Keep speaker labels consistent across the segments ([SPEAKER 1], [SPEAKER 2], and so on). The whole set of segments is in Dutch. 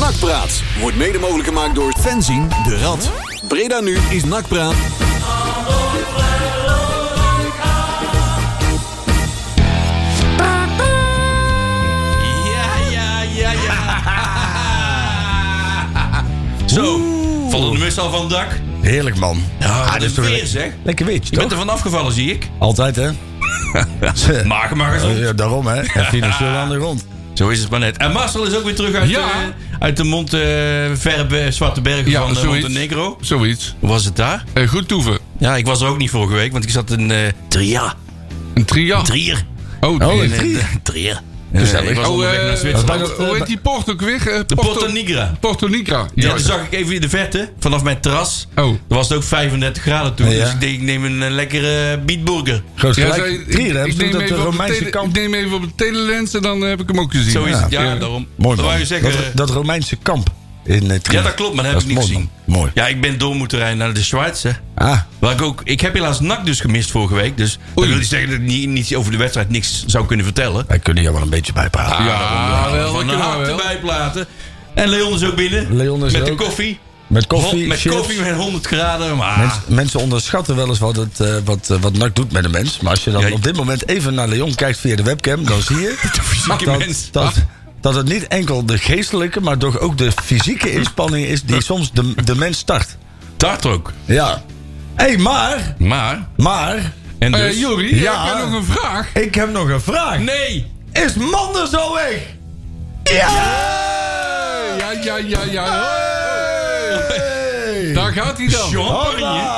[SPEAKER 1] Nakpraat wordt mede mogelijk gemaakt door fanzine de Rad. Breda nu is Nakpraat.
[SPEAKER 2] Ja, ja, ja, ja. Zo, vallen de mussen al van het dak?
[SPEAKER 3] Heerlijk, man.
[SPEAKER 2] Ah, dat is
[SPEAKER 3] toch
[SPEAKER 2] weer, zeg.
[SPEAKER 3] Lekker wit,
[SPEAKER 2] Je
[SPEAKER 3] toch?
[SPEAKER 2] bent er van afgevallen, zie ik. Oh,
[SPEAKER 3] Altijd, hè?
[SPEAKER 2] Maak hem maar eens op.
[SPEAKER 3] Ja, daarom, hè? En financieel aan de grond.
[SPEAKER 2] Zo is het maar net. En Marcel is ook weer terug uit,
[SPEAKER 4] Ja.
[SPEAKER 2] eh, uit de mond eh, verbe Zwarte Bergen
[SPEAKER 4] Ja,
[SPEAKER 2] van eh,
[SPEAKER 4] zoiets.
[SPEAKER 2] Montenegro.
[SPEAKER 4] Zoiets.
[SPEAKER 2] Hoe was het daar?
[SPEAKER 4] Eh, goed toeven.
[SPEAKER 2] Ja, ik was er ook niet vorige week, want ik zat in eh Trier.
[SPEAKER 4] Een tria.
[SPEAKER 2] Trier.
[SPEAKER 4] Oh, drie.
[SPEAKER 3] Oh, een
[SPEAKER 4] Eh,
[SPEAKER 3] Trier?
[SPEAKER 2] Trier.
[SPEAKER 3] Gezellig.
[SPEAKER 2] ik was
[SPEAKER 4] eh,
[SPEAKER 2] onderweg naar Zwitserland.
[SPEAKER 3] dat is bijna-
[SPEAKER 4] hoe heet die port ook weer? Eh,
[SPEAKER 2] De Porto Nigra.
[SPEAKER 4] Porto Nigra.
[SPEAKER 2] Ja,
[SPEAKER 4] Ja.
[SPEAKER 2] die zag ik even in de verte, vanaf mijn terras.
[SPEAKER 4] Oh.
[SPEAKER 2] Er was het ook 35 graden toen,
[SPEAKER 3] Ja.
[SPEAKER 2] dus ik denk ik neem een eh, lekkere bietburger.
[SPEAKER 3] Groot
[SPEAKER 4] Ja,
[SPEAKER 3] gelijk.
[SPEAKER 4] zei-
[SPEAKER 3] Trier, hè?
[SPEAKER 4] ik,
[SPEAKER 3] Bedoelt
[SPEAKER 4] neem
[SPEAKER 3] dat de
[SPEAKER 4] even op de
[SPEAKER 3] Romeinse
[SPEAKER 4] tele-
[SPEAKER 3] kamp...
[SPEAKER 4] ik neem even op de telelens en dan heb ik hem ook gezien.
[SPEAKER 2] Zo is het, ja,
[SPEAKER 3] ja.
[SPEAKER 2] daarom. dat
[SPEAKER 3] Mooi, man.
[SPEAKER 2] wou je zeggen. eh,
[SPEAKER 3] Dat, dat Romeinse kamp in eh, Trier.
[SPEAKER 2] ja, dat klopt, maar dat heb
[SPEAKER 3] Dat
[SPEAKER 2] ik niet
[SPEAKER 3] is mooi,
[SPEAKER 2] gezien.
[SPEAKER 3] man. Mooi.
[SPEAKER 2] Ja, ik ben door moeten rijden naar de Schweiz, hè.
[SPEAKER 3] Ah,
[SPEAKER 2] Waar ik, ook, ik heb helaas NAC dus gemist vorige week. Dus dat
[SPEAKER 4] Oei.
[SPEAKER 2] wil niet zeggen dat ik niet, niet over de wedstrijd niks zou kunnen vertellen.
[SPEAKER 3] wij kunnen hier wel een beetje bij praten.
[SPEAKER 4] Ja, wel, dat
[SPEAKER 2] Van de
[SPEAKER 4] kunnen we
[SPEAKER 2] harte
[SPEAKER 4] wel.
[SPEAKER 2] bijplaten. En Leon is ook binnen.
[SPEAKER 3] Leon is
[SPEAKER 2] met
[SPEAKER 3] er
[SPEAKER 2] de
[SPEAKER 3] ook.
[SPEAKER 2] koffie.
[SPEAKER 3] Met koffie,
[SPEAKER 2] Met
[SPEAKER 3] chips.
[SPEAKER 2] koffie Ah. met 100 graden. Maar
[SPEAKER 3] Mens- mensen onderschatten wel eens wat, het, eh, wat, eh, wat NAC doet met een mens. Maar als je dan
[SPEAKER 2] Ja, je-
[SPEAKER 3] op dit moment even naar Leon kijkt via de webcam, dan zie je
[SPEAKER 2] fysieke
[SPEAKER 3] dat,
[SPEAKER 2] mens. Ah.
[SPEAKER 3] dat, dat het niet enkel de geestelijke, maar toch ook de fysieke inspanning is die soms de, de mens start.
[SPEAKER 2] Tart ook.
[SPEAKER 3] Ja. Hé, hey, maar,
[SPEAKER 2] Maar.
[SPEAKER 3] maar,
[SPEAKER 2] En dus.
[SPEAKER 4] Eh, Jori,
[SPEAKER 3] Ja.
[SPEAKER 4] heb jij nog een vraag?
[SPEAKER 3] ik heb nog een vraag.
[SPEAKER 2] nee!
[SPEAKER 3] Is Manders al weg? Ja!
[SPEAKER 4] Ja, ja, ja, ja. Daar gaat hij dan.
[SPEAKER 2] Champagne.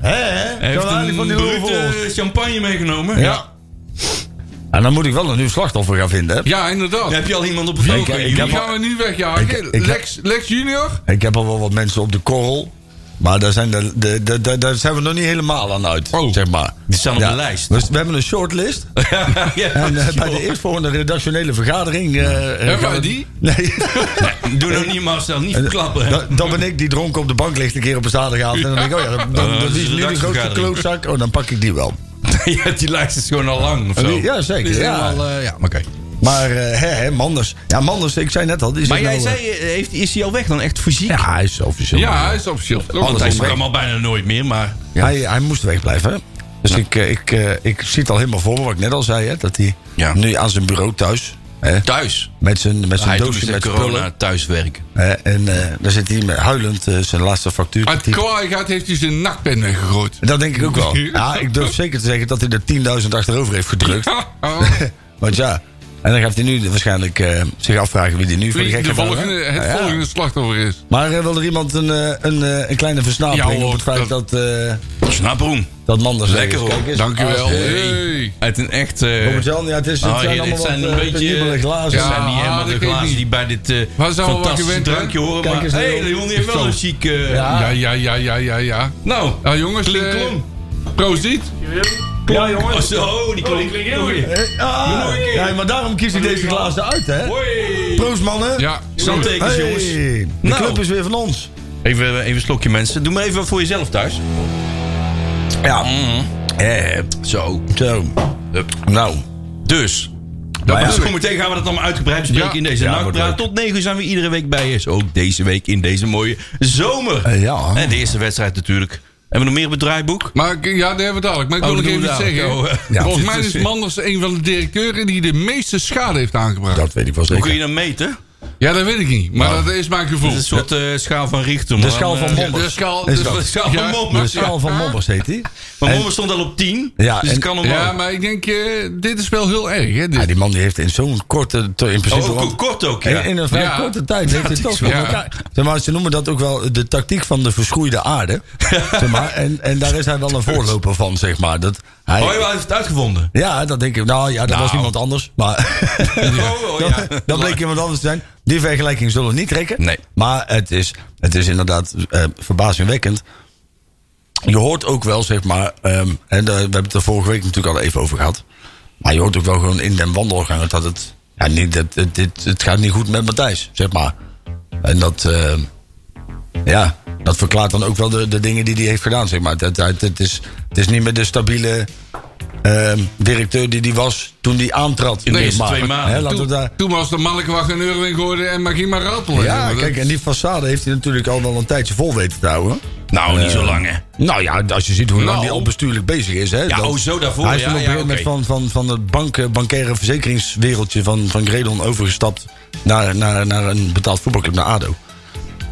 [SPEAKER 3] Hé, hè?
[SPEAKER 2] Hij
[SPEAKER 3] Kan
[SPEAKER 2] heeft
[SPEAKER 3] we eigenlijk
[SPEAKER 2] een
[SPEAKER 3] van die lul voor?
[SPEAKER 2] brute champagne meegenomen.
[SPEAKER 3] Ja. En dan moet ik wel een nieuw slachtoffer gaan vinden, hè?
[SPEAKER 4] Ja, inderdaad.
[SPEAKER 2] Dan heb je al iemand op het
[SPEAKER 3] Nee,
[SPEAKER 2] oog.
[SPEAKER 3] kijk,
[SPEAKER 2] hè,
[SPEAKER 3] ik
[SPEAKER 4] Die
[SPEAKER 2] Juri?
[SPEAKER 3] heb-
[SPEAKER 4] gaan we niet wegjagen.
[SPEAKER 3] Ik- ik-
[SPEAKER 4] Lex, Lex Junior?
[SPEAKER 3] Ik heb al wel wat mensen op de korrel. Maar daar zijn, de, de, de- de- daar zijn we nog niet helemaal aan uit.
[SPEAKER 4] Oh.
[SPEAKER 3] zeg maar.
[SPEAKER 2] Die staan op de lijst.
[SPEAKER 3] Dus we hebben een shortlist.
[SPEAKER 2] Ja,
[SPEAKER 3] En eh, bij de
[SPEAKER 2] joh.
[SPEAKER 3] eerstvolgende redactionele vergadering. eh, gaan
[SPEAKER 4] wij
[SPEAKER 3] we-
[SPEAKER 4] die?
[SPEAKER 3] Nee.
[SPEAKER 2] Doe nou niet Marcel, niet
[SPEAKER 3] Eh,
[SPEAKER 2] verklappen. hè.
[SPEAKER 3] dan, dan ben ik die dronken op de bank ligt een keer op een zaterdagavond. En dan denk ik, oh ja, dan, dan,
[SPEAKER 2] Oh, dat
[SPEAKER 3] dat
[SPEAKER 2] is
[SPEAKER 3] is
[SPEAKER 2] een
[SPEAKER 3] nu de grootste
[SPEAKER 2] redactievergadering.
[SPEAKER 3] klootzak. Oh, dan pak ik die wel.
[SPEAKER 2] Ja, die lijst is gewoon al lang. Of
[SPEAKER 3] En
[SPEAKER 2] zo.
[SPEAKER 3] die- ja, zeker.
[SPEAKER 4] Is
[SPEAKER 3] Ja.
[SPEAKER 4] helemaal, eh, ja, maar kijk.
[SPEAKER 3] Maar eh, hè, hè, Manders. Ja, Manders, ik zei net al. Die zit
[SPEAKER 2] Maar jij
[SPEAKER 3] nou, eh,
[SPEAKER 2] zei, eh, heeft, is hij al weg dan echt fysiek?
[SPEAKER 3] Ja, hij is officieel.
[SPEAKER 4] Ja, hij is officieel.
[SPEAKER 2] Want hij
[SPEAKER 3] is
[SPEAKER 2] kwam
[SPEAKER 3] weg.
[SPEAKER 2] al bijna nooit meer, maar...
[SPEAKER 3] eh, Hij, hij moest wegblijven. hè? Dus ik, eh, ik, eh, ik zie het al helemaal voor me, wat ik net al zei. Hè, dat hij
[SPEAKER 2] Ja.
[SPEAKER 3] nu aan zijn bureau thuis. Hè,
[SPEAKER 2] Thuis.
[SPEAKER 3] met zijn, met zijn
[SPEAKER 2] Hij doet dus
[SPEAKER 3] doosje
[SPEAKER 2] de
[SPEAKER 3] met
[SPEAKER 2] corona
[SPEAKER 3] corona.
[SPEAKER 2] thuiswerken.
[SPEAKER 3] en eh, daar zit hij met huilend eh, zijn laatste factuur te
[SPEAKER 4] Uit
[SPEAKER 3] typen.
[SPEAKER 4] kwaai gaat heeft hij zijn nakpen weggegooid.
[SPEAKER 3] Dat denk ik ook wel. Ja, ik durf zeker te zeggen dat hij er 10.000 achterover heeft gedrukt.
[SPEAKER 4] Oh,
[SPEAKER 3] Want ja, en dan gaat hij nu waarschijnlijk eh, zich afvragen wie die nu voor de
[SPEAKER 4] wie
[SPEAKER 3] gek
[SPEAKER 4] de
[SPEAKER 3] gaat
[SPEAKER 4] volgende,
[SPEAKER 3] houden.
[SPEAKER 4] het
[SPEAKER 3] Ja, ja.
[SPEAKER 4] volgende slachtoffer is.
[SPEAKER 3] Maar eh, wil er iemand een, eh, een, eh, een kleine
[SPEAKER 4] Ja,
[SPEAKER 3] versnapering
[SPEAKER 4] hoor,
[SPEAKER 3] op het feit
[SPEAKER 4] dat-
[SPEAKER 3] dat, eh
[SPEAKER 2] Snaproen.
[SPEAKER 3] dat Manders...
[SPEAKER 2] Lekker, hoor.
[SPEAKER 4] Dank u wel.
[SPEAKER 2] Hey.
[SPEAKER 4] Hey.
[SPEAKER 2] Uit een echt... eh,
[SPEAKER 3] Eh, Robert Jan, ja, het, is,
[SPEAKER 4] Nou,
[SPEAKER 3] het
[SPEAKER 2] oh,
[SPEAKER 3] zijn
[SPEAKER 2] dit
[SPEAKER 3] allemaal
[SPEAKER 2] zijn
[SPEAKER 3] wat,
[SPEAKER 2] een
[SPEAKER 3] eh, penibele
[SPEAKER 2] beetje...
[SPEAKER 3] glazen.
[SPEAKER 2] Het zijn
[SPEAKER 4] Ja,
[SPEAKER 2] niet helemaal
[SPEAKER 4] dat
[SPEAKER 2] de
[SPEAKER 4] weet ik
[SPEAKER 2] glazen
[SPEAKER 4] niet.
[SPEAKER 2] die bij dit eh,
[SPEAKER 4] Waar zijn we wel
[SPEAKER 2] fantastische
[SPEAKER 4] gewend, hè?
[SPEAKER 2] drankje horen.
[SPEAKER 3] Kijk
[SPEAKER 2] Maar,
[SPEAKER 3] eens,
[SPEAKER 2] hey,
[SPEAKER 3] Leon.
[SPEAKER 2] Leon die heeft wel een chic... eh,
[SPEAKER 3] Ja.
[SPEAKER 4] Ja, ja, ja, ja, ja, ja.
[SPEAKER 2] Nou,
[SPEAKER 4] Nou jongens,
[SPEAKER 2] Klink
[SPEAKER 4] eh,
[SPEAKER 2] klonk.
[SPEAKER 4] Proziet.
[SPEAKER 3] Ja,
[SPEAKER 2] Oh,
[SPEAKER 3] jongens.
[SPEAKER 2] zo, die klonk. Hoi.
[SPEAKER 3] Eh, ah,
[SPEAKER 2] nog een keer.
[SPEAKER 3] ja, maar daarom kies ik deze glazen uit, hè? Proost, mannen.
[SPEAKER 4] Ja.
[SPEAKER 2] Zandtekens,
[SPEAKER 3] Hey,
[SPEAKER 2] jongens.
[SPEAKER 3] de
[SPEAKER 2] Nou.
[SPEAKER 3] club is weer van ons.
[SPEAKER 2] Even, eh, even een slokje, mensen. Doe maar even voor jezelf thuis.
[SPEAKER 3] Ja.
[SPEAKER 2] Eh, zo.
[SPEAKER 3] Zo.
[SPEAKER 2] Hup.
[SPEAKER 3] Nou.
[SPEAKER 2] Dus.
[SPEAKER 3] Maar ja,
[SPEAKER 2] Dus zometeen gaan we dat allemaal uitgebreid bespreken
[SPEAKER 4] Ja.
[SPEAKER 2] in deze
[SPEAKER 3] Ja,
[SPEAKER 2] nachtpraat.
[SPEAKER 3] wordt leuk.
[SPEAKER 2] Tot 9 uur zijn we iedere week bij je. Is Ook deze week in deze mooie zomer.
[SPEAKER 3] Eh, ja.
[SPEAKER 2] En de eerste wedstrijd natuurlijk. Hebben we nog meer op het draaiboek?
[SPEAKER 4] Maar ik- ja, daar hebben we het dadelijk. Maar ik
[SPEAKER 2] Oh,
[SPEAKER 4] wil nog
[SPEAKER 2] dat
[SPEAKER 4] even iets
[SPEAKER 2] doen we
[SPEAKER 4] zeggen.
[SPEAKER 2] dadelijk. Oh, eh. Ja.
[SPEAKER 4] Volgens mij
[SPEAKER 2] Dit is-
[SPEAKER 4] is Manders een van de directeuren die de meeste schade heeft aangebracht.
[SPEAKER 3] dat weet ik wel
[SPEAKER 2] Hoe kun je
[SPEAKER 3] zeker.
[SPEAKER 2] dat meten?
[SPEAKER 4] Ja, dat weet ik niet. Maar dat is mijn gevoel.
[SPEAKER 2] Dat is een soort eh, schaal van Richter. maar
[SPEAKER 3] schaal
[SPEAKER 2] dan,
[SPEAKER 3] van
[SPEAKER 2] eh,
[SPEAKER 3] Mom. Mommers.
[SPEAKER 4] De schaal,
[SPEAKER 3] Is
[SPEAKER 4] de
[SPEAKER 3] dat-
[SPEAKER 4] schaal-
[SPEAKER 2] schaal van
[SPEAKER 4] ja.
[SPEAKER 2] Mommers.
[SPEAKER 3] De schaal van Mombers heet hij.
[SPEAKER 2] Maar Mommers stond al op 10.
[SPEAKER 3] Ja,
[SPEAKER 2] dus het
[SPEAKER 3] en-
[SPEAKER 2] kan omhoog.
[SPEAKER 4] Ja, maar ik denk, eh, dit is wel heel erg. Hè, dit.
[SPEAKER 3] Ja, Ah, die man die heeft in zo'n korte... to- In principe,
[SPEAKER 2] Oh, ook
[SPEAKER 3] want-
[SPEAKER 2] kort ook, ja.
[SPEAKER 3] in, in een vrij
[SPEAKER 4] Ja.
[SPEAKER 3] korte tijd heeft hij
[SPEAKER 2] Dat
[SPEAKER 3] toch
[SPEAKER 2] is
[SPEAKER 3] wel
[SPEAKER 4] waar.
[SPEAKER 3] elkaar... Zeg maar, ze noemen dat ook wel de tactiek van de verschroeide aarde. zeg maar, en, en daar is hij wel een voorloper van, zeg maar. Dat hij,
[SPEAKER 2] Oh, hij heeft het uitgevonden.
[SPEAKER 3] Ja, dat denk ik. Nou ja, dat was iemand anders. Maar
[SPEAKER 2] Oh, oh, ja.
[SPEAKER 3] dat, dat bleek iemand anders te zijn. Die vergelijking zullen we niet trekken.
[SPEAKER 2] Nee.
[SPEAKER 3] Maar het is, het is inderdaad eh, verbazingwekkend. Je hoort ook wel, zeg maar... ehm, en daar- we hebben het er vorige week natuurlijk al even over gehad. Maar je hoort ook wel gewoon in den wandelgangen dat het... Ja, niet, dat, het, dit- het gaat niet goed met Matthijs, zeg maar. En dat... ehm, ja, dat verklaart dan ook wel de, de dingen die hij heeft gedaan, zeg maar. Het, het, het, is, het is niet meer de stabiele eh, ehm, directeur die die was toen die aantrad. In
[SPEAKER 2] de
[SPEAKER 3] dit
[SPEAKER 2] eerste
[SPEAKER 3] maand.
[SPEAKER 2] twee maanden.
[SPEAKER 3] Hè, laten we
[SPEAKER 4] Toen,
[SPEAKER 3] daar,
[SPEAKER 4] toen was de mannelijke een euro in geworden en mag je maar rattelen.
[SPEAKER 3] ja,
[SPEAKER 4] Want
[SPEAKER 3] kijk, en die façade heeft hij natuurlijk al wel een tijdje vol weten te houden.
[SPEAKER 2] Nou, niet zo lang, hè.
[SPEAKER 3] Nou ja, als je ziet hoe lang
[SPEAKER 2] Nou.
[SPEAKER 3] die al bestuurlijk bezig is. Hè,
[SPEAKER 2] Ja, oh, zo daarvoor,
[SPEAKER 3] Hij is
[SPEAKER 2] ja,
[SPEAKER 3] toen op
[SPEAKER 2] ja,
[SPEAKER 3] een gegeven moment
[SPEAKER 2] oké.
[SPEAKER 3] van, van, van het bank, bankaire verzekeringswereldje van, van Gredon overgestapt naar, naar, naar een betaald voetbalclub, naar ADO.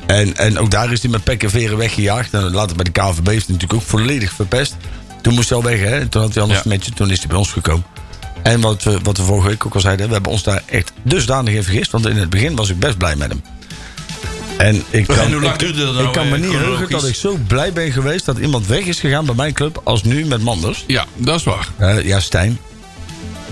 [SPEAKER 3] En, en ook daar is hij met pek en veren weggejaagd. En later bij de KVB heeft hij natuurlijk ook volledig verpest. Toen moest hij al weg, hè. Toen had hij anders
[SPEAKER 2] Ja.
[SPEAKER 3] een matchje, toen is hij bij ons gekomen. En wat we, wat we vorige week ook al zeiden, we hebben ons daar echt dusdanig in vergist. Want in het begin was ik best blij met hem. En ik kan,
[SPEAKER 2] En hoe lang
[SPEAKER 3] ik,
[SPEAKER 2] duurde dat nou,
[SPEAKER 3] ik kan me
[SPEAKER 2] eh,
[SPEAKER 3] niet heugen dat
[SPEAKER 2] chronologisch?
[SPEAKER 3] ik zo blij ben geweest dat iemand weg is gegaan bij mijn club als nu met Manders.
[SPEAKER 4] Ja, dat is waar.
[SPEAKER 3] Eh, ja, Stijn.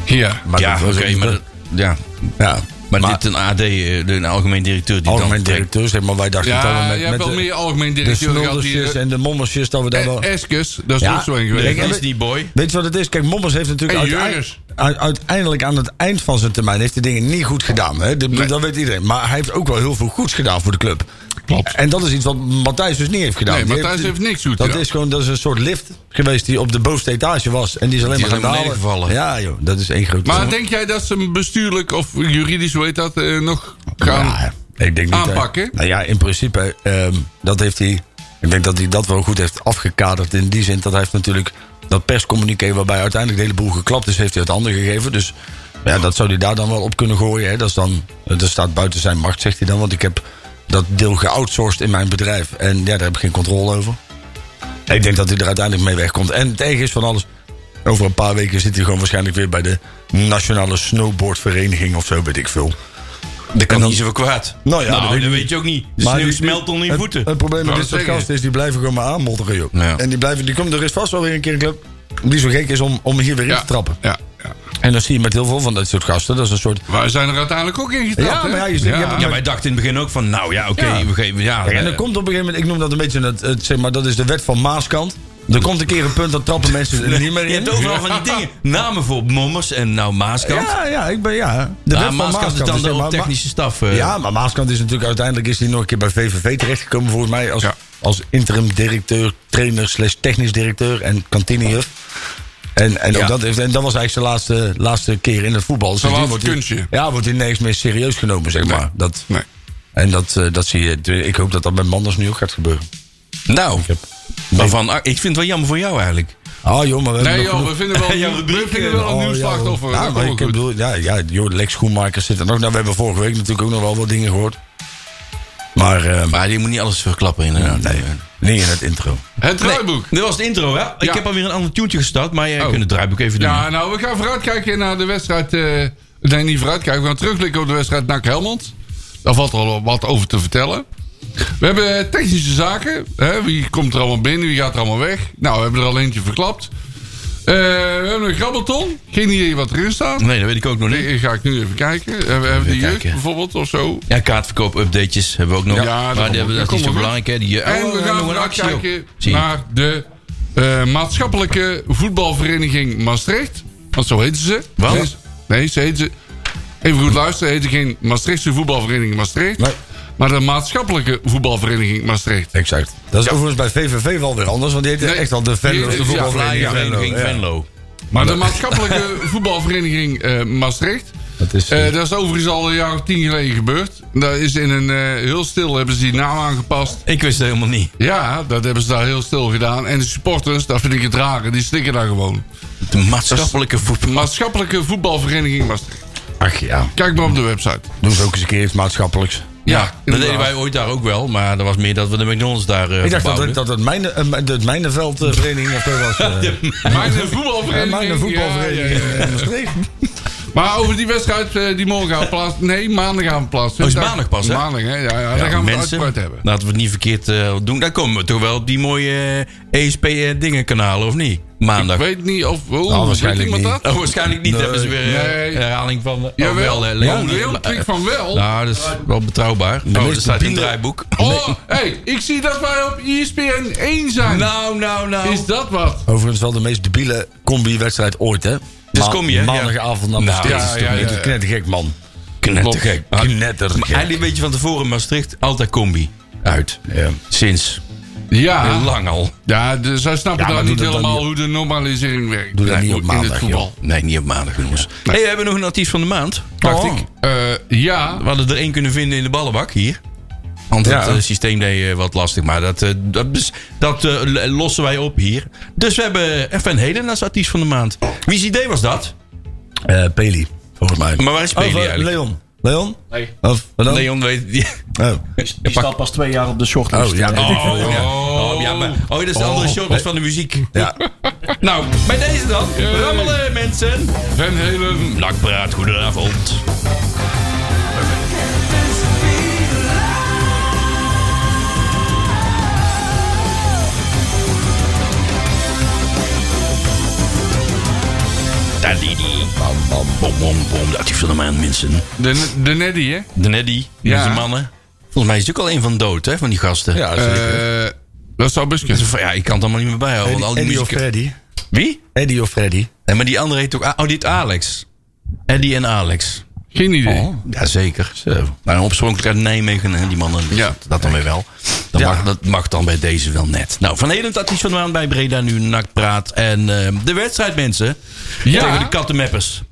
[SPEAKER 4] Ja.
[SPEAKER 3] Maar
[SPEAKER 2] ja,
[SPEAKER 3] dat
[SPEAKER 2] oké,
[SPEAKER 3] was ook-
[SPEAKER 2] maar, dat- ja.
[SPEAKER 3] ja,
[SPEAKER 2] maar,
[SPEAKER 3] maar,
[SPEAKER 2] dit een AD, eh, de een algemeen directeur die
[SPEAKER 3] algemeen
[SPEAKER 2] dan vertrekt.
[SPEAKER 3] directeur, zeg maar, wij dachten toch
[SPEAKER 4] Ja,
[SPEAKER 3] wel
[SPEAKER 4] je hebt wel meer algemeen
[SPEAKER 3] de
[SPEAKER 4] directeur gehad
[SPEAKER 3] Snuldersjes
[SPEAKER 4] die...
[SPEAKER 3] en de Mommersjes dat we daar wel...
[SPEAKER 4] eh, Eskes, dat is
[SPEAKER 3] Ja,
[SPEAKER 4] ook zo een
[SPEAKER 3] direct-
[SPEAKER 4] geweest.
[SPEAKER 2] Is die boy?
[SPEAKER 3] Weet je wat het is? Kijk, Mommers heeft natuurlijk
[SPEAKER 4] En
[SPEAKER 3] uitei-
[SPEAKER 4] Jurgens.
[SPEAKER 3] uit- uiteindelijk aan het eind van zijn termijn heeft hij dingen niet goed gedaan. Hè? Dat,
[SPEAKER 4] Nee.
[SPEAKER 3] dat weet iedereen. Maar hij heeft ook wel heel veel goeds gedaan voor de club.
[SPEAKER 4] Klopt.
[SPEAKER 3] En dat is iets wat Matthijs dus niet heeft gedaan.
[SPEAKER 4] Nee,
[SPEAKER 3] Die
[SPEAKER 4] Matthijs heeft niks goed
[SPEAKER 3] dat
[SPEAKER 4] gedaan.
[SPEAKER 3] Is gewoon, dat is een soort lift geweest die op de bovenste etage was. En die is alleen
[SPEAKER 2] Die
[SPEAKER 3] maar
[SPEAKER 2] is
[SPEAKER 3] gaan
[SPEAKER 2] helemaal
[SPEAKER 3] halen.
[SPEAKER 2] neergevallen.
[SPEAKER 3] Ja joh, dat is één groot...
[SPEAKER 4] Maar denk jij dat ze bestuurlijk of juridisch, hoe heet dat, eh, nog gaan...
[SPEAKER 3] Ja, ik denk niet dat-
[SPEAKER 4] aanpakken?
[SPEAKER 3] nou ja, in principe, ehm, dat heeft hij. Ik denk dat hij dat wel goed heeft afgekaderd. In die zin dat hij heeft natuurlijk dat perscommuniqué waarbij uiteindelijk de hele boel geklapt is, heeft hij uit handen gegeven. Dus ja, dat zou hij daar dan wel op kunnen gooien. Hè. Dat, is dan, eh, dat staat buiten zijn macht, zegt hij dan. Want ik heb dat deel geoutsourced in mijn bedrijf. En ja, daar heb ik geen controle over. Ik denk dat hij er uiteindelijk mee wegkomt. En het erg is van alles. Over een paar weken zit hij gewoon waarschijnlijk weer bij de Nationale Snowboardvereniging of zo, weet ik veel.
[SPEAKER 2] Dat kan
[SPEAKER 3] En dan-
[SPEAKER 2] niet zoveel kwaad.
[SPEAKER 3] Nou ja, dat
[SPEAKER 2] dat,
[SPEAKER 3] weet ik
[SPEAKER 2] weet je ook niet. De
[SPEAKER 3] Maar
[SPEAKER 2] sneeuw
[SPEAKER 3] die-
[SPEAKER 2] smelt onder je
[SPEAKER 3] het-
[SPEAKER 2] voeten.
[SPEAKER 3] Het, probleem met
[SPEAKER 4] Nou,
[SPEAKER 3] dit
[SPEAKER 4] dat
[SPEAKER 3] soort
[SPEAKER 4] zeg ik.
[SPEAKER 3] gasten is, die blijven gewoon maar aanmodderen, joh.
[SPEAKER 2] Ja.
[SPEAKER 3] En die, blijven, die komt er is vast wel weer een keer een club die zo gek is om, om hier weer in
[SPEAKER 4] Ja,
[SPEAKER 3] te trappen.
[SPEAKER 4] Ja, ja.
[SPEAKER 3] En dat zie je met heel veel van dat soort gasten. Dat is een soort...
[SPEAKER 4] Wij zijn er uiteindelijk ook in getrapt,
[SPEAKER 3] Ja, maar
[SPEAKER 4] hè?
[SPEAKER 3] ja, je zegt, ja, maar-
[SPEAKER 2] Ja, wij dachten in het begin ook van, nou ja, oké,
[SPEAKER 3] Ja.
[SPEAKER 2] we geven... Ja,
[SPEAKER 3] en
[SPEAKER 2] eh,
[SPEAKER 3] er komt op een gegeven moment, ik noem dat een beetje, het, het, zeg maar, dat is de wet van Maaskant. Er komt een keer een punt, dat trappen mensen er niet meer
[SPEAKER 2] Je
[SPEAKER 3] in.
[SPEAKER 2] hebt overal van die dingen. Namen voor mommers en nou Maaskant.
[SPEAKER 3] Ja, ja, ik ben, ja. De
[SPEAKER 2] nou,
[SPEAKER 3] wet van
[SPEAKER 2] Maaskant,
[SPEAKER 3] Maaskant.
[SPEAKER 2] is dan
[SPEAKER 3] is,
[SPEAKER 2] de
[SPEAKER 3] zeg maar,
[SPEAKER 2] technische staf.
[SPEAKER 3] Ma-
[SPEAKER 2] eh.
[SPEAKER 3] ja, maar Maaskant is natuurlijk uiteindelijk is hij nog een keer bij VVV terechtgekomen, volgens mij. Als,
[SPEAKER 4] Ja.
[SPEAKER 3] als interim directeur, trainer, slash technisch directeur en kantinehuf. En, en,
[SPEAKER 2] Ja.
[SPEAKER 3] ook dat, heeft- en dat was eigenlijk zijn laatste, laatste keer in het voetbal. Dus
[SPEAKER 4] laat
[SPEAKER 3] die
[SPEAKER 4] het
[SPEAKER 3] wordt hij-
[SPEAKER 4] kunstje.
[SPEAKER 3] Ja, wordt hij nergens meer serieus genomen, zeg maar.
[SPEAKER 4] Nee.
[SPEAKER 3] Dat,
[SPEAKER 4] Nee.
[SPEAKER 3] En dat, eh, dat zie je. Ik hoop dat dat met Manders nu ook gaat gebeuren.
[SPEAKER 2] Nou,
[SPEAKER 3] heb-
[SPEAKER 2] waarvan, ah, ik vind het wel jammer voor jou eigenlijk.
[SPEAKER 3] Ah joh, maar we hebben
[SPEAKER 4] Nee joh,
[SPEAKER 3] nog genoeg-
[SPEAKER 4] we vinden wel,
[SPEAKER 2] Ja,
[SPEAKER 4] we
[SPEAKER 2] rubriek,
[SPEAKER 4] vinden
[SPEAKER 2] eh,
[SPEAKER 4] wel een
[SPEAKER 3] Oh,
[SPEAKER 4] nieuw
[SPEAKER 3] ja,
[SPEAKER 4] slachtoffer.
[SPEAKER 3] Ja,
[SPEAKER 4] Dat
[SPEAKER 3] maar
[SPEAKER 4] komt
[SPEAKER 3] ik
[SPEAKER 4] wel goed.
[SPEAKER 3] bedoel, ja, ja, joh, Lex Schoenmakers zit er nog. Nou, we hebben vorige week natuurlijk ook nog wel wat dingen gehoord. Maar eh,
[SPEAKER 2] Maar je moet niet alles verklappen inderdaad.
[SPEAKER 3] nee, eh, niet in het intro.
[SPEAKER 4] Het draaiboek.
[SPEAKER 2] Dit was de intro, hè? Ik
[SPEAKER 4] Ja.
[SPEAKER 2] heb alweer een ander tuentje gestart, maar jij
[SPEAKER 4] Oh.
[SPEAKER 2] kunt het draaiboek even doen.
[SPEAKER 4] Ja, nou, we gaan vooruitkijken naar de wedstrijd. eh, nee, niet vooruitkijken. We gaan terugblikken op de wedstrijd NAC Helmond. Daar valt al wat over te vertellen. We hebben eh, technische zaken. Hè? Wie komt er allemaal binnen? Wie gaat er allemaal weg? Nou, we hebben er al eentje verklapt. Eh, we hebben een grabbelton. Geen idee wat erin staat.
[SPEAKER 2] Nee, dat weet ik ook nog niet.
[SPEAKER 4] Nee, ga ik nu even kijken. Eh, we hebben de
[SPEAKER 2] Even
[SPEAKER 4] jeugd
[SPEAKER 2] kijken.
[SPEAKER 4] bijvoorbeeld of zo.
[SPEAKER 2] Ja, kaartverkoop-updates hebben we ook nog.
[SPEAKER 4] Ja, dat
[SPEAKER 2] maar
[SPEAKER 4] komt
[SPEAKER 2] die hebben-
[SPEAKER 4] goed.
[SPEAKER 2] dat
[SPEAKER 4] Dat
[SPEAKER 2] is niet zo
[SPEAKER 4] komt goed.
[SPEAKER 2] belangrijk, hè? Die, eh,
[SPEAKER 4] En
[SPEAKER 2] oh,
[SPEAKER 4] we
[SPEAKER 2] nog
[SPEAKER 4] gaan
[SPEAKER 2] een
[SPEAKER 4] vooruit
[SPEAKER 2] actie, joh.
[SPEAKER 4] kijken
[SPEAKER 2] Zie je.
[SPEAKER 4] naar de eh, maatschappelijke voetbalvereniging Maastricht. Want zo heten ze.
[SPEAKER 2] Wat?
[SPEAKER 4] Ze is- nee, ze heten ze. Even goed luisteren, ze heten geen Maastrichtse voetbalvereniging Maastricht.
[SPEAKER 3] Nee.
[SPEAKER 4] Maar de maatschappelijke voetbalvereniging Maastricht.
[SPEAKER 3] Exact. Dat is overigens bij VVV wel weer anders, want die heet
[SPEAKER 4] Nee.
[SPEAKER 3] echt al de Venlo's,
[SPEAKER 4] Die-
[SPEAKER 3] de
[SPEAKER 4] ja,
[SPEAKER 3] voetbalvereniging
[SPEAKER 4] Vlaanderen,
[SPEAKER 3] Venlo.
[SPEAKER 2] Vereniging
[SPEAKER 3] ja.
[SPEAKER 2] Venlo.
[SPEAKER 4] Maar de maatschappelijke voetbalvereniging eh, Maastricht.
[SPEAKER 3] Dat is,
[SPEAKER 4] eh,
[SPEAKER 3] eh,
[SPEAKER 4] dat is overigens al een jaar of tien geleden gebeurd. Daar is in een eh, heel stil hebben ze die naam aangepast.
[SPEAKER 2] Ik wist het helemaal niet.
[SPEAKER 4] Ja, dat hebben ze daar heel stil gedaan. En de supporters, dat vind ik het rare, die slikken daar gewoon.
[SPEAKER 2] De maatschappelijke voetbal.
[SPEAKER 4] Maatschappelijke voetbalvereniging Maastricht.
[SPEAKER 3] Ach ja,
[SPEAKER 4] Kijk maar op de website.
[SPEAKER 3] doen ze ook eens een keer iets maatschappelijks.
[SPEAKER 4] Ja,
[SPEAKER 2] Dat
[SPEAKER 4] inderdaad.
[SPEAKER 2] deden wij Eh, ooit daar ook wel, maar dat was meer dat we de McDonald's daar eh
[SPEAKER 3] Ik dacht dat,
[SPEAKER 2] verbouwden.
[SPEAKER 3] het- dat het mijne, eh, mijn- dat mijnenveldvereniging of zo was. eh,
[SPEAKER 4] Mijn
[SPEAKER 3] eh,
[SPEAKER 4] voetbalvereniging.
[SPEAKER 3] Mijne
[SPEAKER 4] ja,
[SPEAKER 3] voetbalvereniging
[SPEAKER 4] ja, ja.
[SPEAKER 3] in Maastricht.
[SPEAKER 4] Maar over die wedstrijd eh, die morgen gaat plaatsvinden. Nee, maandag gaan plaatsvinden.
[SPEAKER 2] Oh, is maandag pas, hè?
[SPEAKER 4] Maandag, hè? Ja, ja, daar
[SPEAKER 2] Ja,
[SPEAKER 4] gaan we het
[SPEAKER 2] mensen,
[SPEAKER 4] uitgebreid hebben.
[SPEAKER 2] Laten we het niet verkeerd eh, doen. Daar komen we toch wel op die mooie eh, E ESP-dingenkanalen, of niet? Maandag.
[SPEAKER 4] Ik weet niet of... Oh,
[SPEAKER 3] waarschijnlijk
[SPEAKER 4] weet iemand dat?
[SPEAKER 3] niet.
[SPEAKER 2] Oh, Nou. waarschijnlijk niet.
[SPEAKER 3] Nee.
[SPEAKER 2] Hebben ze weer eh,
[SPEAKER 4] Nee.
[SPEAKER 2] herhaling van. de- Oh,
[SPEAKER 4] Jawel.
[SPEAKER 2] hè,
[SPEAKER 4] Oh,
[SPEAKER 2] Leon.
[SPEAKER 4] Leon klinkt van wel.
[SPEAKER 2] Nou, dat is wel betrouwbaar. Oh, dat
[SPEAKER 3] meeste
[SPEAKER 2] staat in het
[SPEAKER 3] bieden-
[SPEAKER 2] draaiboek.
[SPEAKER 4] Oh, hey, ik zie dat wij op E ESPN 1 zijn.
[SPEAKER 2] Nou, nou, nou.
[SPEAKER 4] Is dat wat?
[SPEAKER 3] Overigens wel de meest debiele combi-wedstrijd ooit, hè? Ma-
[SPEAKER 2] Dus combi, hè? Ja.
[SPEAKER 3] Maandagavond naar
[SPEAKER 2] Nou,
[SPEAKER 3] Maastricht.
[SPEAKER 4] ja,
[SPEAKER 3] Dat is toch
[SPEAKER 4] ja,
[SPEAKER 3] niet
[SPEAKER 4] ja.
[SPEAKER 3] een knettergek, man.
[SPEAKER 2] knettergek.
[SPEAKER 3] Klopt. Knettergek.
[SPEAKER 2] Eigenlijk weet je van tevoren, Maastricht, altijd combi. Uit.
[SPEAKER 3] Ja.
[SPEAKER 2] Sinds.
[SPEAKER 4] Ja.
[SPEAKER 2] Heel Lang al.
[SPEAKER 4] Ja, dus zij snappen
[SPEAKER 3] Ja,
[SPEAKER 4] daar
[SPEAKER 3] maar doe
[SPEAKER 4] niet
[SPEAKER 3] dat dan
[SPEAKER 4] helemaal
[SPEAKER 3] niet-
[SPEAKER 4] hoe de normalisering werkt.
[SPEAKER 3] Doe dat niet op
[SPEAKER 4] in
[SPEAKER 3] maandag,
[SPEAKER 4] het voetbal.
[SPEAKER 2] Nee, niet op maandag, jongens. Hey, we hebben nog een artiest van de maand. Dacht
[SPEAKER 3] Oh.
[SPEAKER 2] ik.
[SPEAKER 4] Eh, ja,
[SPEAKER 2] We hadden er één kunnen vinden in de ballenbak hier. Want het
[SPEAKER 3] Ja.
[SPEAKER 2] eh, systeem deed eh, wat lastig. Maar dat, eh, dat, bes- dat eh, l- lossen wij op hier. Dus we hebben Van Heden als artiest van de maand. Wie's idee was dat?
[SPEAKER 3] Eh, Peli, volgens mij.
[SPEAKER 2] Maar waar is Peli
[SPEAKER 3] Of, eh,
[SPEAKER 2] eigenlijk?
[SPEAKER 3] Leon. Leon?
[SPEAKER 5] Nee.
[SPEAKER 3] Of, wat dan?
[SPEAKER 2] Leon weet... die-
[SPEAKER 3] Oh.
[SPEAKER 5] Die, die staat pas twee jaar op de shortlist.
[SPEAKER 3] Oh, ja, nee.
[SPEAKER 5] Eh,
[SPEAKER 2] Oh, ja. Oh, ja, maar, oh, dat is de andere shot van de muziek.
[SPEAKER 3] Ja.
[SPEAKER 2] Nou, bij deze dan. Rammelen, mensen.
[SPEAKER 4] Van Helen.
[SPEAKER 2] Nakpraat, goedenavond. Tadidi. Bam, bam, bom, bom, bom. De actief van de maand, mensen.
[SPEAKER 4] De, de Neddy, hè?
[SPEAKER 2] De Neddy,
[SPEAKER 4] Ja.
[SPEAKER 2] deze mannen. Volgens mij is het ook al één van dood, hè, van die gasten.
[SPEAKER 3] Ja,
[SPEAKER 4] Eh, dat zou best kunnen.
[SPEAKER 2] Van, ja, ik kan het allemaal niet meer bijhouden. want al die
[SPEAKER 3] Eddie of
[SPEAKER 2] muziek...
[SPEAKER 3] Freddy?
[SPEAKER 2] Wie?
[SPEAKER 3] Eddie of Freddy?
[SPEAKER 2] Nee, maar die andere heet ook... A- Oh, dit Alex. Eddie en Alex.
[SPEAKER 4] Geen idee.
[SPEAKER 3] Oh.
[SPEAKER 2] Jazeker. Zo. Maar oorspronkelijk uit Nijmegen, hè, die mannen. Dus
[SPEAKER 4] Ja.
[SPEAKER 2] Dat dan weer wel. Dat, mag, dat mag dan bij deze wel net. Nou, van Hedend dat is van de maand bij Breda nu NAC praat. En ehm, de wedstrijd, mensen.
[SPEAKER 4] Ja.
[SPEAKER 2] Tegen de kattenmeppers.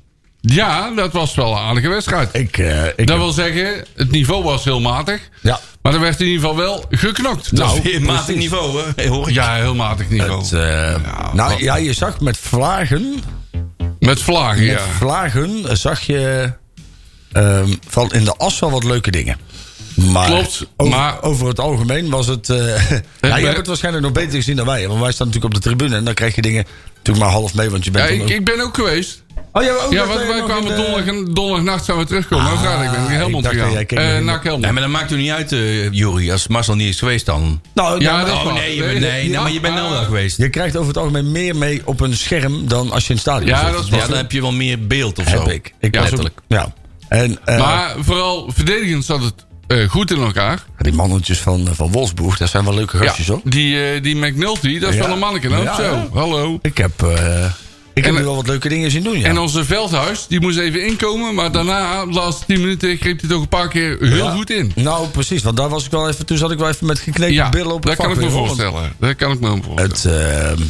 [SPEAKER 4] Ja, dat was wel een aardige wedstrijd.
[SPEAKER 3] Ik, eh,
[SPEAKER 2] Nou,
[SPEAKER 3] ik
[SPEAKER 4] Dat wil zeggen, het niveau was heel matig.
[SPEAKER 3] Ja.
[SPEAKER 4] Maar er werd in ieder geval wel geknokt.
[SPEAKER 2] Dat
[SPEAKER 4] Nou,
[SPEAKER 2] is weer een matig niveau, hè? Hey, hoor ik.
[SPEAKER 4] ja, heel matig niveau.
[SPEAKER 3] Het, eh, nou ja, je zag met vlagen,
[SPEAKER 4] Met vlagen,
[SPEAKER 3] met
[SPEAKER 4] ja.
[SPEAKER 3] vlagen eh, zag je ehm, van in de as wel wat leuke dingen. Maar
[SPEAKER 4] Klopt,
[SPEAKER 3] over,
[SPEAKER 4] maar-
[SPEAKER 3] over het algemeen was het... eh ja, je
[SPEAKER 4] ben-
[SPEAKER 3] hebt het waarschijnlijk nog beter gezien dan wij. Want wij staan natuurlijk op de tribune en dan krijg je dingen natuurlijk maar half mee. Want je
[SPEAKER 4] ja
[SPEAKER 3] bent dan
[SPEAKER 4] ik,
[SPEAKER 3] ook-
[SPEAKER 4] ik ben ook geweest.
[SPEAKER 3] Oh, ja, maar ook
[SPEAKER 4] Ja,
[SPEAKER 3] dat
[SPEAKER 4] want
[SPEAKER 3] wij
[SPEAKER 4] wij
[SPEAKER 3] nog in
[SPEAKER 4] kwamen
[SPEAKER 3] de-
[SPEAKER 4] donderdag, donderdagnacht zouden we terugkomen. Maar vrijdag ben ik naar Helmond
[SPEAKER 3] eh, Ah, ik
[SPEAKER 4] gegaan.
[SPEAKER 3] dacht dat jij keek
[SPEAKER 4] Eh,
[SPEAKER 3] naar-
[SPEAKER 4] naar Helmond.
[SPEAKER 2] Nee, maar dat maakt toch niet uit, eh Jury. Als Marcel niet is geweest dan.
[SPEAKER 3] Nou,
[SPEAKER 4] Ja,
[SPEAKER 3] nou,
[SPEAKER 4] dat-
[SPEAKER 2] Oh,
[SPEAKER 4] waar.
[SPEAKER 2] nee, je bent-
[SPEAKER 4] Nee,
[SPEAKER 2] nee, nee,
[SPEAKER 4] ja.
[SPEAKER 2] maar je bent nou wel geweest.
[SPEAKER 3] Je krijgt over het algemeen meer mee op een scherm dan als je in het stadion
[SPEAKER 4] Ja,
[SPEAKER 3] zit.
[SPEAKER 4] dat is
[SPEAKER 2] Ja, dan heb je wel meer beeld of zo.
[SPEAKER 3] heb ik. ik
[SPEAKER 2] ja,
[SPEAKER 3] was ook-
[SPEAKER 2] letterlijk.
[SPEAKER 3] ja. En, eh,
[SPEAKER 4] Maar vooral verdedigend zat het eh, goed in elkaar.
[SPEAKER 3] die mannetjes van, eh, van Wolfsburg, dat zijn wel leuke
[SPEAKER 4] Ja,
[SPEAKER 3] gastjes, hoor.
[SPEAKER 4] die, eh, die McNulty, dat is
[SPEAKER 3] Ja.
[SPEAKER 4] wel een manneke. Nou,
[SPEAKER 3] Ja,
[SPEAKER 4] zo,
[SPEAKER 3] ja.
[SPEAKER 4] hallo.
[SPEAKER 3] Ik heb, eh, ik heb
[SPEAKER 4] En-
[SPEAKER 3] nu wel wat leuke dingen zien doen, ja.
[SPEAKER 4] En onze Veldhuis, die moest even inkomen. Maar daarna, de laatste 10 minuten, greep hij toch een paar keer heel
[SPEAKER 3] Ja.
[SPEAKER 4] goed in.
[SPEAKER 3] Nou, precies. Want daar was ik wel even... Toen zat ik wel even met geknepen
[SPEAKER 4] Ja,
[SPEAKER 3] billen op
[SPEAKER 4] dat
[SPEAKER 3] het
[SPEAKER 4] kan ik
[SPEAKER 3] vak
[SPEAKER 4] me
[SPEAKER 3] weer, hoor.
[SPEAKER 4] voorstellen. Dat kan ik me voorstellen.
[SPEAKER 3] Het, ehm,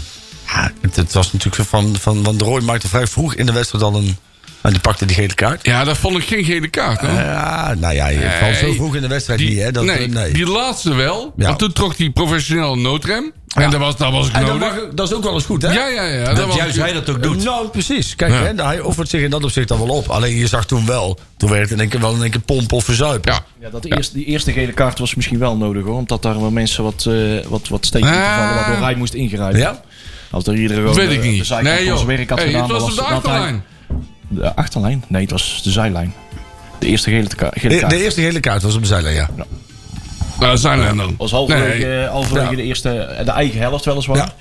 [SPEAKER 3] ja, het, het was natuurlijk van... van want de Roy maakte vrij vroeg in de wedstrijd al een... En die pakte die gele kaart.
[SPEAKER 4] ja, dat vond ik geen gele kaart. Hoor.
[SPEAKER 3] Ja, nou ja, je valt zo vroeg in de wedstrijd
[SPEAKER 4] Die-
[SPEAKER 3] niet, hè. Dat,
[SPEAKER 4] nee,
[SPEAKER 3] nee.
[SPEAKER 4] die laatste wel.
[SPEAKER 3] Ja.
[SPEAKER 4] Want toen trok hij professioneel een noodrem. En dat was, dat was ik
[SPEAKER 3] en dat,
[SPEAKER 4] nodig.
[SPEAKER 3] mag, dat is ook wel eens goed, hè?
[SPEAKER 4] ja, ja, ja.
[SPEAKER 2] Dat,
[SPEAKER 4] was
[SPEAKER 2] juist
[SPEAKER 4] ik-
[SPEAKER 2] hij dat ook doet.
[SPEAKER 3] Nou, precies. Kijk, hè, hij offert zich in dat opzicht dan wel op. Alleen je zag toen wel, toen werd het in één keer wel in één keer pomp of verzuip.
[SPEAKER 4] Ja.
[SPEAKER 5] Ja, dat eerste, die eerste gele kaart was misschien wel nodig hoor. Omdat daar wel mensen wat, eh wat, wat steken
[SPEAKER 4] Ah.
[SPEAKER 5] vallen waardoor hij moest ingrijpen.
[SPEAKER 3] Ja?
[SPEAKER 5] Als er iedereen gewoon
[SPEAKER 4] Dat weet ik
[SPEAKER 5] eh,
[SPEAKER 4] niet.
[SPEAKER 5] de zijkant
[SPEAKER 4] nee,
[SPEAKER 5] van
[SPEAKER 4] joh.
[SPEAKER 5] zijn werk had
[SPEAKER 4] Hey,
[SPEAKER 5] gedaan.
[SPEAKER 4] het was
[SPEAKER 5] dan
[SPEAKER 4] op de
[SPEAKER 5] dat hij-
[SPEAKER 4] achterlijn.
[SPEAKER 5] De achterlijn? Nee, het was de zijlijn. De eerste gele, ka- gele
[SPEAKER 3] De,
[SPEAKER 5] kaart.
[SPEAKER 3] de eerste gele kaart was op de zijlijn, ja.
[SPEAKER 4] Nou, zijn we dan.
[SPEAKER 5] was halverwege,
[SPEAKER 4] Nee.
[SPEAKER 5] eh, halverwege
[SPEAKER 3] Ja.
[SPEAKER 5] de eerste, eh, de eigen helft weliswaar.
[SPEAKER 3] Ja.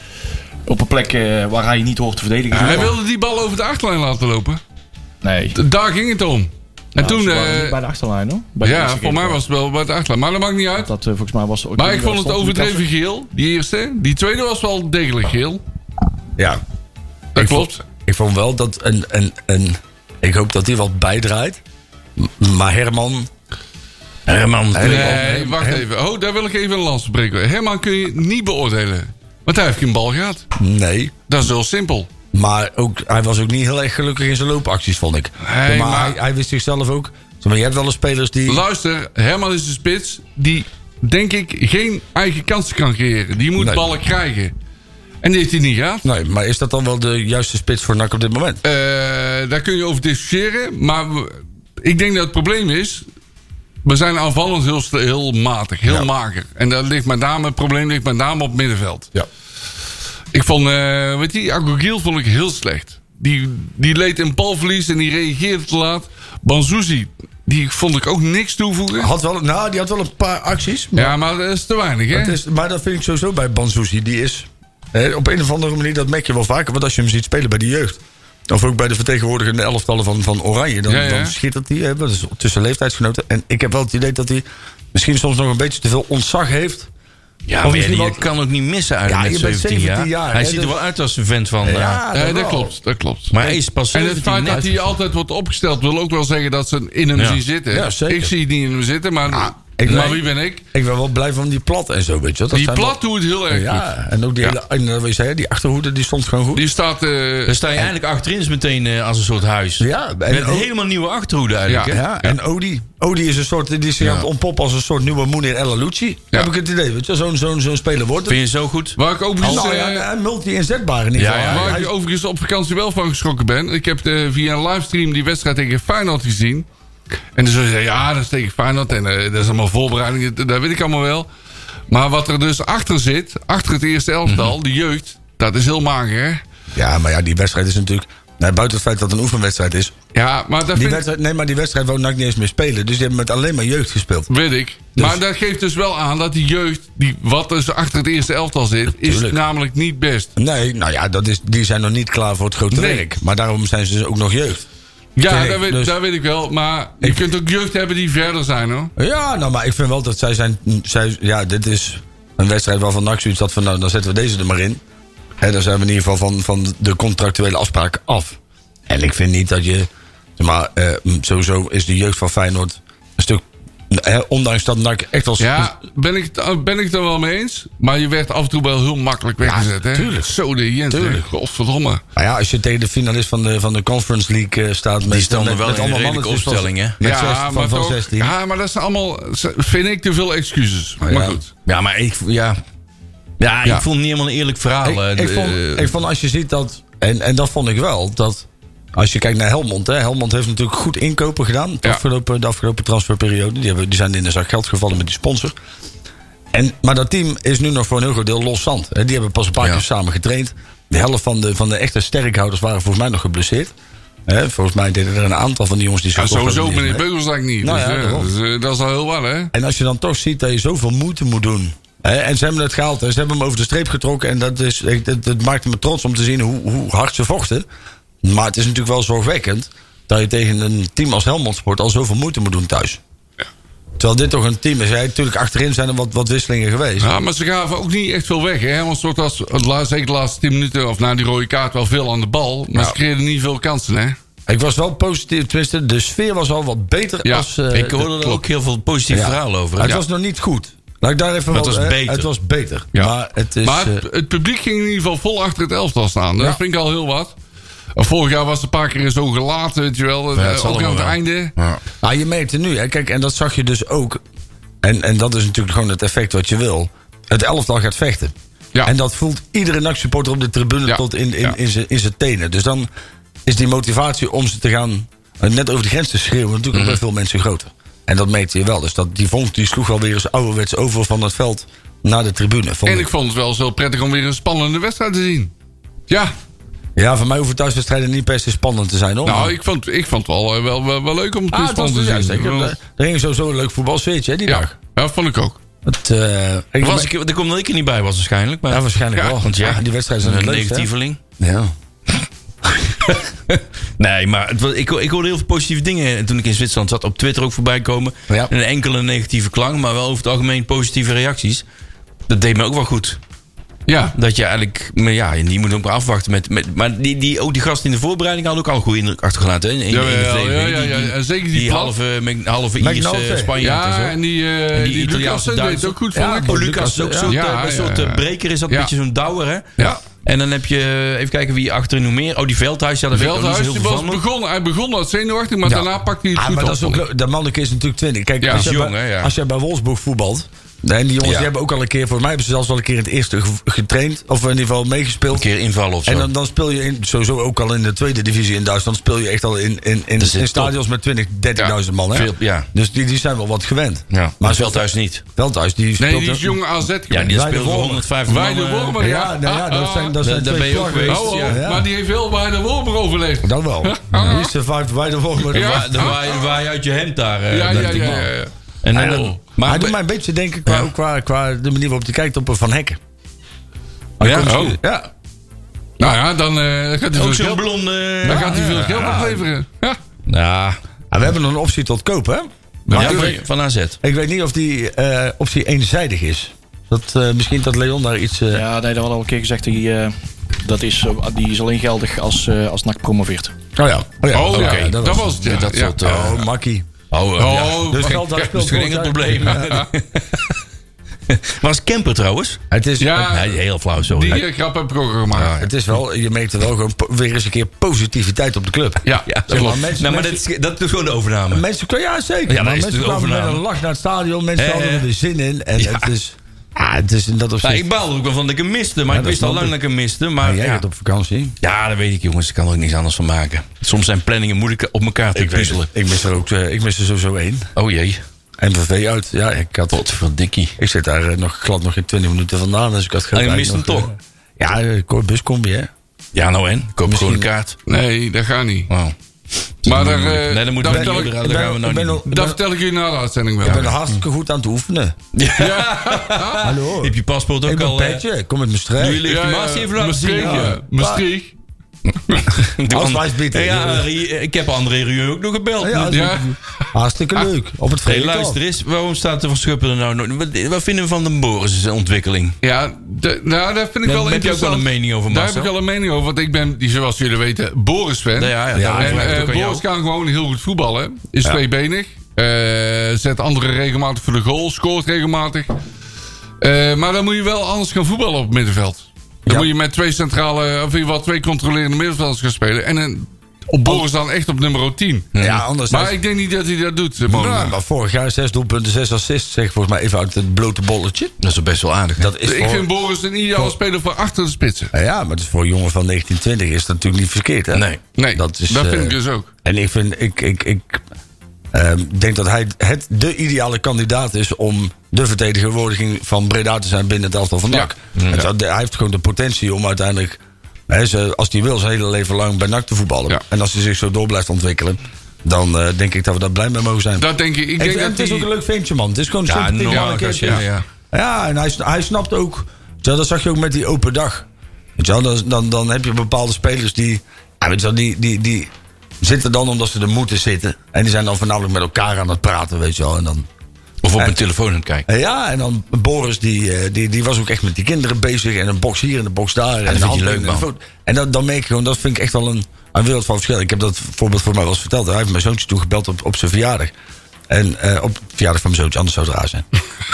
[SPEAKER 5] Op een plek eh, waar hij niet hoort te verdedigen. Dus-
[SPEAKER 4] Hij wilde die bal over de achterlijn laten lopen.
[SPEAKER 5] Nee.
[SPEAKER 4] D- Daar ging het om. En
[SPEAKER 5] Nou,
[SPEAKER 4] toen...
[SPEAKER 5] ze waren
[SPEAKER 4] eh,
[SPEAKER 5] niet bij de achterlijn hoor. Bij de
[SPEAKER 4] ja,
[SPEAKER 5] eerste
[SPEAKER 4] voor mij
[SPEAKER 5] gele
[SPEAKER 4] was
[SPEAKER 5] kaart.
[SPEAKER 4] het wel bij het achterlijn. Maar dat maakt niet uit.
[SPEAKER 5] Dat eh, volgens mij was...
[SPEAKER 4] Maar ik vond het overdreven geel, die eerste. Die tweede was wel degelijk geel.
[SPEAKER 3] ja.
[SPEAKER 4] Dat
[SPEAKER 3] Ik
[SPEAKER 4] klopt.
[SPEAKER 3] Ik vond wel dat een, een, een... Ik hoop dat hij wat bijdraait. M- Maar Herman...
[SPEAKER 2] Herman.
[SPEAKER 4] Nee, wacht even. Oh, daar wil ik even een lans breken. Herman kun je niet beoordelen. Want hij heeft geen bal gehad.
[SPEAKER 3] Nee.
[SPEAKER 4] Dat is heel simpel.
[SPEAKER 3] Maar ook, hij was ook niet heel erg gelukkig in zijn loopacties, vond ik.
[SPEAKER 4] Nee,
[SPEAKER 3] maar
[SPEAKER 4] maar-
[SPEAKER 3] Hij, hij wist zichzelf ook... Zeg maar, je hebt wel eens spelers die...
[SPEAKER 4] Luister, Herman is de spits die, denk ik, geen eigen kansen kan creëren. Die moet
[SPEAKER 3] Nee.
[SPEAKER 4] ballen krijgen. En die heeft hij niet gehad.
[SPEAKER 3] Nee, maar is dat dan wel de juiste spits voor NAC op dit moment?
[SPEAKER 4] Eh, daar kun je over discussiëren. Maar we- ik denk dat het probleem is... We zijn aanvallend heel, st- heel matig, heel
[SPEAKER 3] Ja.
[SPEAKER 4] mager. En dat ligt met name, het probleem ligt met name op middenveld.
[SPEAKER 3] Ja.
[SPEAKER 4] Ik vond, eh weet je, Agogiel vond ik heel slecht. Die, die leed een balverlies en die reageerde te laat. Banzuzi, die vond ik ook niks toevoegen.
[SPEAKER 3] Had wel, nou, die had wel een paar acties. Maar,
[SPEAKER 4] Ja, maar dat is te weinig,
[SPEAKER 3] het
[SPEAKER 4] hè?
[SPEAKER 3] is, maar dat vind ik sowieso bij Banzuzi. Die is hè, op een of andere manier, dat merk je wel vaker. Want als je hem ziet spelen bij de jeugd. Of ook bij de vertegenwoordigende elftallen van, van Oranje. Dan,
[SPEAKER 4] Ja, ja.
[SPEAKER 3] dan schittert hij. hè, Dat is tussen leeftijdsgenoten. En ik heb wel het idee dat hij misschien soms nog een beetje te veel ontzag
[SPEAKER 2] Ja,
[SPEAKER 3] heeft. Of
[SPEAKER 2] maar ja,
[SPEAKER 3] misschien
[SPEAKER 2] die
[SPEAKER 3] wel-
[SPEAKER 2] kan ook niet missen uit
[SPEAKER 3] Ja,
[SPEAKER 2] met
[SPEAKER 3] je bent
[SPEAKER 2] 17 jaar.
[SPEAKER 3] 17 jaar,
[SPEAKER 2] Hij
[SPEAKER 3] hè,
[SPEAKER 2] ziet er
[SPEAKER 3] dus-
[SPEAKER 2] wel uit als een vent van... eh,
[SPEAKER 4] Ja, dat
[SPEAKER 3] Ah, wel.
[SPEAKER 4] klopt, dat klopt.
[SPEAKER 2] maar hij is pas
[SPEAKER 4] En het
[SPEAKER 2] 17
[SPEAKER 4] feit
[SPEAKER 2] net.
[SPEAKER 4] dat hij altijd wordt opgesteld wil ook wel zeggen dat ze in hem
[SPEAKER 2] Ja.
[SPEAKER 4] zien zitten.
[SPEAKER 3] Ja, zeker.
[SPEAKER 4] Ik zie het niet in hem zitten, maar...
[SPEAKER 3] Ah, Ik,
[SPEAKER 4] maar
[SPEAKER 3] ben,
[SPEAKER 4] wie ben ik?
[SPEAKER 3] ik ben wel blij van die plat en zo, weet je. wel. Dat
[SPEAKER 4] Die
[SPEAKER 3] zijn
[SPEAKER 4] plat doet het heel
[SPEAKER 3] wel-
[SPEAKER 4] erg goed.
[SPEAKER 3] ja, en ook die,
[SPEAKER 4] Ja.
[SPEAKER 3] hele, en, eh, wat je zei, die achterhoede die stond gewoon goed.
[SPEAKER 4] Die staat... eh,
[SPEAKER 3] Dus-
[SPEAKER 2] Dan sta je eigenlijk achterin is meteen eh, als een soort huis.
[SPEAKER 3] ja, en
[SPEAKER 2] Met een
[SPEAKER 3] ook-
[SPEAKER 2] helemaal nieuwe achterhoede eigenlijk.
[SPEAKER 4] Ja.
[SPEAKER 2] hè?
[SPEAKER 3] Ja, en Odi. Odi is een soort, die is zich aan het ontpoppen als een soort nieuwe Moenir El Alucci.
[SPEAKER 4] Ja.
[SPEAKER 3] Heb ik het idee, weet je, zo'n zo'n zo'n speler wordt. het.
[SPEAKER 2] Vind je zo goed?
[SPEAKER 4] waar ik overigens...
[SPEAKER 3] Nou
[SPEAKER 4] eh,
[SPEAKER 3] ja, ja, multi-inzetbaar in ieder
[SPEAKER 2] Ja,
[SPEAKER 3] geval.
[SPEAKER 2] ja,
[SPEAKER 4] Waar
[SPEAKER 3] Hij-
[SPEAKER 4] ik overigens op vakantie wel van geschrokken ben. Ik heb eh, via een livestream die wedstrijd tegen Feyenoord gezien. En dan zul je zeggen, ja, dat is tegen Feyenoord. En eh, dat is allemaal voorbereiding, dat, dat weet ik allemaal wel. Maar wat er dus achter zit, achter het eerste elftal,
[SPEAKER 3] Mhm.
[SPEAKER 4] de jeugd... dat is heel mager, hè?
[SPEAKER 3] Ja, maar ja, die wedstrijd is natuurlijk... Nou, buiten het feit dat het een oefenwedstrijd is.
[SPEAKER 4] Ja, maar dat
[SPEAKER 3] Die
[SPEAKER 4] vind ik-
[SPEAKER 3] wedstrijd, nee, maar die wedstrijd wou NAC niet eens meer spelen. Dus die hebben met alleen maar jeugd gespeeld.
[SPEAKER 4] Weet ik. Maar dat geeft dus wel aan dat die jeugd, die, wat dus achter het eerste elftal zit, is
[SPEAKER 3] Tuurlijk.
[SPEAKER 4] namelijk niet best.
[SPEAKER 3] Nee, nou ja, dat is, die zijn nog niet klaar voor het grote
[SPEAKER 4] Nee.
[SPEAKER 3] werk. Maar daarom zijn ze dus ook nog jeugd.
[SPEAKER 4] Ja,
[SPEAKER 3] Tuurlijk,
[SPEAKER 4] dat weet,
[SPEAKER 3] dus-
[SPEAKER 4] dat weet ik wel. Maar je
[SPEAKER 3] Ik-
[SPEAKER 4] kunt ook jeugd hebben die verder zijn hoor.
[SPEAKER 3] Ja, nou, maar ik vind wel dat zij zijn... Zij, ja, dit is een wedstrijd waarvan NAC zoiets had van... Nou, dan zetten we deze er maar in. Hè, dan zijn we in ieder geval van, van de contractuele afspraken af. En ik vind niet dat je... zeg Maar eh, sowieso is de jeugd van Feyenoord een stuk... Hè, ondanks dat NAC echt wel...
[SPEAKER 4] Ja, ben ik, het- ben ik het er wel mee eens. Maar je werd af en toe wel heel makkelijk weggezet, hè?
[SPEAKER 3] tuurlijk.
[SPEAKER 4] Zo de Jens, hè?
[SPEAKER 3] Tuurlijk.
[SPEAKER 4] Godverdomme.
[SPEAKER 3] Maar Nou ja, als je tegen de finalist van de, van de Conference League eh, staat...
[SPEAKER 2] Die staan er wel in een
[SPEAKER 3] allemaal
[SPEAKER 2] redelijke
[SPEAKER 3] mannetjes van-
[SPEAKER 2] opstelling, hè?
[SPEAKER 3] Met
[SPEAKER 4] ja,
[SPEAKER 3] zes-
[SPEAKER 4] maar
[SPEAKER 3] van, van
[SPEAKER 4] toch-
[SPEAKER 3] 16.
[SPEAKER 4] ja, maar dat zijn allemaal, vind ik, te veel excuses. Maar
[SPEAKER 3] Oh ja.
[SPEAKER 4] goed.
[SPEAKER 2] Ja, maar ik, ja. Ja,
[SPEAKER 4] Ja.
[SPEAKER 2] ik vond het niet helemaal een eerlijk verhaal.
[SPEAKER 3] Ik-
[SPEAKER 2] eh,
[SPEAKER 3] Ik,
[SPEAKER 2] de-
[SPEAKER 3] vond, ik vond als je ziet dat. En, en dat vond ik wel. Dat als je kijkt naar Helmond. Hè, Helmond heeft natuurlijk goed inkopen gedaan. De,
[SPEAKER 4] Ja.
[SPEAKER 3] afgelopen, de afgelopen transferperiode. Die, hebben, die zijn in de zak geld gevallen met die sponsor. En, maar dat team is nu nog voor een heel groot deel los zand. Hè. Die hebben pas een paar
[SPEAKER 2] Ja.
[SPEAKER 3] keer samen getraind. De helft van de, van de echte sterkhouders waren volgens mij nog geblesseerd. Hè, volgens mij deden er een aantal van die jongens die
[SPEAKER 4] Ja,
[SPEAKER 3] gekocht
[SPEAKER 4] sowieso
[SPEAKER 3] hebben, die
[SPEAKER 4] meneer
[SPEAKER 3] zijn
[SPEAKER 4] Beugels eigenlijk niet.
[SPEAKER 3] Nou
[SPEAKER 4] dus,
[SPEAKER 3] ja,
[SPEAKER 4] eh,
[SPEAKER 3] daarom.
[SPEAKER 4] dus, eh, dat is al heel wat, hè?
[SPEAKER 3] en als je dan toch ziet dat je zoveel moeite moet doen. Hè, en ze hebben het gehaald. hè. Ze hebben hem over de streep getrokken. En dat, is, ik- dat, dat maakte me trots om te zien hoe, hoe hard ze vochten. Maar het is natuurlijk wel zorgwekkend... dat je tegen een team als Helmond Sport al zoveel moeite moet doen thuis. Terwijl dit toch een team is. hè. Natuurlijk, achterin zijn er wat, wat wisselingen geweest.
[SPEAKER 4] Ja, maar ze gaven ook niet echt veel weg. Hè? Helmond stond als, het laatste- zeker de laatste 10 minuten, of na die rode kaart, wel veel aan de bal. Maar
[SPEAKER 3] Ja.
[SPEAKER 4] ze creëerden niet veel kansen, hè?
[SPEAKER 3] Ik was wel positief. Tenminste, de sfeer was al wat beter
[SPEAKER 4] Ja,
[SPEAKER 3] als... eh,
[SPEAKER 2] ik hoorde
[SPEAKER 3] de-
[SPEAKER 2] er ook heel veel positieve
[SPEAKER 3] Ja.
[SPEAKER 2] verhalen over.
[SPEAKER 3] Het
[SPEAKER 2] Ja.
[SPEAKER 3] was nog niet goed. Laat ik daar even
[SPEAKER 2] Maar het
[SPEAKER 3] wel-
[SPEAKER 2] was
[SPEAKER 3] hè,
[SPEAKER 2] beter.
[SPEAKER 3] Het was beter.
[SPEAKER 4] Ja.
[SPEAKER 3] Maar het is...
[SPEAKER 4] maar
[SPEAKER 3] eh,
[SPEAKER 4] het, het publiek ging in ieder geval vol achter het elftal staan. Dat
[SPEAKER 3] Ja.
[SPEAKER 4] vind ik al heel wat. En Vorig jaar was het een paar keer zo gelaten, weet je wel.
[SPEAKER 2] Ja,
[SPEAKER 4] Eh,
[SPEAKER 2] het zal
[SPEAKER 4] ook aan het
[SPEAKER 2] allemaal wel.
[SPEAKER 4] einde.
[SPEAKER 2] Ja.
[SPEAKER 3] Nou, je merkt het nu, hè. Kijk, en dat zag je dus ook. En, en dat is natuurlijk gewoon het effect wat je wil. Het elftal gaat vechten.
[SPEAKER 4] Ja.
[SPEAKER 3] En dat voelt iedere NAC-supporter op de tribune
[SPEAKER 4] Ja.
[SPEAKER 3] tot in, in,
[SPEAKER 4] Ja.
[SPEAKER 3] in zijn- in zijn tenen. Dus dan is die motivatie om ze te gaan... eh, net over de grens te schreeuwen natuurlijk
[SPEAKER 4] Mhm.
[SPEAKER 3] ook bij veel mensen groter. En dat merkte je wel. Dus dat, die vonk die sloeg alweer eens ouderwets over van het veld naar de tribune. Vond
[SPEAKER 4] En
[SPEAKER 3] ik.
[SPEAKER 4] ik vond het wel zo prettig om weer een spannende wedstrijd te zien. Ja,
[SPEAKER 3] Ja, voor mij hoeven thuiswedstrijden niet per se spannend te zijn. Hoor.
[SPEAKER 4] nou, ik vond, ik vond het wel, eh, wel, wel, wel leuk om het
[SPEAKER 3] ah,
[SPEAKER 4] weer
[SPEAKER 3] het was
[SPEAKER 4] spannend te
[SPEAKER 3] dus
[SPEAKER 4] zien.
[SPEAKER 3] juist. Ik heb,
[SPEAKER 4] Ja.
[SPEAKER 3] eh, Er ging sowieso een leuk voetbalsfeertje hè, die dag.
[SPEAKER 4] ja, ja, vond ik ook.
[SPEAKER 3] Het, eh, ik
[SPEAKER 2] was ik, er komt dat ik er niet bij was waarschijnlijk. Maar
[SPEAKER 3] Ja, waarschijnlijk
[SPEAKER 4] Ja,
[SPEAKER 3] wel.
[SPEAKER 2] want ja,
[SPEAKER 3] die wedstrijd is
[SPEAKER 2] een
[SPEAKER 3] een negatieve.
[SPEAKER 2] negatieveling.
[SPEAKER 3] Ja.
[SPEAKER 2] Nee, maar het, was- ik, ik hoorde heel veel positieve dingen toen ik in Zwitserland zat. Op Twitter ook voorbij komen.
[SPEAKER 3] Ja.
[SPEAKER 2] En Een enkele negatieve klank, maar wel over het algemeen positieve reacties. Dat deed me ook wel goed.
[SPEAKER 4] Ja,
[SPEAKER 2] Dat je eigenlijk, maar ja, en die moet ook maar afwachten. Met, met, maar die, die, ook die gasten in de voorbereiding hadden ook al een goede indruk achtergelaten. hè, In, in, in de
[SPEAKER 4] Ja, ja,
[SPEAKER 2] verdediging, hè.
[SPEAKER 4] ja, ja, ja, en zeker die
[SPEAKER 2] die
[SPEAKER 4] plat.
[SPEAKER 2] halve, Mc- halve Iers
[SPEAKER 3] McNulty.
[SPEAKER 2] eh Spanje.
[SPEAKER 4] ja en die, eh
[SPEAKER 2] En
[SPEAKER 4] die, Lucas
[SPEAKER 2] Italiaanse
[SPEAKER 4] deed het
[SPEAKER 2] Duitser.
[SPEAKER 4] ook goed, vond
[SPEAKER 3] Ja,
[SPEAKER 4] ik.
[SPEAKER 2] Oh,
[SPEAKER 3] Lucas,
[SPEAKER 2] Lucas is ook
[SPEAKER 3] ja.
[SPEAKER 2] zo'n
[SPEAKER 4] Ja,
[SPEAKER 2] ja, soort
[SPEAKER 4] ja,
[SPEAKER 2] eh,
[SPEAKER 4] ja.
[SPEAKER 2] breker, is dat
[SPEAKER 4] Ja.
[SPEAKER 2] een beetje zo'n douwer, hè?
[SPEAKER 4] Ja.
[SPEAKER 2] En dan heb je, even kijken wie achterin hoe meer. Oh, die Veldhuis, ja, daar weet ik ook niet zo
[SPEAKER 4] Veldhuis,
[SPEAKER 2] heel
[SPEAKER 4] die
[SPEAKER 2] veel
[SPEAKER 4] was
[SPEAKER 2] van.
[SPEAKER 4] begonnen, hij begon wat zenuwachtig, maar daarna pakte hij het
[SPEAKER 3] Ah,
[SPEAKER 4] goed
[SPEAKER 3] maar
[SPEAKER 4] op,
[SPEAKER 3] dat, is ook,
[SPEAKER 4] vond ik.
[SPEAKER 3] leuk. dat manneke is natuurlijk 20. Kijk,
[SPEAKER 4] Ja,
[SPEAKER 3] als, jij
[SPEAKER 2] jong,
[SPEAKER 3] bij,
[SPEAKER 2] hè, ja.
[SPEAKER 3] als jij bij Wolfsburg voetbalt. Nee, en die jongens
[SPEAKER 2] Ja.
[SPEAKER 3] die hebben ook al een keer, voor mij hebben ze zelfs wel een keer in het eerste ge- getraind. Of in ieder geval
[SPEAKER 2] Een
[SPEAKER 3] meegespeeld.
[SPEAKER 2] keer invallen of zo.
[SPEAKER 3] En dan, dan speel je in, sowieso ook al in de tweede divisie in Duitsland. speel je echt al in, in, in,
[SPEAKER 2] is
[SPEAKER 3] in
[SPEAKER 2] top.
[SPEAKER 3] stadions met 20, 30.000 man. Hè?
[SPEAKER 2] Veel- ja.
[SPEAKER 3] Dus die, die zijn wel wat gewend.
[SPEAKER 2] ja, maar
[SPEAKER 3] Maar
[SPEAKER 2] Veldhuis niet.
[SPEAKER 3] Veldhuis, die speelt
[SPEAKER 4] Nee, die is
[SPEAKER 3] ook-
[SPEAKER 4] jong AZ geworden.
[SPEAKER 2] Ja, die
[SPEAKER 3] Wij de
[SPEAKER 2] speelde
[SPEAKER 3] Wormer.
[SPEAKER 2] 150
[SPEAKER 4] Wij de
[SPEAKER 2] man, eh,
[SPEAKER 4] Wormer,
[SPEAKER 3] Ja, nou ja, dat zijn, dat
[SPEAKER 2] Daar-
[SPEAKER 3] zijn
[SPEAKER 2] daar ben
[SPEAKER 3] twee
[SPEAKER 2] je ook
[SPEAKER 3] vlaggen.
[SPEAKER 2] geweest,
[SPEAKER 4] Oh, oh,
[SPEAKER 2] ja.
[SPEAKER 4] Maar die heeft wel bij de Wormer overleefd.
[SPEAKER 3] Dat wel.
[SPEAKER 4] Ja.
[SPEAKER 3] Die survived bij de volgende.
[SPEAKER 4] Ja.
[SPEAKER 2] Waar- de waai waai uit je hemd daar. eh,
[SPEAKER 4] Ja, ja,
[SPEAKER 2] denk ik
[SPEAKER 4] ja.
[SPEAKER 2] wel.
[SPEAKER 4] ja, ja.
[SPEAKER 2] En dan,
[SPEAKER 4] Oh.
[SPEAKER 2] maar,
[SPEAKER 3] hij doet mij een beetje denken qua,
[SPEAKER 2] Ja.
[SPEAKER 3] qua, qua de manier waarop hij kijkt op een Van Hekken.
[SPEAKER 2] ja?
[SPEAKER 3] Komt-
[SPEAKER 4] Oh.
[SPEAKER 3] ja.
[SPEAKER 4] Nou ja, dan eh, gaat hij
[SPEAKER 2] ook
[SPEAKER 4] veel
[SPEAKER 2] zo'n
[SPEAKER 4] geld,
[SPEAKER 2] blonde... eh,
[SPEAKER 4] dan gaat hij veel geld opleveren. Ja.
[SPEAKER 2] Ja,
[SPEAKER 3] Ja, Ah, we hebben een optie tot koop, hè?
[SPEAKER 2] ja,
[SPEAKER 3] ik,
[SPEAKER 2] van,
[SPEAKER 3] weet,
[SPEAKER 2] van AZ.
[SPEAKER 3] ik weet niet of die eh, optie eenzijdig is. Dat, eh, misschien dat Leon daar iets... eh,
[SPEAKER 5] Ja, nee, dat hadden we al een keer gezegd. Die, eh, dat is, eh, die is alleen geldig als, eh als NAC promoveert.
[SPEAKER 3] Oh ja. Oh ja.
[SPEAKER 4] Oh, oké.
[SPEAKER 3] ja,
[SPEAKER 4] dat was het. Ja,
[SPEAKER 2] dat
[SPEAKER 4] ja.
[SPEAKER 2] soort, eh,
[SPEAKER 3] Oh, makkie.
[SPEAKER 2] Oh, eh, ja.
[SPEAKER 4] dus
[SPEAKER 2] Kijk,
[SPEAKER 3] Veldhuis
[SPEAKER 2] kijk,
[SPEAKER 3] speelt
[SPEAKER 2] misschien
[SPEAKER 3] gewoon
[SPEAKER 2] enkel probleem. Was Kemper trouwens?
[SPEAKER 3] Het is,
[SPEAKER 4] Ja,
[SPEAKER 2] Nee, heel flauw zo.
[SPEAKER 4] die eh, grap heb ik ook gemaakt.
[SPEAKER 3] het is wel, je merkt er wel gewoon po- weer eens een keer positiviteit op de club.
[SPEAKER 4] Ja,
[SPEAKER 2] Ja,
[SPEAKER 4] dat
[SPEAKER 2] klopt.
[SPEAKER 4] klopt.
[SPEAKER 3] mensen-
[SPEAKER 2] nou, maar dat is, dat is gewoon de overname.
[SPEAKER 3] Mensen, ja zeker.
[SPEAKER 2] Ja, dat
[SPEAKER 3] maar
[SPEAKER 2] is
[SPEAKER 3] mensen
[SPEAKER 2] de
[SPEAKER 3] kwamen met
[SPEAKER 2] overname.
[SPEAKER 3] een lach naar het stadion. Mensen
[SPEAKER 2] Eh,
[SPEAKER 3] hadden er weer zin in. En
[SPEAKER 2] ja.
[SPEAKER 3] het is, ja, het is in dat
[SPEAKER 2] Nou,
[SPEAKER 3] opzicht.
[SPEAKER 2] ik baalde ook wel van dat ik hem miste. Maar ik
[SPEAKER 3] dat
[SPEAKER 2] wist al
[SPEAKER 3] snap
[SPEAKER 2] lang dat ik hem miste. Maar
[SPEAKER 3] Ja, jij
[SPEAKER 2] ja,
[SPEAKER 3] gaat op vakantie.
[SPEAKER 2] ja, dat weet ik jongens. Ik kan er ook niks anders van maken. Soms zijn planningen moeilijk op elkaar te puzzelen.
[SPEAKER 3] Ik mis er ook, eh, ik mis er sowieso één.
[SPEAKER 2] Oh jee.
[SPEAKER 3] MVV uit. Ja, ik had
[SPEAKER 2] Potverdikkie. Oh,
[SPEAKER 3] Ik zit daar eh, nog glad nog geen 20 minuten vandaan. Dus ik had
[SPEAKER 2] je
[SPEAKER 3] gelijk
[SPEAKER 2] mist
[SPEAKER 3] nog,
[SPEAKER 2] hem toch?
[SPEAKER 3] eh, Ja, eh, kort buscombi, hè?
[SPEAKER 2] Ja, nou en? Koop gewoon een kaart.
[SPEAKER 4] Nee, dat gaat niet.
[SPEAKER 2] Wow.
[SPEAKER 4] Maar daar, eh,
[SPEAKER 2] nee, dan moeten
[SPEAKER 4] daar
[SPEAKER 2] we
[SPEAKER 4] vertel
[SPEAKER 2] niet
[SPEAKER 4] ik-
[SPEAKER 2] eruit. Daar gaan we nou
[SPEAKER 3] ik ben
[SPEAKER 2] niet.
[SPEAKER 3] nog- ik
[SPEAKER 4] Dat vertel ik jullie na de uitzending wel.
[SPEAKER 3] Ik ben er hartstikke goed aan het oefenen. Hallo.
[SPEAKER 2] Ah, Heb je paspoort
[SPEAKER 3] Ik
[SPEAKER 2] ook
[SPEAKER 3] ben
[SPEAKER 2] al...
[SPEAKER 3] Oh. een
[SPEAKER 2] eh,
[SPEAKER 3] petje. Ik kom met mijn
[SPEAKER 2] Doe je
[SPEAKER 3] strijd.
[SPEAKER 2] legitimatie even laten zien?
[SPEAKER 4] Maastricht,
[SPEAKER 2] Ja.
[SPEAKER 4] ja. Maastricht.
[SPEAKER 2] Doe dan-
[SPEAKER 3] Als wijsbieter.
[SPEAKER 2] eh? Ja, Rie- ik heb André Rieu ook nog gebeld.
[SPEAKER 3] Ja,
[SPEAKER 2] Hey,
[SPEAKER 4] Ja.
[SPEAKER 3] Hartstikke leuk. Op het vrede
[SPEAKER 2] Ah, luister eens, waarom staat de Van Schuppen er nou nooit? Wat, wat vinden we van de Boris' ontwikkeling?
[SPEAKER 4] Ja, de- nou, daar vind ik
[SPEAKER 2] Daar heb
[SPEAKER 4] wel
[SPEAKER 2] je ook
[SPEAKER 4] interessant.
[SPEAKER 2] wel een mening over,
[SPEAKER 4] Daar
[SPEAKER 2] Marcel.
[SPEAKER 4] heb ik wel een mening over, want ik ben, die, zoals jullie weten, Boris-fan.
[SPEAKER 2] Nou ja, ja, daarom
[SPEAKER 4] en
[SPEAKER 2] vraag ik het
[SPEAKER 4] eh,
[SPEAKER 2] ook aan jou.
[SPEAKER 4] Boris kan gewoon heel goed voetballen. Is tweebenig. eh, zet anderen regelmatig voor de goal. Scoort regelmatig. Eh, maar dan moet je wel anders gaan voetballen op het middenveld. Dan
[SPEAKER 3] Ja.
[SPEAKER 4] moet je met twee centrale, of in ieder geval twee controlerende middenvelders gaan spelen. En een, op Boris dan echt op nummer 10.
[SPEAKER 3] Ja, anders.
[SPEAKER 4] Maar ik denk niet dat hij dat doet. eh,
[SPEAKER 2] Nou,
[SPEAKER 4] Molenaar.
[SPEAKER 3] Ja, maar vorig jaar 6 doelpunten, 6 assists. Zeg volgens mij even uit het blote bolletje.
[SPEAKER 2] Dat is best wel aardig.
[SPEAKER 3] Dat is
[SPEAKER 4] ik
[SPEAKER 3] voor-
[SPEAKER 4] vind Boris een ideale speler voor achter de spitsen.
[SPEAKER 3] Nou ja, maar het is voor een jongen van 1920 is dat natuurlijk niet verkeerd. Hè?
[SPEAKER 2] Nee.
[SPEAKER 4] Nee, dat,
[SPEAKER 3] dat, is, eh,
[SPEAKER 4] vind ik dus ook.
[SPEAKER 3] En ik vind, ik, ik, ik ehm, denk dat hij het de ideale kandidaat is om de vertegenwoordiging van Breda te zijn binnen het elftal van NAC. Het- Hij heeft gewoon de potentie om uiteindelijk, hè, ze- als hij wil, zijn hele leven lang bij NAC te voetballen.
[SPEAKER 4] Ja.
[SPEAKER 3] En als hij zich zo door blijft ontwikkelen, dan eh, denk ik dat we daar blij mee mogen zijn.
[SPEAKER 4] Dat denk ik. Ik
[SPEAKER 3] Ik
[SPEAKER 4] denk
[SPEAKER 3] vind-
[SPEAKER 4] dat
[SPEAKER 3] het is
[SPEAKER 4] die-
[SPEAKER 3] ook een leuk ventje, man. Het is gewoon een
[SPEAKER 2] Ja,
[SPEAKER 3] sympathieke
[SPEAKER 2] normaal
[SPEAKER 3] man.
[SPEAKER 2] gastje,
[SPEAKER 3] Ja,
[SPEAKER 2] ja.
[SPEAKER 3] ja. en hij, hij snapt ook... Zo, dat zag je ook met die open dag. Weet je wel, dan, dan, dan heb je bepaalde spelers die... Ja, weet je wel, die, die, die zitten dan omdat ze er moeten zitten. En die zijn dan voornamelijk met elkaar aan het praten, weet je wel. En dan,
[SPEAKER 2] Of op mijn telefoon aan het kijken.
[SPEAKER 3] en ja, en dan Boris, die, eh, die, die was ook echt met die kinderen bezig. En een box hier en een box daar. en
[SPEAKER 2] dat vind
[SPEAKER 3] een
[SPEAKER 2] je
[SPEAKER 3] hand-
[SPEAKER 2] leuk,
[SPEAKER 3] en
[SPEAKER 2] man.
[SPEAKER 3] een voet. En dat, dan merk je gewoon, dat vind ik echt wel een, een wereld van verschil. Ik heb dat voorbeeld voor mij wel eens verteld. Hij heeft mijn zoontje toen gebeld op, op zijn verjaardag. En eh, op de verjaardag van mijn zoontje, anders zou het raar zijn.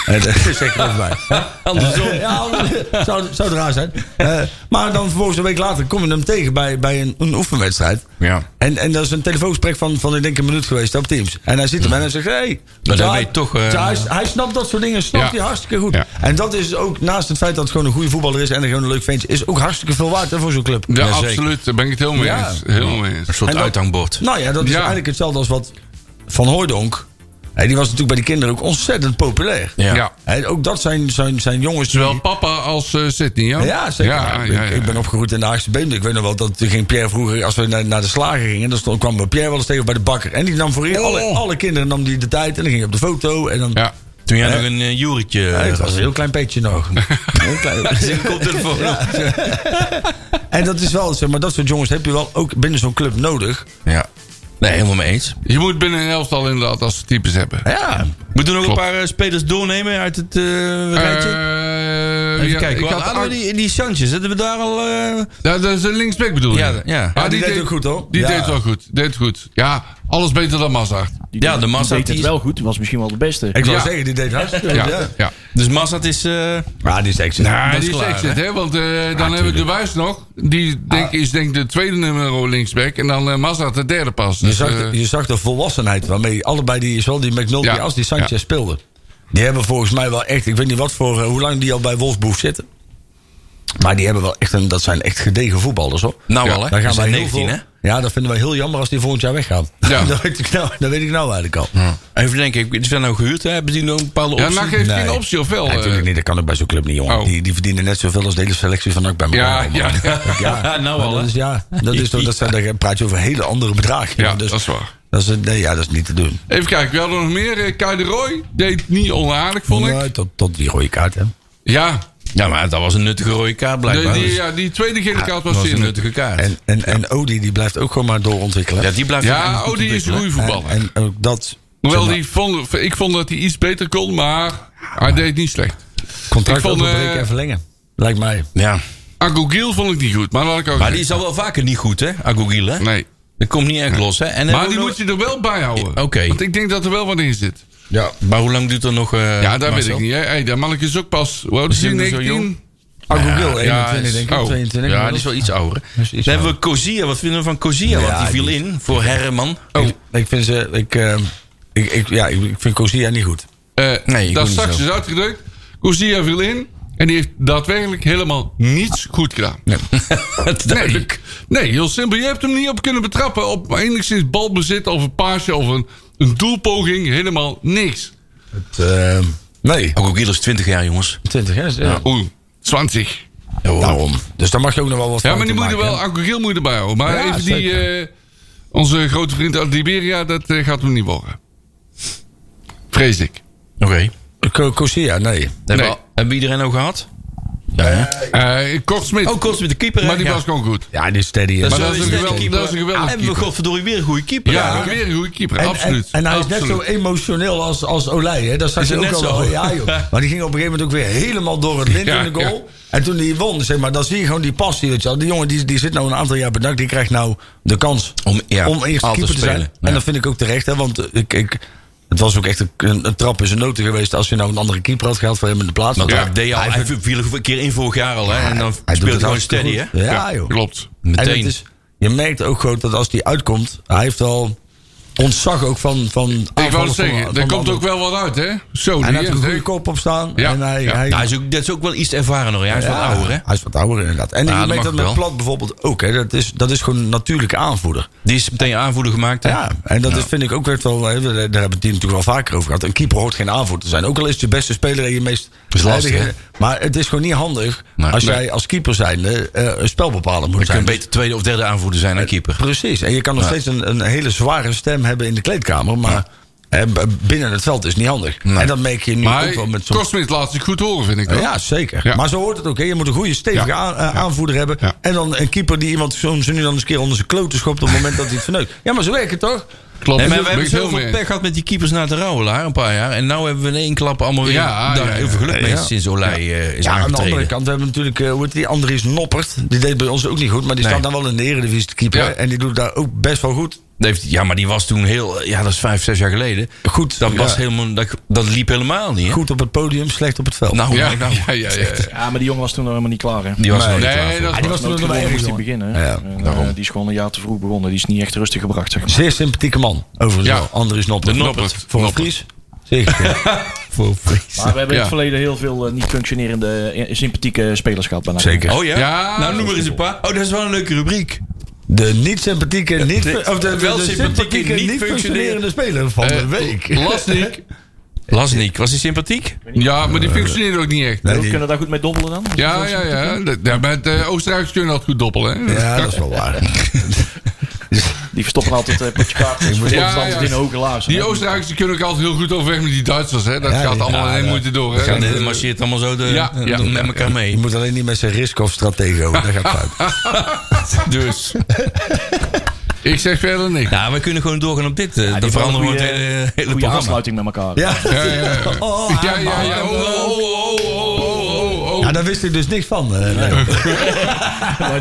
[SPEAKER 3] en, dat is zeker over mij.
[SPEAKER 2] Andersom.
[SPEAKER 3] Eh, ja, anders- zou, zou het raar zijn. Eh, maar dan vervolgens een week later kom je hem tegen bij, bij een, een oefenwedstrijd.
[SPEAKER 2] Ja.
[SPEAKER 3] En, en dat is een telefoongesprek van, van ik denk een minuut geweest op Teams. En hij ziet hem en hij zegt, hé. Hey,
[SPEAKER 2] Maar dan
[SPEAKER 3] Ja,
[SPEAKER 2] weet je toch, eh,
[SPEAKER 3] ja, hij, hij snapt dat soort dingen, snapt
[SPEAKER 4] Ja.
[SPEAKER 3] hij hartstikke goed.
[SPEAKER 4] Ja.
[SPEAKER 3] En dat is ook, naast het feit dat het gewoon een goede voetballer is en gewoon een leuk ventje, is ook hartstikke veel waard hè, voor zo'n club.
[SPEAKER 4] Ja,
[SPEAKER 2] Jazeker.
[SPEAKER 4] absoluut. Daar ben ik het helemaal mee
[SPEAKER 3] Ja.
[SPEAKER 4] eens. Helemaal mee
[SPEAKER 2] Een
[SPEAKER 4] eens.
[SPEAKER 2] soort
[SPEAKER 3] En dat-
[SPEAKER 2] uithangbord.
[SPEAKER 3] Nou ja, dat is
[SPEAKER 4] Ja.
[SPEAKER 3] eigenlijk hetzelfde als wat Van Hooijdonk. Hè, die was natuurlijk bij die kinderen ook ontzettend populair.
[SPEAKER 2] Ja.
[SPEAKER 4] Ja.
[SPEAKER 3] Hè, ook dat zijn, zijn, zijn jongens die-
[SPEAKER 4] Zowel papa als eh Sydney, ja?
[SPEAKER 3] Ja, zeker.
[SPEAKER 4] Ja,
[SPEAKER 3] Ik-
[SPEAKER 4] ja,
[SPEAKER 3] Ik,
[SPEAKER 4] ja.
[SPEAKER 3] ben opgegroeid in de Haagse Beemden. Ik weet nog wel dat toen ging Pierre vroeger, als we naar, naar de slager gingen, dan stond, kwam Pierre wel eens tegen bij de bakker. En die nam voor alle, alle kinderen nam die de tijd en dan ging hij op de foto. En dan,
[SPEAKER 4] Ja.
[SPEAKER 2] Toen jij nog een uh, juretje...
[SPEAKER 3] Ja, het was een heel klein beetje nog. Heel klein.
[SPEAKER 2] koptelefoon.
[SPEAKER 3] En dat is wel, zeg maar, dat soort jongens heb je wel ook binnen zo'n club nodig.
[SPEAKER 2] Ja. Nee, helemaal mee eens.
[SPEAKER 4] Je moet binnen een elftal inderdaad als types hebben.
[SPEAKER 3] Ja,
[SPEAKER 2] Moeten we nog
[SPEAKER 4] Klopt.
[SPEAKER 2] een paar eh, spelers doornemen uit het eh, rijtje?
[SPEAKER 4] Eh,
[SPEAKER 2] Even
[SPEAKER 4] ja,
[SPEAKER 2] kijken. Ik
[SPEAKER 4] ik had Ar-
[SPEAKER 2] die, die Sanchez, hebben we daar al... eh,
[SPEAKER 4] Ja, dat is een linksback bedoel je?
[SPEAKER 2] Ja, ja. Ja,
[SPEAKER 4] Ah,
[SPEAKER 3] die deed ook goed, hoor.
[SPEAKER 4] Die
[SPEAKER 3] Ja.
[SPEAKER 4] deed wel goed. Deed goed. Ja, alles beter dan Mazart.
[SPEAKER 5] Die
[SPEAKER 2] Ja,
[SPEAKER 5] deed-
[SPEAKER 2] de massa
[SPEAKER 5] die deed
[SPEAKER 2] die-
[SPEAKER 5] het wel goed. Die was misschien wel de beste.
[SPEAKER 3] ik wil
[SPEAKER 4] Ja.
[SPEAKER 3] zeggen, die deed hartstikke goed.
[SPEAKER 4] Ja,
[SPEAKER 3] Ja.
[SPEAKER 4] ja.
[SPEAKER 2] Dus Massad is... eh,
[SPEAKER 3] Maar die is echt
[SPEAKER 4] Ah,
[SPEAKER 2] dat is
[SPEAKER 4] die is
[SPEAKER 2] klaar,
[SPEAKER 4] exit,
[SPEAKER 2] hè? Ah.
[SPEAKER 4] hè? Want eh, dan hebben we de Buis nog. Die denk, is denk ik de tweede nummer linksback. En dan eh Mazart de derde pas.
[SPEAKER 3] Je
[SPEAKER 4] Dus,
[SPEAKER 3] zag,
[SPEAKER 4] eh,
[SPEAKER 3] de, je zag de volwassenheid waarmee allebei die, zowel die McNulty
[SPEAKER 4] Ja.
[SPEAKER 3] als die Sanchez
[SPEAKER 4] Ja.
[SPEAKER 3] speelden. Die hebben volgens mij wel echt, ik weet niet wat voor, eh, hoe lang die al bij Wolfsburg zitten. Maar die hebben wel echt, een, dat zijn echt gedegen voetballers hoor.
[SPEAKER 2] Nou
[SPEAKER 4] Ja,
[SPEAKER 2] wel, hè?
[SPEAKER 3] Dan gaan
[SPEAKER 2] Is
[SPEAKER 3] wij
[SPEAKER 2] het
[SPEAKER 3] heel
[SPEAKER 2] 19,
[SPEAKER 3] veel-
[SPEAKER 2] hè?
[SPEAKER 3] Ja, dat vinden wij heel jammer als die volgend jaar weggaan.
[SPEAKER 4] Ja.
[SPEAKER 3] dat, weet ik nou, dat weet ik nou eigenlijk al.
[SPEAKER 2] Even denken, ik- is dat nou gehuurd? Hè? Hebben die nog een bepaalde
[SPEAKER 4] ja, nou
[SPEAKER 2] optie?
[SPEAKER 4] NAC heeft
[SPEAKER 3] Nee.
[SPEAKER 4] geen optie, of wel?
[SPEAKER 3] Ja,
[SPEAKER 4] eh?
[SPEAKER 3] natuurlijk niet, dat kan ook bij zo'n club niet, jongen.
[SPEAKER 4] Oh.
[SPEAKER 3] Die, die verdienen net zoveel als de hele selectie van NAC bij
[SPEAKER 4] Ja,
[SPEAKER 3] elkaar.
[SPEAKER 4] ja.
[SPEAKER 2] Ja, nou
[SPEAKER 3] Maar
[SPEAKER 2] al,
[SPEAKER 3] dat
[SPEAKER 2] hè?
[SPEAKER 3] is, ja, dat is toch, dat zijn, daar praat je over hele andere bedragen. Dus
[SPEAKER 4] Ja, dat is waar.
[SPEAKER 3] Dat is, nee, ja, dat is niet te doen.
[SPEAKER 4] Even kijken, we hadden nog meer. Eh, Kai de Roy deed niet onaardig, vond ik.
[SPEAKER 3] Nee, tot, tot die rode kaart, hè.
[SPEAKER 4] Ja,
[SPEAKER 2] Ja, maar dat was een nuttige rode kaart
[SPEAKER 4] de,
[SPEAKER 2] blijkbaar.
[SPEAKER 4] die,
[SPEAKER 2] Dus
[SPEAKER 4] ja die tweede gele kaart
[SPEAKER 2] Dat
[SPEAKER 4] was
[SPEAKER 2] was een
[SPEAKER 4] zin.
[SPEAKER 2] nuttige kaart.
[SPEAKER 3] En, en, en Odi die blijft ook gewoon maar doorontwikkelen.
[SPEAKER 2] ja, die blijft
[SPEAKER 4] Ja, oh, die is een goede
[SPEAKER 2] goed.
[SPEAKER 4] voetballer.
[SPEAKER 3] en, en ook dat.
[SPEAKER 4] Hoewel,
[SPEAKER 3] zeg maar,
[SPEAKER 4] die vond, ik vond dat hij iets beter kon, maar hij deed niet slecht.
[SPEAKER 3] contract
[SPEAKER 4] ik vond,
[SPEAKER 3] openbreken
[SPEAKER 4] eh,
[SPEAKER 3] en verlengen. Lijkt mij.
[SPEAKER 2] Ja.
[SPEAKER 4] Agogiel vond ik niet goed, maar dat had ik ook
[SPEAKER 2] Maar die
[SPEAKER 4] niet.
[SPEAKER 2] is al wel vaker niet goed, hè? Agogiel, hè?
[SPEAKER 4] Nee.
[SPEAKER 2] Dat komt niet echt los, hè? En
[SPEAKER 4] Maar
[SPEAKER 2] hebben
[SPEAKER 4] die
[SPEAKER 2] we
[SPEAKER 4] moet je er wel bij houden.
[SPEAKER 2] Ja, oké.
[SPEAKER 4] Want ik denk dat er wel wat in zit.
[SPEAKER 3] Ja.
[SPEAKER 2] nog- Maar hoe lang duurt dat nog? eh,
[SPEAKER 4] Ja, daar weet
[SPEAKER 2] Marcel?
[SPEAKER 4] ik niet. Hè? Hey, daar Manneke is ook pas. Hoe oud is die?
[SPEAKER 2] Is die nog zo
[SPEAKER 4] 19?
[SPEAKER 3] Agogil,
[SPEAKER 2] Ja,
[SPEAKER 3] 21 denk ik.
[SPEAKER 4] oh.
[SPEAKER 3] 22.
[SPEAKER 2] Ja, die is wel iets ouder.
[SPEAKER 3] is iets
[SPEAKER 2] Dan hebben we Kozia. Wat vinden we van Kozia? Want die viel in voor Herman.
[SPEAKER 4] Oh,
[SPEAKER 3] Ik vind ze... Ik, ehm, ik, ik, ja, ik ik vind Cosia niet goed.
[SPEAKER 4] eh
[SPEAKER 2] Nee, ik
[SPEAKER 4] daar
[SPEAKER 2] doe niet
[SPEAKER 4] straks
[SPEAKER 2] zo.
[SPEAKER 4] is uitgedrukt. Cosia viel in. En die heeft daadwerkelijk helemaal niets goed gedaan. Nee, nee, heel simpel. Je hebt hem niet op kunnen betrappen. Op enigszins balbezit of een paasje of een, een doelpoging. Helemaal niks.
[SPEAKER 3] Het, ehm, nee.
[SPEAKER 2] Agogil is 20 jaar, jongens.
[SPEAKER 3] 20, hè? Ja.
[SPEAKER 4] Oeh, 20.
[SPEAKER 3] Daarom. Dus daar mag je ook nog wel wat
[SPEAKER 4] Ja, maar
[SPEAKER 3] fouten
[SPEAKER 4] die moet je
[SPEAKER 3] maken,
[SPEAKER 4] wel,
[SPEAKER 3] hè?
[SPEAKER 4] Agogil moet je erbij houden. Maar
[SPEAKER 3] Ja,
[SPEAKER 4] even die,
[SPEAKER 3] zeker.
[SPEAKER 4] eh, onze grote vriend uit Liberia, dat eh, gaat hem niet worden. Vrees ik.
[SPEAKER 2] Oké.
[SPEAKER 3] Co- Cosia, nee.
[SPEAKER 2] Hebben,
[SPEAKER 4] Nee.
[SPEAKER 2] we, hebben we iedereen al gehad?
[SPEAKER 4] Eh Kort Smit,
[SPEAKER 2] Oh, Kost met de keeper. hè?
[SPEAKER 4] maar die
[SPEAKER 2] Ja.
[SPEAKER 4] was gewoon goed.
[SPEAKER 3] Ja, die is steady.
[SPEAKER 4] Maar
[SPEAKER 2] Zo
[SPEAKER 4] dat is een
[SPEAKER 2] het.
[SPEAKER 4] geweldige- dat is een geweldige
[SPEAKER 2] Hebben we
[SPEAKER 4] keeper.
[SPEAKER 2] godverdorie weer een goede keeper.
[SPEAKER 4] Ja,
[SPEAKER 2] eigenlijk, hè?
[SPEAKER 4] weer een goede keeper,
[SPEAKER 3] En,
[SPEAKER 4] absoluut.
[SPEAKER 3] en, en hij is net zo
[SPEAKER 4] Absoluut.
[SPEAKER 3] emotioneel als, als Olij. Hè? Dat zag
[SPEAKER 2] Is
[SPEAKER 3] je
[SPEAKER 2] het
[SPEAKER 3] ook al
[SPEAKER 2] net
[SPEAKER 3] wel.
[SPEAKER 2] zo?
[SPEAKER 3] Ja, joh. Maar die ging op een gegeven moment ook weer helemaal door het lint
[SPEAKER 4] Ja,
[SPEAKER 3] in de goal. En toen die won, zeg maar, dan zie je gewoon die passie. Weet je wel. Die jongen die, die zit nou een aantal jaar bedankt. Die krijgt nou de kans
[SPEAKER 2] Om- ja,
[SPEAKER 3] om eerst
[SPEAKER 2] al te
[SPEAKER 3] keeper te zijn.
[SPEAKER 2] spelen. Ja.
[SPEAKER 3] En dat vind ik ook terecht. Hè? Want eh, ik, ik, het was ook echt een, een trap in zijn noten geweest... als je nou een andere keeper had gehad voor hem in de plaats.
[SPEAKER 2] Want
[SPEAKER 3] Want
[SPEAKER 2] hij deed
[SPEAKER 4] Ja.
[SPEAKER 2] al, hij viel een keer in vorig jaar al. Hè? En dan
[SPEAKER 3] doet
[SPEAKER 2] speelt hij gewoon
[SPEAKER 3] hartstikke
[SPEAKER 2] steady, hè?
[SPEAKER 3] goed. Ja, joh.
[SPEAKER 4] Klopt.
[SPEAKER 3] En
[SPEAKER 2] Meteen.
[SPEAKER 3] het is, je merkt ook gewoon dat als die uitkomt... hij heeft wel ontzag ook van... van
[SPEAKER 4] Ik wou het
[SPEAKER 3] aanvallers van-
[SPEAKER 4] zeggen,
[SPEAKER 3] van
[SPEAKER 4] daar
[SPEAKER 3] de
[SPEAKER 4] komt
[SPEAKER 3] andere-
[SPEAKER 4] ook wel wat uit, hè? Zo,
[SPEAKER 3] Hij
[SPEAKER 4] die
[SPEAKER 3] heeft een
[SPEAKER 4] echt, hè?
[SPEAKER 3] goede kop op staan.
[SPEAKER 4] Ja,
[SPEAKER 3] En hij,
[SPEAKER 4] ja.
[SPEAKER 3] hij,
[SPEAKER 2] Nou, hij is ook, dat is ook wel iets ervarener. hè? Hij is wat
[SPEAKER 3] Ja,
[SPEAKER 2] ouder, hè?
[SPEAKER 3] Hij is wat ouder inderdaad. En
[SPEAKER 2] Ja,
[SPEAKER 3] je
[SPEAKER 2] dat
[SPEAKER 3] merkt
[SPEAKER 2] mag
[SPEAKER 3] dat met
[SPEAKER 2] wel.
[SPEAKER 3] Plat bijvoorbeeld ook. Hè. Dat, is, dat is gewoon een natuurlijke aanvoerder.
[SPEAKER 2] Die is meteen aanvoerder gemaakt. Hè?
[SPEAKER 3] Ja, en dat is, vind ik ook echt wel... hè, Daar hebben we het hier natuurlijk wel vaker over gehad. Een keeper hoort geen aanvoerder te zijn. Ook al is het je beste speler en je meest...
[SPEAKER 2] is lastig,
[SPEAKER 3] heilige- Maar het is gewoon niet handig
[SPEAKER 2] Nee.
[SPEAKER 3] als
[SPEAKER 2] Nee.
[SPEAKER 3] jij als keeper zijnde eh, een spelbepaler moet
[SPEAKER 2] Je
[SPEAKER 3] zijn.
[SPEAKER 2] kunt beter tweede of derde aanvoerder zijn dan keeper.
[SPEAKER 3] Precies. En je kan nog steeds een, een hele zware stem hebben in de kleedkamer. Maar eh, b- binnen het veld is niet handig. En dat merk je nu ook
[SPEAKER 4] Maar
[SPEAKER 3] wel met zo'n
[SPEAKER 4] Kort Smit laat zich goed horen, vind ik. hoor.
[SPEAKER 3] Ja, zeker.
[SPEAKER 4] Ja.
[SPEAKER 3] Maar zo hoort het ook. Hè. Je moet een goede, stevige
[SPEAKER 4] Ja.
[SPEAKER 3] aan- eh, aanvoerder hebben.
[SPEAKER 4] Ja.
[SPEAKER 3] En dan een keeper die iemand zo'n ze nu dan eens een keer onder zijn kloten schopt... op het moment dat hij het verneukt. Ja, maar zo werkt het toch?
[SPEAKER 4] Klopt.
[SPEAKER 2] Nee, maar
[SPEAKER 4] Daar
[SPEAKER 2] we
[SPEAKER 4] ben
[SPEAKER 2] hebben
[SPEAKER 4] ik heel
[SPEAKER 2] zoveel
[SPEAKER 4] mee eens.
[SPEAKER 2] pech gehad met die keepers na de Rauwelaar een paar jaar. En nu hebben we in één klap allemaal weer
[SPEAKER 4] Ja,
[SPEAKER 2] daar
[SPEAKER 4] ja,
[SPEAKER 2] heel
[SPEAKER 4] ja.
[SPEAKER 2] veel geluk mee
[SPEAKER 3] Ja.
[SPEAKER 2] sinds Olij eh, is
[SPEAKER 3] Ja, aan de andere
[SPEAKER 2] aangetreden.
[SPEAKER 3] kant hebben we natuurlijk... eh, hoe heet die? Andries Noppert. Die deed bij ons ook niet goed. Maar die
[SPEAKER 2] Nee.
[SPEAKER 3] staat dan wel in de Eredivisie te keeper.
[SPEAKER 4] Ja.
[SPEAKER 3] hè. En die doet daar ook best wel goed.
[SPEAKER 2] Dat heeft- Ja, maar die was toen heel... Ja, dat is vijf, zes jaar geleden.
[SPEAKER 3] Goed,
[SPEAKER 2] Dat, was
[SPEAKER 3] ja.
[SPEAKER 2] helemaal, dat, dat liep helemaal niet, hè?
[SPEAKER 3] Goed op het podium, slecht op het veld.
[SPEAKER 2] Nou,
[SPEAKER 4] Ja,
[SPEAKER 2] nou,
[SPEAKER 4] ja, ja, ja.
[SPEAKER 5] Ja, maar die jongen was toen nog helemaal niet klaar, hè?
[SPEAKER 2] die was nog niet klaar
[SPEAKER 4] Nee,
[SPEAKER 2] voor.
[SPEAKER 4] dat
[SPEAKER 3] Ah, die was toen nog
[SPEAKER 5] Noodgedwongen
[SPEAKER 3] maar erg,
[SPEAKER 5] moest hij
[SPEAKER 3] jongen.
[SPEAKER 5] beginnen. hè.
[SPEAKER 3] Ja,
[SPEAKER 5] En, eh, die is gewoon een jaar te vroeg begonnen. Die is niet echt rustig gebracht, zeg maar.
[SPEAKER 3] Zeer sympathieke man, overigens.
[SPEAKER 4] Ja.
[SPEAKER 3] wel, Andries Noppert.
[SPEAKER 2] De Noppert.
[SPEAKER 3] Voor een
[SPEAKER 4] Noppert.
[SPEAKER 3] Fries. Zeker.
[SPEAKER 2] Voor Fries.
[SPEAKER 5] Maar we hebben in
[SPEAKER 4] Ja.
[SPEAKER 5] het verleden heel veel eh, niet functionerende, eh, sympathieke spelers gehad. Bij NAC.
[SPEAKER 3] Zeker.
[SPEAKER 2] Oh ja?
[SPEAKER 4] Ja.
[SPEAKER 2] Nou, noem maar eens een paar. Oh, dat is wel een leuke rubriek.
[SPEAKER 3] De niet sympathieke, niet...
[SPEAKER 2] de-
[SPEAKER 3] Of de, de-
[SPEAKER 2] wel
[SPEAKER 3] de
[SPEAKER 2] sympathieke, niet Eh,
[SPEAKER 3] niet functionerende speler van
[SPEAKER 4] eh,
[SPEAKER 3] de week.
[SPEAKER 4] Lastig.
[SPEAKER 2] Lasnik, was hij sympathiek?
[SPEAKER 4] Ja, maar die functioneert ook niet echt.
[SPEAKER 5] We kunnen daar goed mee dobbelen dan?
[SPEAKER 4] Ja, ja, ja. Dat- ja met eh Oostenrijkers kunnen dat goed doppelen. Hè?
[SPEAKER 3] Ja, dat is wel waar.
[SPEAKER 5] Die verstoppen altijd een potje kaart. Die
[SPEAKER 4] Ja,
[SPEAKER 5] verstoppen altijd
[SPEAKER 4] ja.
[SPEAKER 5] in de hoge laars.
[SPEAKER 4] Die Oostenrijkers die kunnen ook altijd heel goed overweg met die Duitsers. Hè? Dat
[SPEAKER 3] Ja,
[SPEAKER 4] gaat
[SPEAKER 3] ja,
[SPEAKER 4] allemaal in één
[SPEAKER 3] ja.
[SPEAKER 4] moeite door. Hè?
[SPEAKER 2] Ja, dit marcheert allemaal zo de,
[SPEAKER 4] Ja, ja.
[SPEAKER 2] de- met elkaar
[SPEAKER 3] Je
[SPEAKER 2] mee.
[SPEAKER 3] moet alleen niet met zijn risk of stratego. Dat gaat fout.
[SPEAKER 2] Dus.
[SPEAKER 4] Ik zeg verder niks.
[SPEAKER 2] Ja, Nou, we kunnen gewoon doorgaan op dit. eh, dan veranderen we het hele, hele
[SPEAKER 5] Goede
[SPEAKER 2] programma.
[SPEAKER 5] eh, aansluiting met elkaar.
[SPEAKER 3] Ja,
[SPEAKER 4] Ja, ja, ja.
[SPEAKER 3] Oh,
[SPEAKER 4] Ja, ja, ja.
[SPEAKER 3] man.
[SPEAKER 4] Oh, oh, oh, oh, oh, oh, oh.
[SPEAKER 3] Ja, daar wist ik dus niks van. eh, nee.
[SPEAKER 5] Hebben wij nooit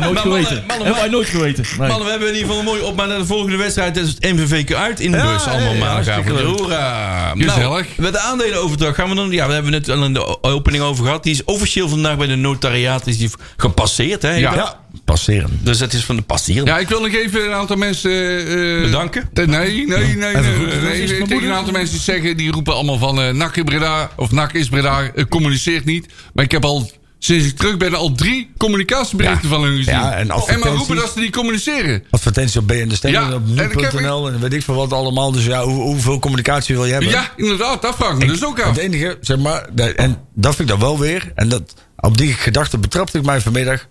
[SPEAKER 2] Maar mannen,
[SPEAKER 5] geweten.
[SPEAKER 2] mannen,
[SPEAKER 5] Hebben wij nooit geweten. Nee.
[SPEAKER 2] Mannen, we hebben in ieder geval een mooie opmaat naar de volgende wedstrijd. Dat is het MVVK uit in de
[SPEAKER 3] Ja,
[SPEAKER 2] bus. Allemaal
[SPEAKER 3] ja,
[SPEAKER 2] maandagavond.
[SPEAKER 3] hartstikke leuk.
[SPEAKER 2] Hoera. Nou,
[SPEAKER 4] Gezellig.
[SPEAKER 2] met de aandelenoverdracht gaan we dan... Ja, we hebben net al in de opening over gehad. Die is officieel vandaag bij de notariaat is die gepasseerd. Hè,
[SPEAKER 4] Ja.
[SPEAKER 3] Ja, passeren.
[SPEAKER 2] Dus dat is van de passeren.
[SPEAKER 4] Ja, ik wil nog even een aantal mensen... eh, eh,
[SPEAKER 2] Bedanken?
[SPEAKER 4] te- Nee, nee, nee. nee,
[SPEAKER 3] goed.
[SPEAKER 4] nee,
[SPEAKER 3] Is
[SPEAKER 4] nee.
[SPEAKER 3] het mijn
[SPEAKER 4] Tegen een
[SPEAKER 3] moeder?
[SPEAKER 4] aantal mensen die zeggen... Die roepen allemaal van eh NAC in Breda... Of NAC is Breda, eh, communiceert niet. Maar ik heb al... Sinds ik terug ben al drie communicatieberichten van hun gezien.
[SPEAKER 3] Ja, en
[SPEAKER 4] en maar
[SPEAKER 3] advertenties.
[SPEAKER 4] roepen dat ze niet communiceren.
[SPEAKER 3] Advertentie op BN de Steen
[SPEAKER 4] Ja,
[SPEAKER 3] en op
[SPEAKER 4] en ik heb-
[SPEAKER 3] nu.nl en weet ik veel wat allemaal. Dus ja, hoe, hoeveel communicatie wil je hebben?
[SPEAKER 4] Ja, inderdaad, dat vraag ik me dus ook af.
[SPEAKER 3] Het enige, zeg maar, dat- en dat vind ik dan wel weer. En dat, op die gedachte betrapte ik mij vanmiddag.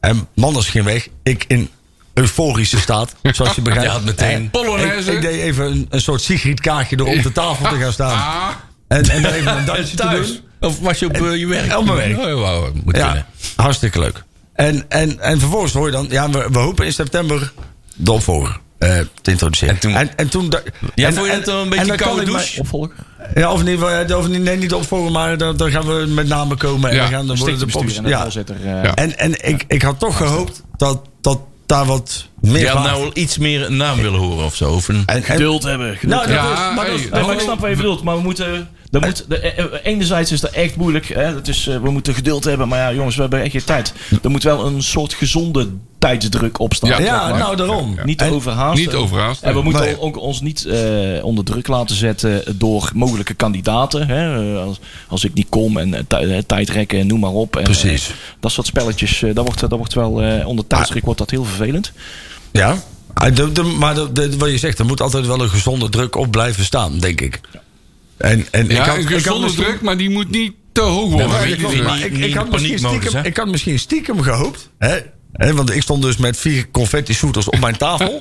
[SPEAKER 3] En Manders ging weg. Ik in euforische staat, zoals je begrijpt.
[SPEAKER 2] Je had meteen-
[SPEAKER 3] Ik,
[SPEAKER 4] Polonaise.
[SPEAKER 3] ik deed even een, een soort Sigrid kaartje door op de tafel te gaan staan.
[SPEAKER 4] Ah,
[SPEAKER 3] En, en dan even een dansje te
[SPEAKER 2] Thuis.
[SPEAKER 3] doen.
[SPEAKER 2] Of was je op eh, je werk?
[SPEAKER 3] Op mijn werk.
[SPEAKER 2] Oh, wauw, moet
[SPEAKER 3] Ja,
[SPEAKER 2] kunnen.
[SPEAKER 3] hartstikke leuk. En, en, en vervolgens hoor je dan, ja, we, we hopen in september de opvolger eh, te introduceren.
[SPEAKER 2] En toen-
[SPEAKER 3] en, en toen da-
[SPEAKER 2] Ja,
[SPEAKER 3] en-
[SPEAKER 2] vond je
[SPEAKER 3] en-
[SPEAKER 2] dat dan een
[SPEAKER 3] en
[SPEAKER 2] beetje
[SPEAKER 3] dan kan
[SPEAKER 2] koude
[SPEAKER 3] ik mij-
[SPEAKER 2] douche?
[SPEAKER 5] Opvolger.
[SPEAKER 3] Ja, of niet, eh, of niet, nee, niet opvolgen, maar dan, dan gaan we met namen komen. En
[SPEAKER 4] Ja,
[SPEAKER 3] dan gaan dan worden de
[SPEAKER 5] Stichtbestuur
[SPEAKER 3] pops.
[SPEAKER 5] en de
[SPEAKER 3] Ja.
[SPEAKER 5] voorzitter. eh,
[SPEAKER 4] Ja.
[SPEAKER 3] En, en ik, ik had toch gehoopt dat, dat daar wat meer
[SPEAKER 2] Je had
[SPEAKER 3] waard.
[SPEAKER 2] nou wel iets meer een naam willen horen of zo. Of een,
[SPEAKER 3] En- en-
[SPEAKER 5] Geduld hebben. geduld
[SPEAKER 3] Nou,
[SPEAKER 5] hebben.
[SPEAKER 3] dat
[SPEAKER 4] Ja,
[SPEAKER 3] is, maar dat is-
[SPEAKER 4] hey,
[SPEAKER 5] Nee, maar
[SPEAKER 4] Oh.
[SPEAKER 5] ik snap wat je bedoelt. Maar we moeten... Dat moet, de, eh, eh, enerzijds is dat echt moeilijk. Hè? Dat is, eh, we moeten geduld hebben. Maar ja, jongens, we hebben echt geen tijd. Er moet wel een soort gezonde tijdsdruk opstaan.
[SPEAKER 4] Ja,
[SPEAKER 3] Ja,
[SPEAKER 5] zeg maar.
[SPEAKER 3] nou daarom.
[SPEAKER 4] ja.
[SPEAKER 5] Niet te
[SPEAKER 3] En-
[SPEAKER 5] overhaasten.
[SPEAKER 4] Niet overhaast.
[SPEAKER 5] En we moeten
[SPEAKER 3] Nee.
[SPEAKER 5] ook ons niet eh, onder druk laten zetten door mogelijke kandidaten. Hè? Eh, Als, als ik niet kom en eh, tij- eh, tijdrekken en noem maar op. En,
[SPEAKER 3] Precies.
[SPEAKER 5] eh, dat soort spelletjes, eh, dat, wordt, dat wordt wel eh, onder tijdsdruk wordt dat heel vervelend.
[SPEAKER 3] Ja. Ah, de- de- maar de- de- wat je zegt, er moet altijd wel een gezonde druk op blijven staan, denk ik. En, en
[SPEAKER 4] Ja,
[SPEAKER 3] ik had-
[SPEAKER 4] een
[SPEAKER 3] ik had
[SPEAKER 4] gezonde
[SPEAKER 3] misschien-
[SPEAKER 4] druk, maar die moet niet te hoog worden.
[SPEAKER 3] Ja, maar
[SPEAKER 4] weet
[SPEAKER 3] ik-
[SPEAKER 4] je
[SPEAKER 2] niet-
[SPEAKER 4] wel.
[SPEAKER 3] maar
[SPEAKER 2] niet-
[SPEAKER 3] ik-
[SPEAKER 2] niet
[SPEAKER 3] ik had
[SPEAKER 2] in paniek
[SPEAKER 3] misschien
[SPEAKER 2] modus,
[SPEAKER 3] stiekem-
[SPEAKER 2] hè?
[SPEAKER 3] Ik had misschien stiekem gehoopt. Hè? Hè, want ik stond dus met vier confetti-shooters op mijn tafel.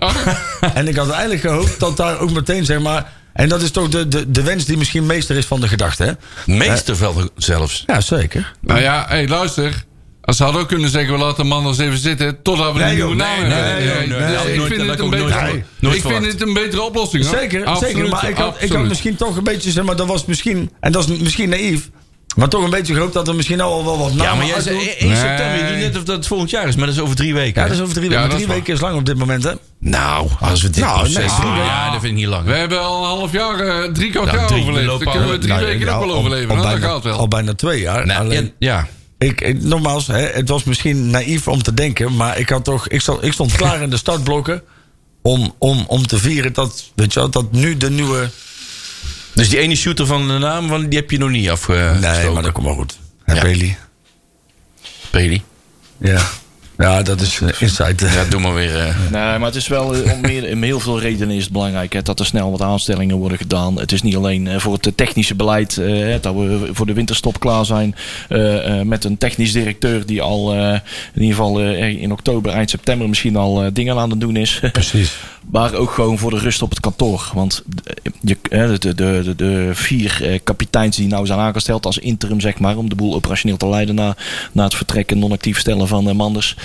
[SPEAKER 3] en ik had eigenlijk gehoopt dat daar ook meteen, zeg maar... En dat is toch de, de, de wens die misschien meester is van de gedachte, hè?
[SPEAKER 2] meesterveld zelfs.
[SPEAKER 3] Ja, zeker.
[SPEAKER 4] Nou ja, hé, luister. Als ze hadden ook kunnen zeggen, we laten de man eens even zitten... totdat we
[SPEAKER 3] Nee,
[SPEAKER 4] een
[SPEAKER 3] joh,
[SPEAKER 4] nieuwe naam
[SPEAKER 3] nee,
[SPEAKER 4] hebben.
[SPEAKER 3] nee, joh, nee,
[SPEAKER 4] dus
[SPEAKER 3] nee,
[SPEAKER 4] ik
[SPEAKER 2] nooit-
[SPEAKER 4] vind
[SPEAKER 2] dat
[SPEAKER 4] het
[SPEAKER 2] heb
[SPEAKER 4] een
[SPEAKER 2] ik
[SPEAKER 4] betere-
[SPEAKER 2] nooit-
[SPEAKER 4] ik
[SPEAKER 2] nooit
[SPEAKER 4] vind
[SPEAKER 2] verwacht.
[SPEAKER 4] het een betere oplossing, hoor.
[SPEAKER 3] Zeker,
[SPEAKER 4] Absoluut,
[SPEAKER 3] zeker. Maar ik had, ik had
[SPEAKER 4] absoluut.
[SPEAKER 3] misschien toch een beetje, zeg maar, dat was misschien, en dat is misschien naïef, maar toch een beetje gehoopt dat er misschien al wel wat Nou, namen
[SPEAKER 2] Ja, maar jij zei
[SPEAKER 3] uitroept.
[SPEAKER 2] 1
[SPEAKER 4] Nee.
[SPEAKER 2] september. Je doet net of dat het volgend jaar is, maar dat is over drie weken.
[SPEAKER 3] Ja,
[SPEAKER 2] hè?
[SPEAKER 3] dat is over drie
[SPEAKER 4] Ja,
[SPEAKER 3] weken.
[SPEAKER 4] dat
[SPEAKER 3] Drie
[SPEAKER 4] is waar.
[SPEAKER 3] weken is lang op dit moment, hè?
[SPEAKER 2] Nou, als we dit
[SPEAKER 3] Nou,
[SPEAKER 2] proces
[SPEAKER 3] nee,
[SPEAKER 2] doen,
[SPEAKER 3] ah.
[SPEAKER 2] ja, dat vind ik niet lang.
[SPEAKER 4] We hebben al een half jaar, eh, drie kwart
[SPEAKER 2] Ja,
[SPEAKER 4] jaar
[SPEAKER 2] drie, we
[SPEAKER 4] overleefd.
[SPEAKER 2] lopen
[SPEAKER 4] Dan kunnen we
[SPEAKER 2] aan-
[SPEAKER 4] drie
[SPEAKER 3] Nou,
[SPEAKER 4] weken
[SPEAKER 3] ja,
[SPEAKER 4] ook wel
[SPEAKER 3] al-
[SPEAKER 4] overleven.
[SPEAKER 3] Al,
[SPEAKER 4] hoor. Dat
[SPEAKER 3] bijna,
[SPEAKER 4] gaat wel.
[SPEAKER 3] al bijna twee jaar.
[SPEAKER 2] Nou,
[SPEAKER 3] Alleen,
[SPEAKER 2] ja,
[SPEAKER 3] Ik, ik- nogmaals, hè, het was misschien naïef om te denken, maar ik, had toch, ik, stond, ik stond klaar in de startblokken om, om, om te vieren dat, weet je wel, dat nu de nieuwe...
[SPEAKER 2] Dus die ene shooter van de naam, van, die heb je nog niet afgestoken.
[SPEAKER 3] Nee, maar dat komt wel goed. Hè,
[SPEAKER 2] Ja.
[SPEAKER 3] Bailey?
[SPEAKER 2] Peli.
[SPEAKER 3] Ja. ja, dat is eh, insight.
[SPEAKER 2] Ja, doe maar weer. eh.
[SPEAKER 5] Nee, maar het is wel eh, om, meer, om heel veel redenen is het belangrijk hè, dat er snel wat aanstellingen worden gedaan. Het is niet alleen eh, voor het eh, technische beleid eh, hè, dat we voor de winterstop klaar zijn eh, eh, met een technisch directeur die al eh, in ieder geval eh, er- in oktober, eind september misschien al eh, dingen aan het doen is.
[SPEAKER 3] Precies.
[SPEAKER 5] Maar ook gewoon voor de rust op het kantoor. Want eh, je, eh, de, de, de, de vier eh, kapiteins die nou zijn aangesteld als interim, zeg maar, om de boel operationeel te leiden na, na het vertrek en non-actief stellen van eh, Manders.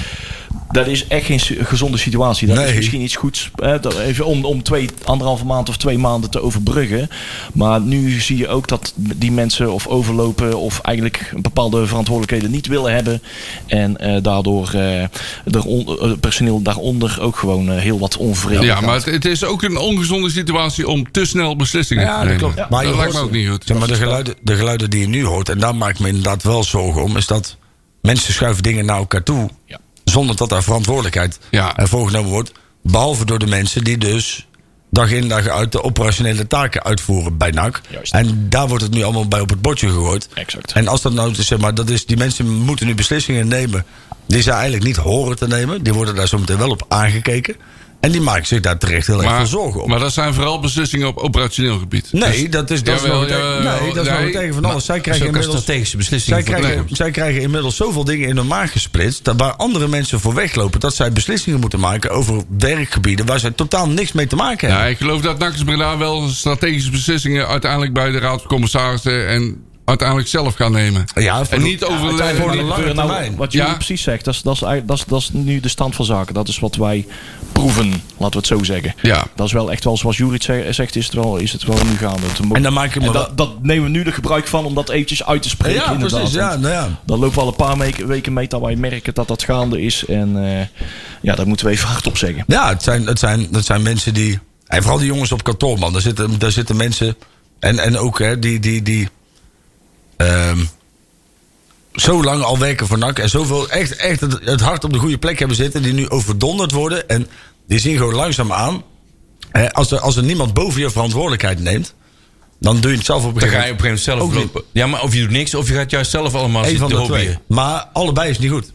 [SPEAKER 5] Dat is echt geen su- gezonde situatie. Dat
[SPEAKER 3] Nee.
[SPEAKER 5] is misschien iets goeds. eh, dat even om, om twee, anderhalve maand of twee maanden te overbruggen. Maar nu zie je ook dat die mensen of overlopen of eigenlijk bepaalde verantwoordelijkheden niet willen hebben. En eh, daardoor eh, er on- eh, personeel daaronder ook gewoon eh, heel wat onvrede.
[SPEAKER 4] Ja, maar het, het is ook een ongezonde situatie om te snel beslissingen
[SPEAKER 3] Ja,
[SPEAKER 4] te
[SPEAKER 3] dat
[SPEAKER 4] nemen.
[SPEAKER 3] klopt. Maar je
[SPEAKER 4] dat lijkt
[SPEAKER 3] hoort-
[SPEAKER 4] me ook niet goed.
[SPEAKER 3] Zeg maar, de, geluiden, de geluiden die je nu hoort, en daar maak ik me inderdaad wel zorgen om, is dat mensen schuiven dingen naar elkaar toe.
[SPEAKER 5] Ja.
[SPEAKER 3] Zonder dat daar verantwoordelijkheid
[SPEAKER 4] Ja.
[SPEAKER 3] eh, voor genomen wordt. Behalve door de mensen die dus dag in dag uit de operationele taken uitvoeren bij NAC.
[SPEAKER 5] Juist.
[SPEAKER 3] En daar wordt het nu allemaal bij op het bordje gegooid.
[SPEAKER 5] Exact.
[SPEAKER 3] En als dat nou, zeg maar, dat is, die mensen moeten nu beslissingen nemen die ze eigenlijk niet horen te nemen. Die worden daar zometeen wel op aangekeken. En die maken zich daar terecht heel erg veel zorgen om.
[SPEAKER 4] maar dat zijn vooral beslissingen op operationeel gebied. Dus
[SPEAKER 3] Nee, dat is, dat is
[SPEAKER 4] Jawel,
[SPEAKER 3] nog het-
[SPEAKER 4] jawel,
[SPEAKER 3] nee, dat is nog
[SPEAKER 4] nee.
[SPEAKER 3] het tegen van alles. Zij
[SPEAKER 2] Dat is
[SPEAKER 3] krijgen,
[SPEAKER 2] ook een
[SPEAKER 3] inmiddels,
[SPEAKER 2] strategische
[SPEAKER 3] zij,
[SPEAKER 2] beslissing. voor de
[SPEAKER 3] krijgen,
[SPEAKER 2] toekomst.
[SPEAKER 3] zij krijgen inmiddels zoveel dingen in hun maag gesplitst... dat waar andere mensen voor weglopen... dat zij beslissingen moeten maken over werkgebieden... waar zij totaal niks mee te maken hebben.
[SPEAKER 4] Ja, ik geloof dat NAC Breda wel strategische beslissingen uiteindelijk bij de Raad van Commissarissen en uiteindelijk zelf gaan nemen.
[SPEAKER 3] Ja, voor
[SPEAKER 4] en
[SPEAKER 3] de-
[SPEAKER 4] niet over
[SPEAKER 3] uiteindelijk voor de
[SPEAKER 5] Ja,
[SPEAKER 3] lange
[SPEAKER 5] maar nou,
[SPEAKER 3] termijn.
[SPEAKER 5] Wat jullie
[SPEAKER 4] Ja.
[SPEAKER 5] precies zegt, dat is, dat, is, eigenlijk- dat, is, dat is nu de stand van zaken. Dat is wat wij proeven, laten we het zo zeggen.
[SPEAKER 4] Ja.
[SPEAKER 5] Dat is wel echt wel, zoals Jurits ze- zegt, is het wel, is het wel nu gaande. Het mo-
[SPEAKER 3] En dan maak je me
[SPEAKER 5] en
[SPEAKER 3] wel-
[SPEAKER 5] dat, dat nemen we nu de gebruik van om dat eventjes uit te spreken.
[SPEAKER 3] Ja,
[SPEAKER 5] inderdaad.
[SPEAKER 3] precies, ja,
[SPEAKER 5] Want
[SPEAKER 3] nou ja.
[SPEAKER 5] Dan lopen we al een paar meke- weken mee dat wij merken dat dat gaande is. En eh, ja, dat moeten we even hardop zeggen.
[SPEAKER 3] Ja, het zijn, het zijn, het zijn mensen die. En vooral die jongens op kantoor, man. Daar zitten, daar zitten mensen. En, en ook hè, die. die, die ehm, zo lang al werken voor NAC. En zoveel echt, echt het, het hart op de goede plek hebben zitten. Die nu overdonderd worden. En die zien gewoon langzaam aan. Hè, als, er, als er niemand boven je verantwoordelijkheid neemt. Dan doe je het zelf op een
[SPEAKER 2] Dan
[SPEAKER 3] gegeven
[SPEAKER 2] ga je
[SPEAKER 3] moment.
[SPEAKER 2] op een gegeven
[SPEAKER 3] Ook
[SPEAKER 2] moment zelf
[SPEAKER 3] niet.
[SPEAKER 2] lopen. Ja, maar of je doet niks, of je gaat juist zelf allemaal
[SPEAKER 3] Eén
[SPEAKER 2] zitten
[SPEAKER 3] van
[SPEAKER 2] te
[SPEAKER 3] de twee.
[SPEAKER 2] hobbyen.
[SPEAKER 3] Maar allebei is niet goed.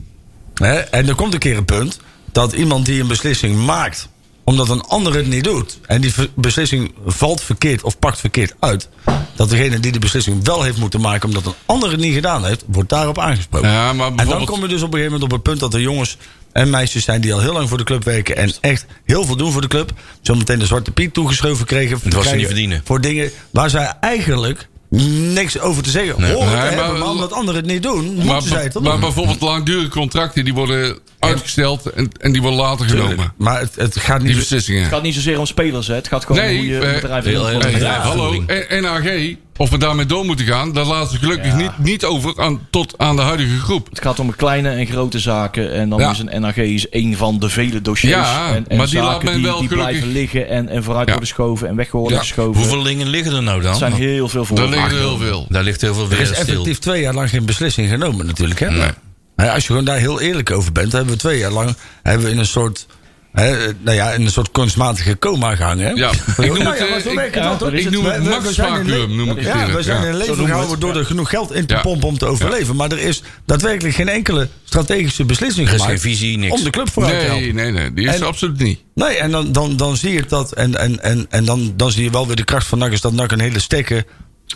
[SPEAKER 3] Hè? En er komt een keer een punt dat iemand die een beslissing maakt, omdat een ander het niet doet, en die ver- beslissing valt verkeerd of pakt verkeerd uit, dat degene die de beslissing wel heeft moeten maken, omdat een ander het niet gedaan heeft, wordt daarop aangesproken.
[SPEAKER 4] Ja, maar
[SPEAKER 3] en dan
[SPEAKER 4] bijvoorbeeld-
[SPEAKER 3] kom je dus op een gegeven moment op het punt dat er jongens en meisjes zijn die al heel lang voor de club werken en echt heel veel doen voor de club. Zometeen de Zwarte Piet toegeschoven kregen.
[SPEAKER 2] ze
[SPEAKER 3] krijgen
[SPEAKER 2] niet verdienen.
[SPEAKER 3] Voor dingen waar zij eigenlijk niks over te zeggen horen
[SPEAKER 4] Nee,
[SPEAKER 3] te
[SPEAKER 4] maar-
[SPEAKER 3] hebben, maar omdat anderen het niet doen, moeten
[SPEAKER 4] Maar,
[SPEAKER 3] zij het dan
[SPEAKER 4] maar
[SPEAKER 3] doen.
[SPEAKER 4] bijvoorbeeld langdurige contracten die worden uitgesteld en, en die worden later genomen.
[SPEAKER 3] Maar het, het gaat
[SPEAKER 4] Die
[SPEAKER 3] niet.
[SPEAKER 4] beslissingen.
[SPEAKER 5] Het gaat niet zozeer om spelers, hè. het gaat gewoon
[SPEAKER 4] Nee,
[SPEAKER 5] om hoe je
[SPEAKER 4] eh,
[SPEAKER 5] bedrijf
[SPEAKER 2] heel-
[SPEAKER 5] wil
[SPEAKER 2] heel-
[SPEAKER 5] worden.
[SPEAKER 4] Hey,
[SPEAKER 2] Ja,
[SPEAKER 4] hallo, E-
[SPEAKER 2] voering.
[SPEAKER 4] N- NAG Of we daarmee door moeten gaan, dat laten ze gelukkig
[SPEAKER 5] Ja.
[SPEAKER 4] niet, niet over aan, tot aan de huidige groep.
[SPEAKER 5] Het gaat om kleine en grote zaken. En dan
[SPEAKER 4] Ja.
[SPEAKER 5] is een NAG is één van de vele dossiers.
[SPEAKER 4] Ja,
[SPEAKER 5] en, en
[SPEAKER 4] maar die
[SPEAKER 5] zaken
[SPEAKER 4] laat men
[SPEAKER 5] die,
[SPEAKER 4] wel
[SPEAKER 5] die
[SPEAKER 4] gelukkig-
[SPEAKER 5] blijven liggen en, en vooruit
[SPEAKER 4] Ja.
[SPEAKER 5] worden geschoven en weg worden
[SPEAKER 4] Ja.
[SPEAKER 5] geschoven.
[SPEAKER 2] Hoeveel dingen liggen er nou dan?
[SPEAKER 5] Het zijn heel veel
[SPEAKER 4] Daar
[SPEAKER 5] voorbeelden.
[SPEAKER 4] liggen er heel veel.
[SPEAKER 2] Daar ligt heel veel
[SPEAKER 3] Er
[SPEAKER 2] weer
[SPEAKER 3] is
[SPEAKER 2] stil.
[SPEAKER 3] effectief twee jaar lang geen beslissing genomen natuurlijk. Hè?
[SPEAKER 2] Nee.
[SPEAKER 3] Hè, Als je gewoon daar heel eerlijk over bent, hebben we twee jaar lang hebben we in een soort, hè, nou ja, in een soort kunstmatige coma gehangen. Hè?
[SPEAKER 4] Ja, ik
[SPEAKER 3] Nou
[SPEAKER 4] noem het,
[SPEAKER 3] ja, maar
[SPEAKER 4] eh,
[SPEAKER 3] zo
[SPEAKER 4] ik-
[SPEAKER 3] werkt het
[SPEAKER 5] ja,
[SPEAKER 3] dan toch?
[SPEAKER 5] daar
[SPEAKER 4] Ik
[SPEAKER 5] is het.
[SPEAKER 4] noem
[SPEAKER 3] We-
[SPEAKER 4] het
[SPEAKER 3] we- we zijn in le-
[SPEAKER 4] machtsvacuum, noem ik het
[SPEAKER 3] Ja, we
[SPEAKER 4] eerlijk,
[SPEAKER 3] zijn
[SPEAKER 4] ja.
[SPEAKER 3] in leven gehouden door er genoeg geld in te
[SPEAKER 4] Ja.
[SPEAKER 3] pompen om te overleven. Maar er is daadwerkelijk geen enkele strategische beslissing
[SPEAKER 2] Er is
[SPEAKER 3] gemaakt.
[SPEAKER 2] geen visie, niks.
[SPEAKER 3] Om de club vooruit te helpen.
[SPEAKER 4] Nee, nee, nee, die is
[SPEAKER 3] En-
[SPEAKER 4] er absoluut niet.
[SPEAKER 3] Nee, en dan, dan, dan zie je dat. En, en, en, en dan, dan zie je wel weer de kracht van NAC. Is dat NAC een hele sterke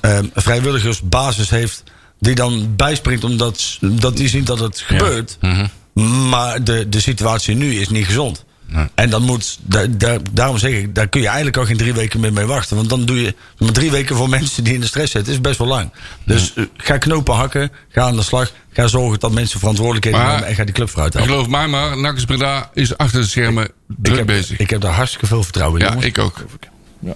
[SPEAKER 3] ehm, vrijwilligersbasis heeft. Die dan bijspringt omdat s- dat die zien dat het gebeurt.
[SPEAKER 4] Mhm.
[SPEAKER 3] Maar de, de situatie nu is niet gezond. En dan moet, da- da- daarom zeg ik, daar kun je eigenlijk al geen drie weken meer mee wachten. Want dan doe je maar drie weken voor mensen die in de stress zitten, is best wel lang. Dus eh, ga knopen hakken, ga aan de slag, ga zorgen dat mensen verantwoordelijkheden
[SPEAKER 4] Maar-
[SPEAKER 3] nemen en ga die club vooruit helpen.
[SPEAKER 4] Geloof mij maar, Nakkers Breda is achter de schermen druk
[SPEAKER 3] Ik heb,
[SPEAKER 4] bezig.
[SPEAKER 3] ik heb daar hartstikke veel vertrouwen in.
[SPEAKER 4] ja,
[SPEAKER 3] jongens.
[SPEAKER 4] ik ook.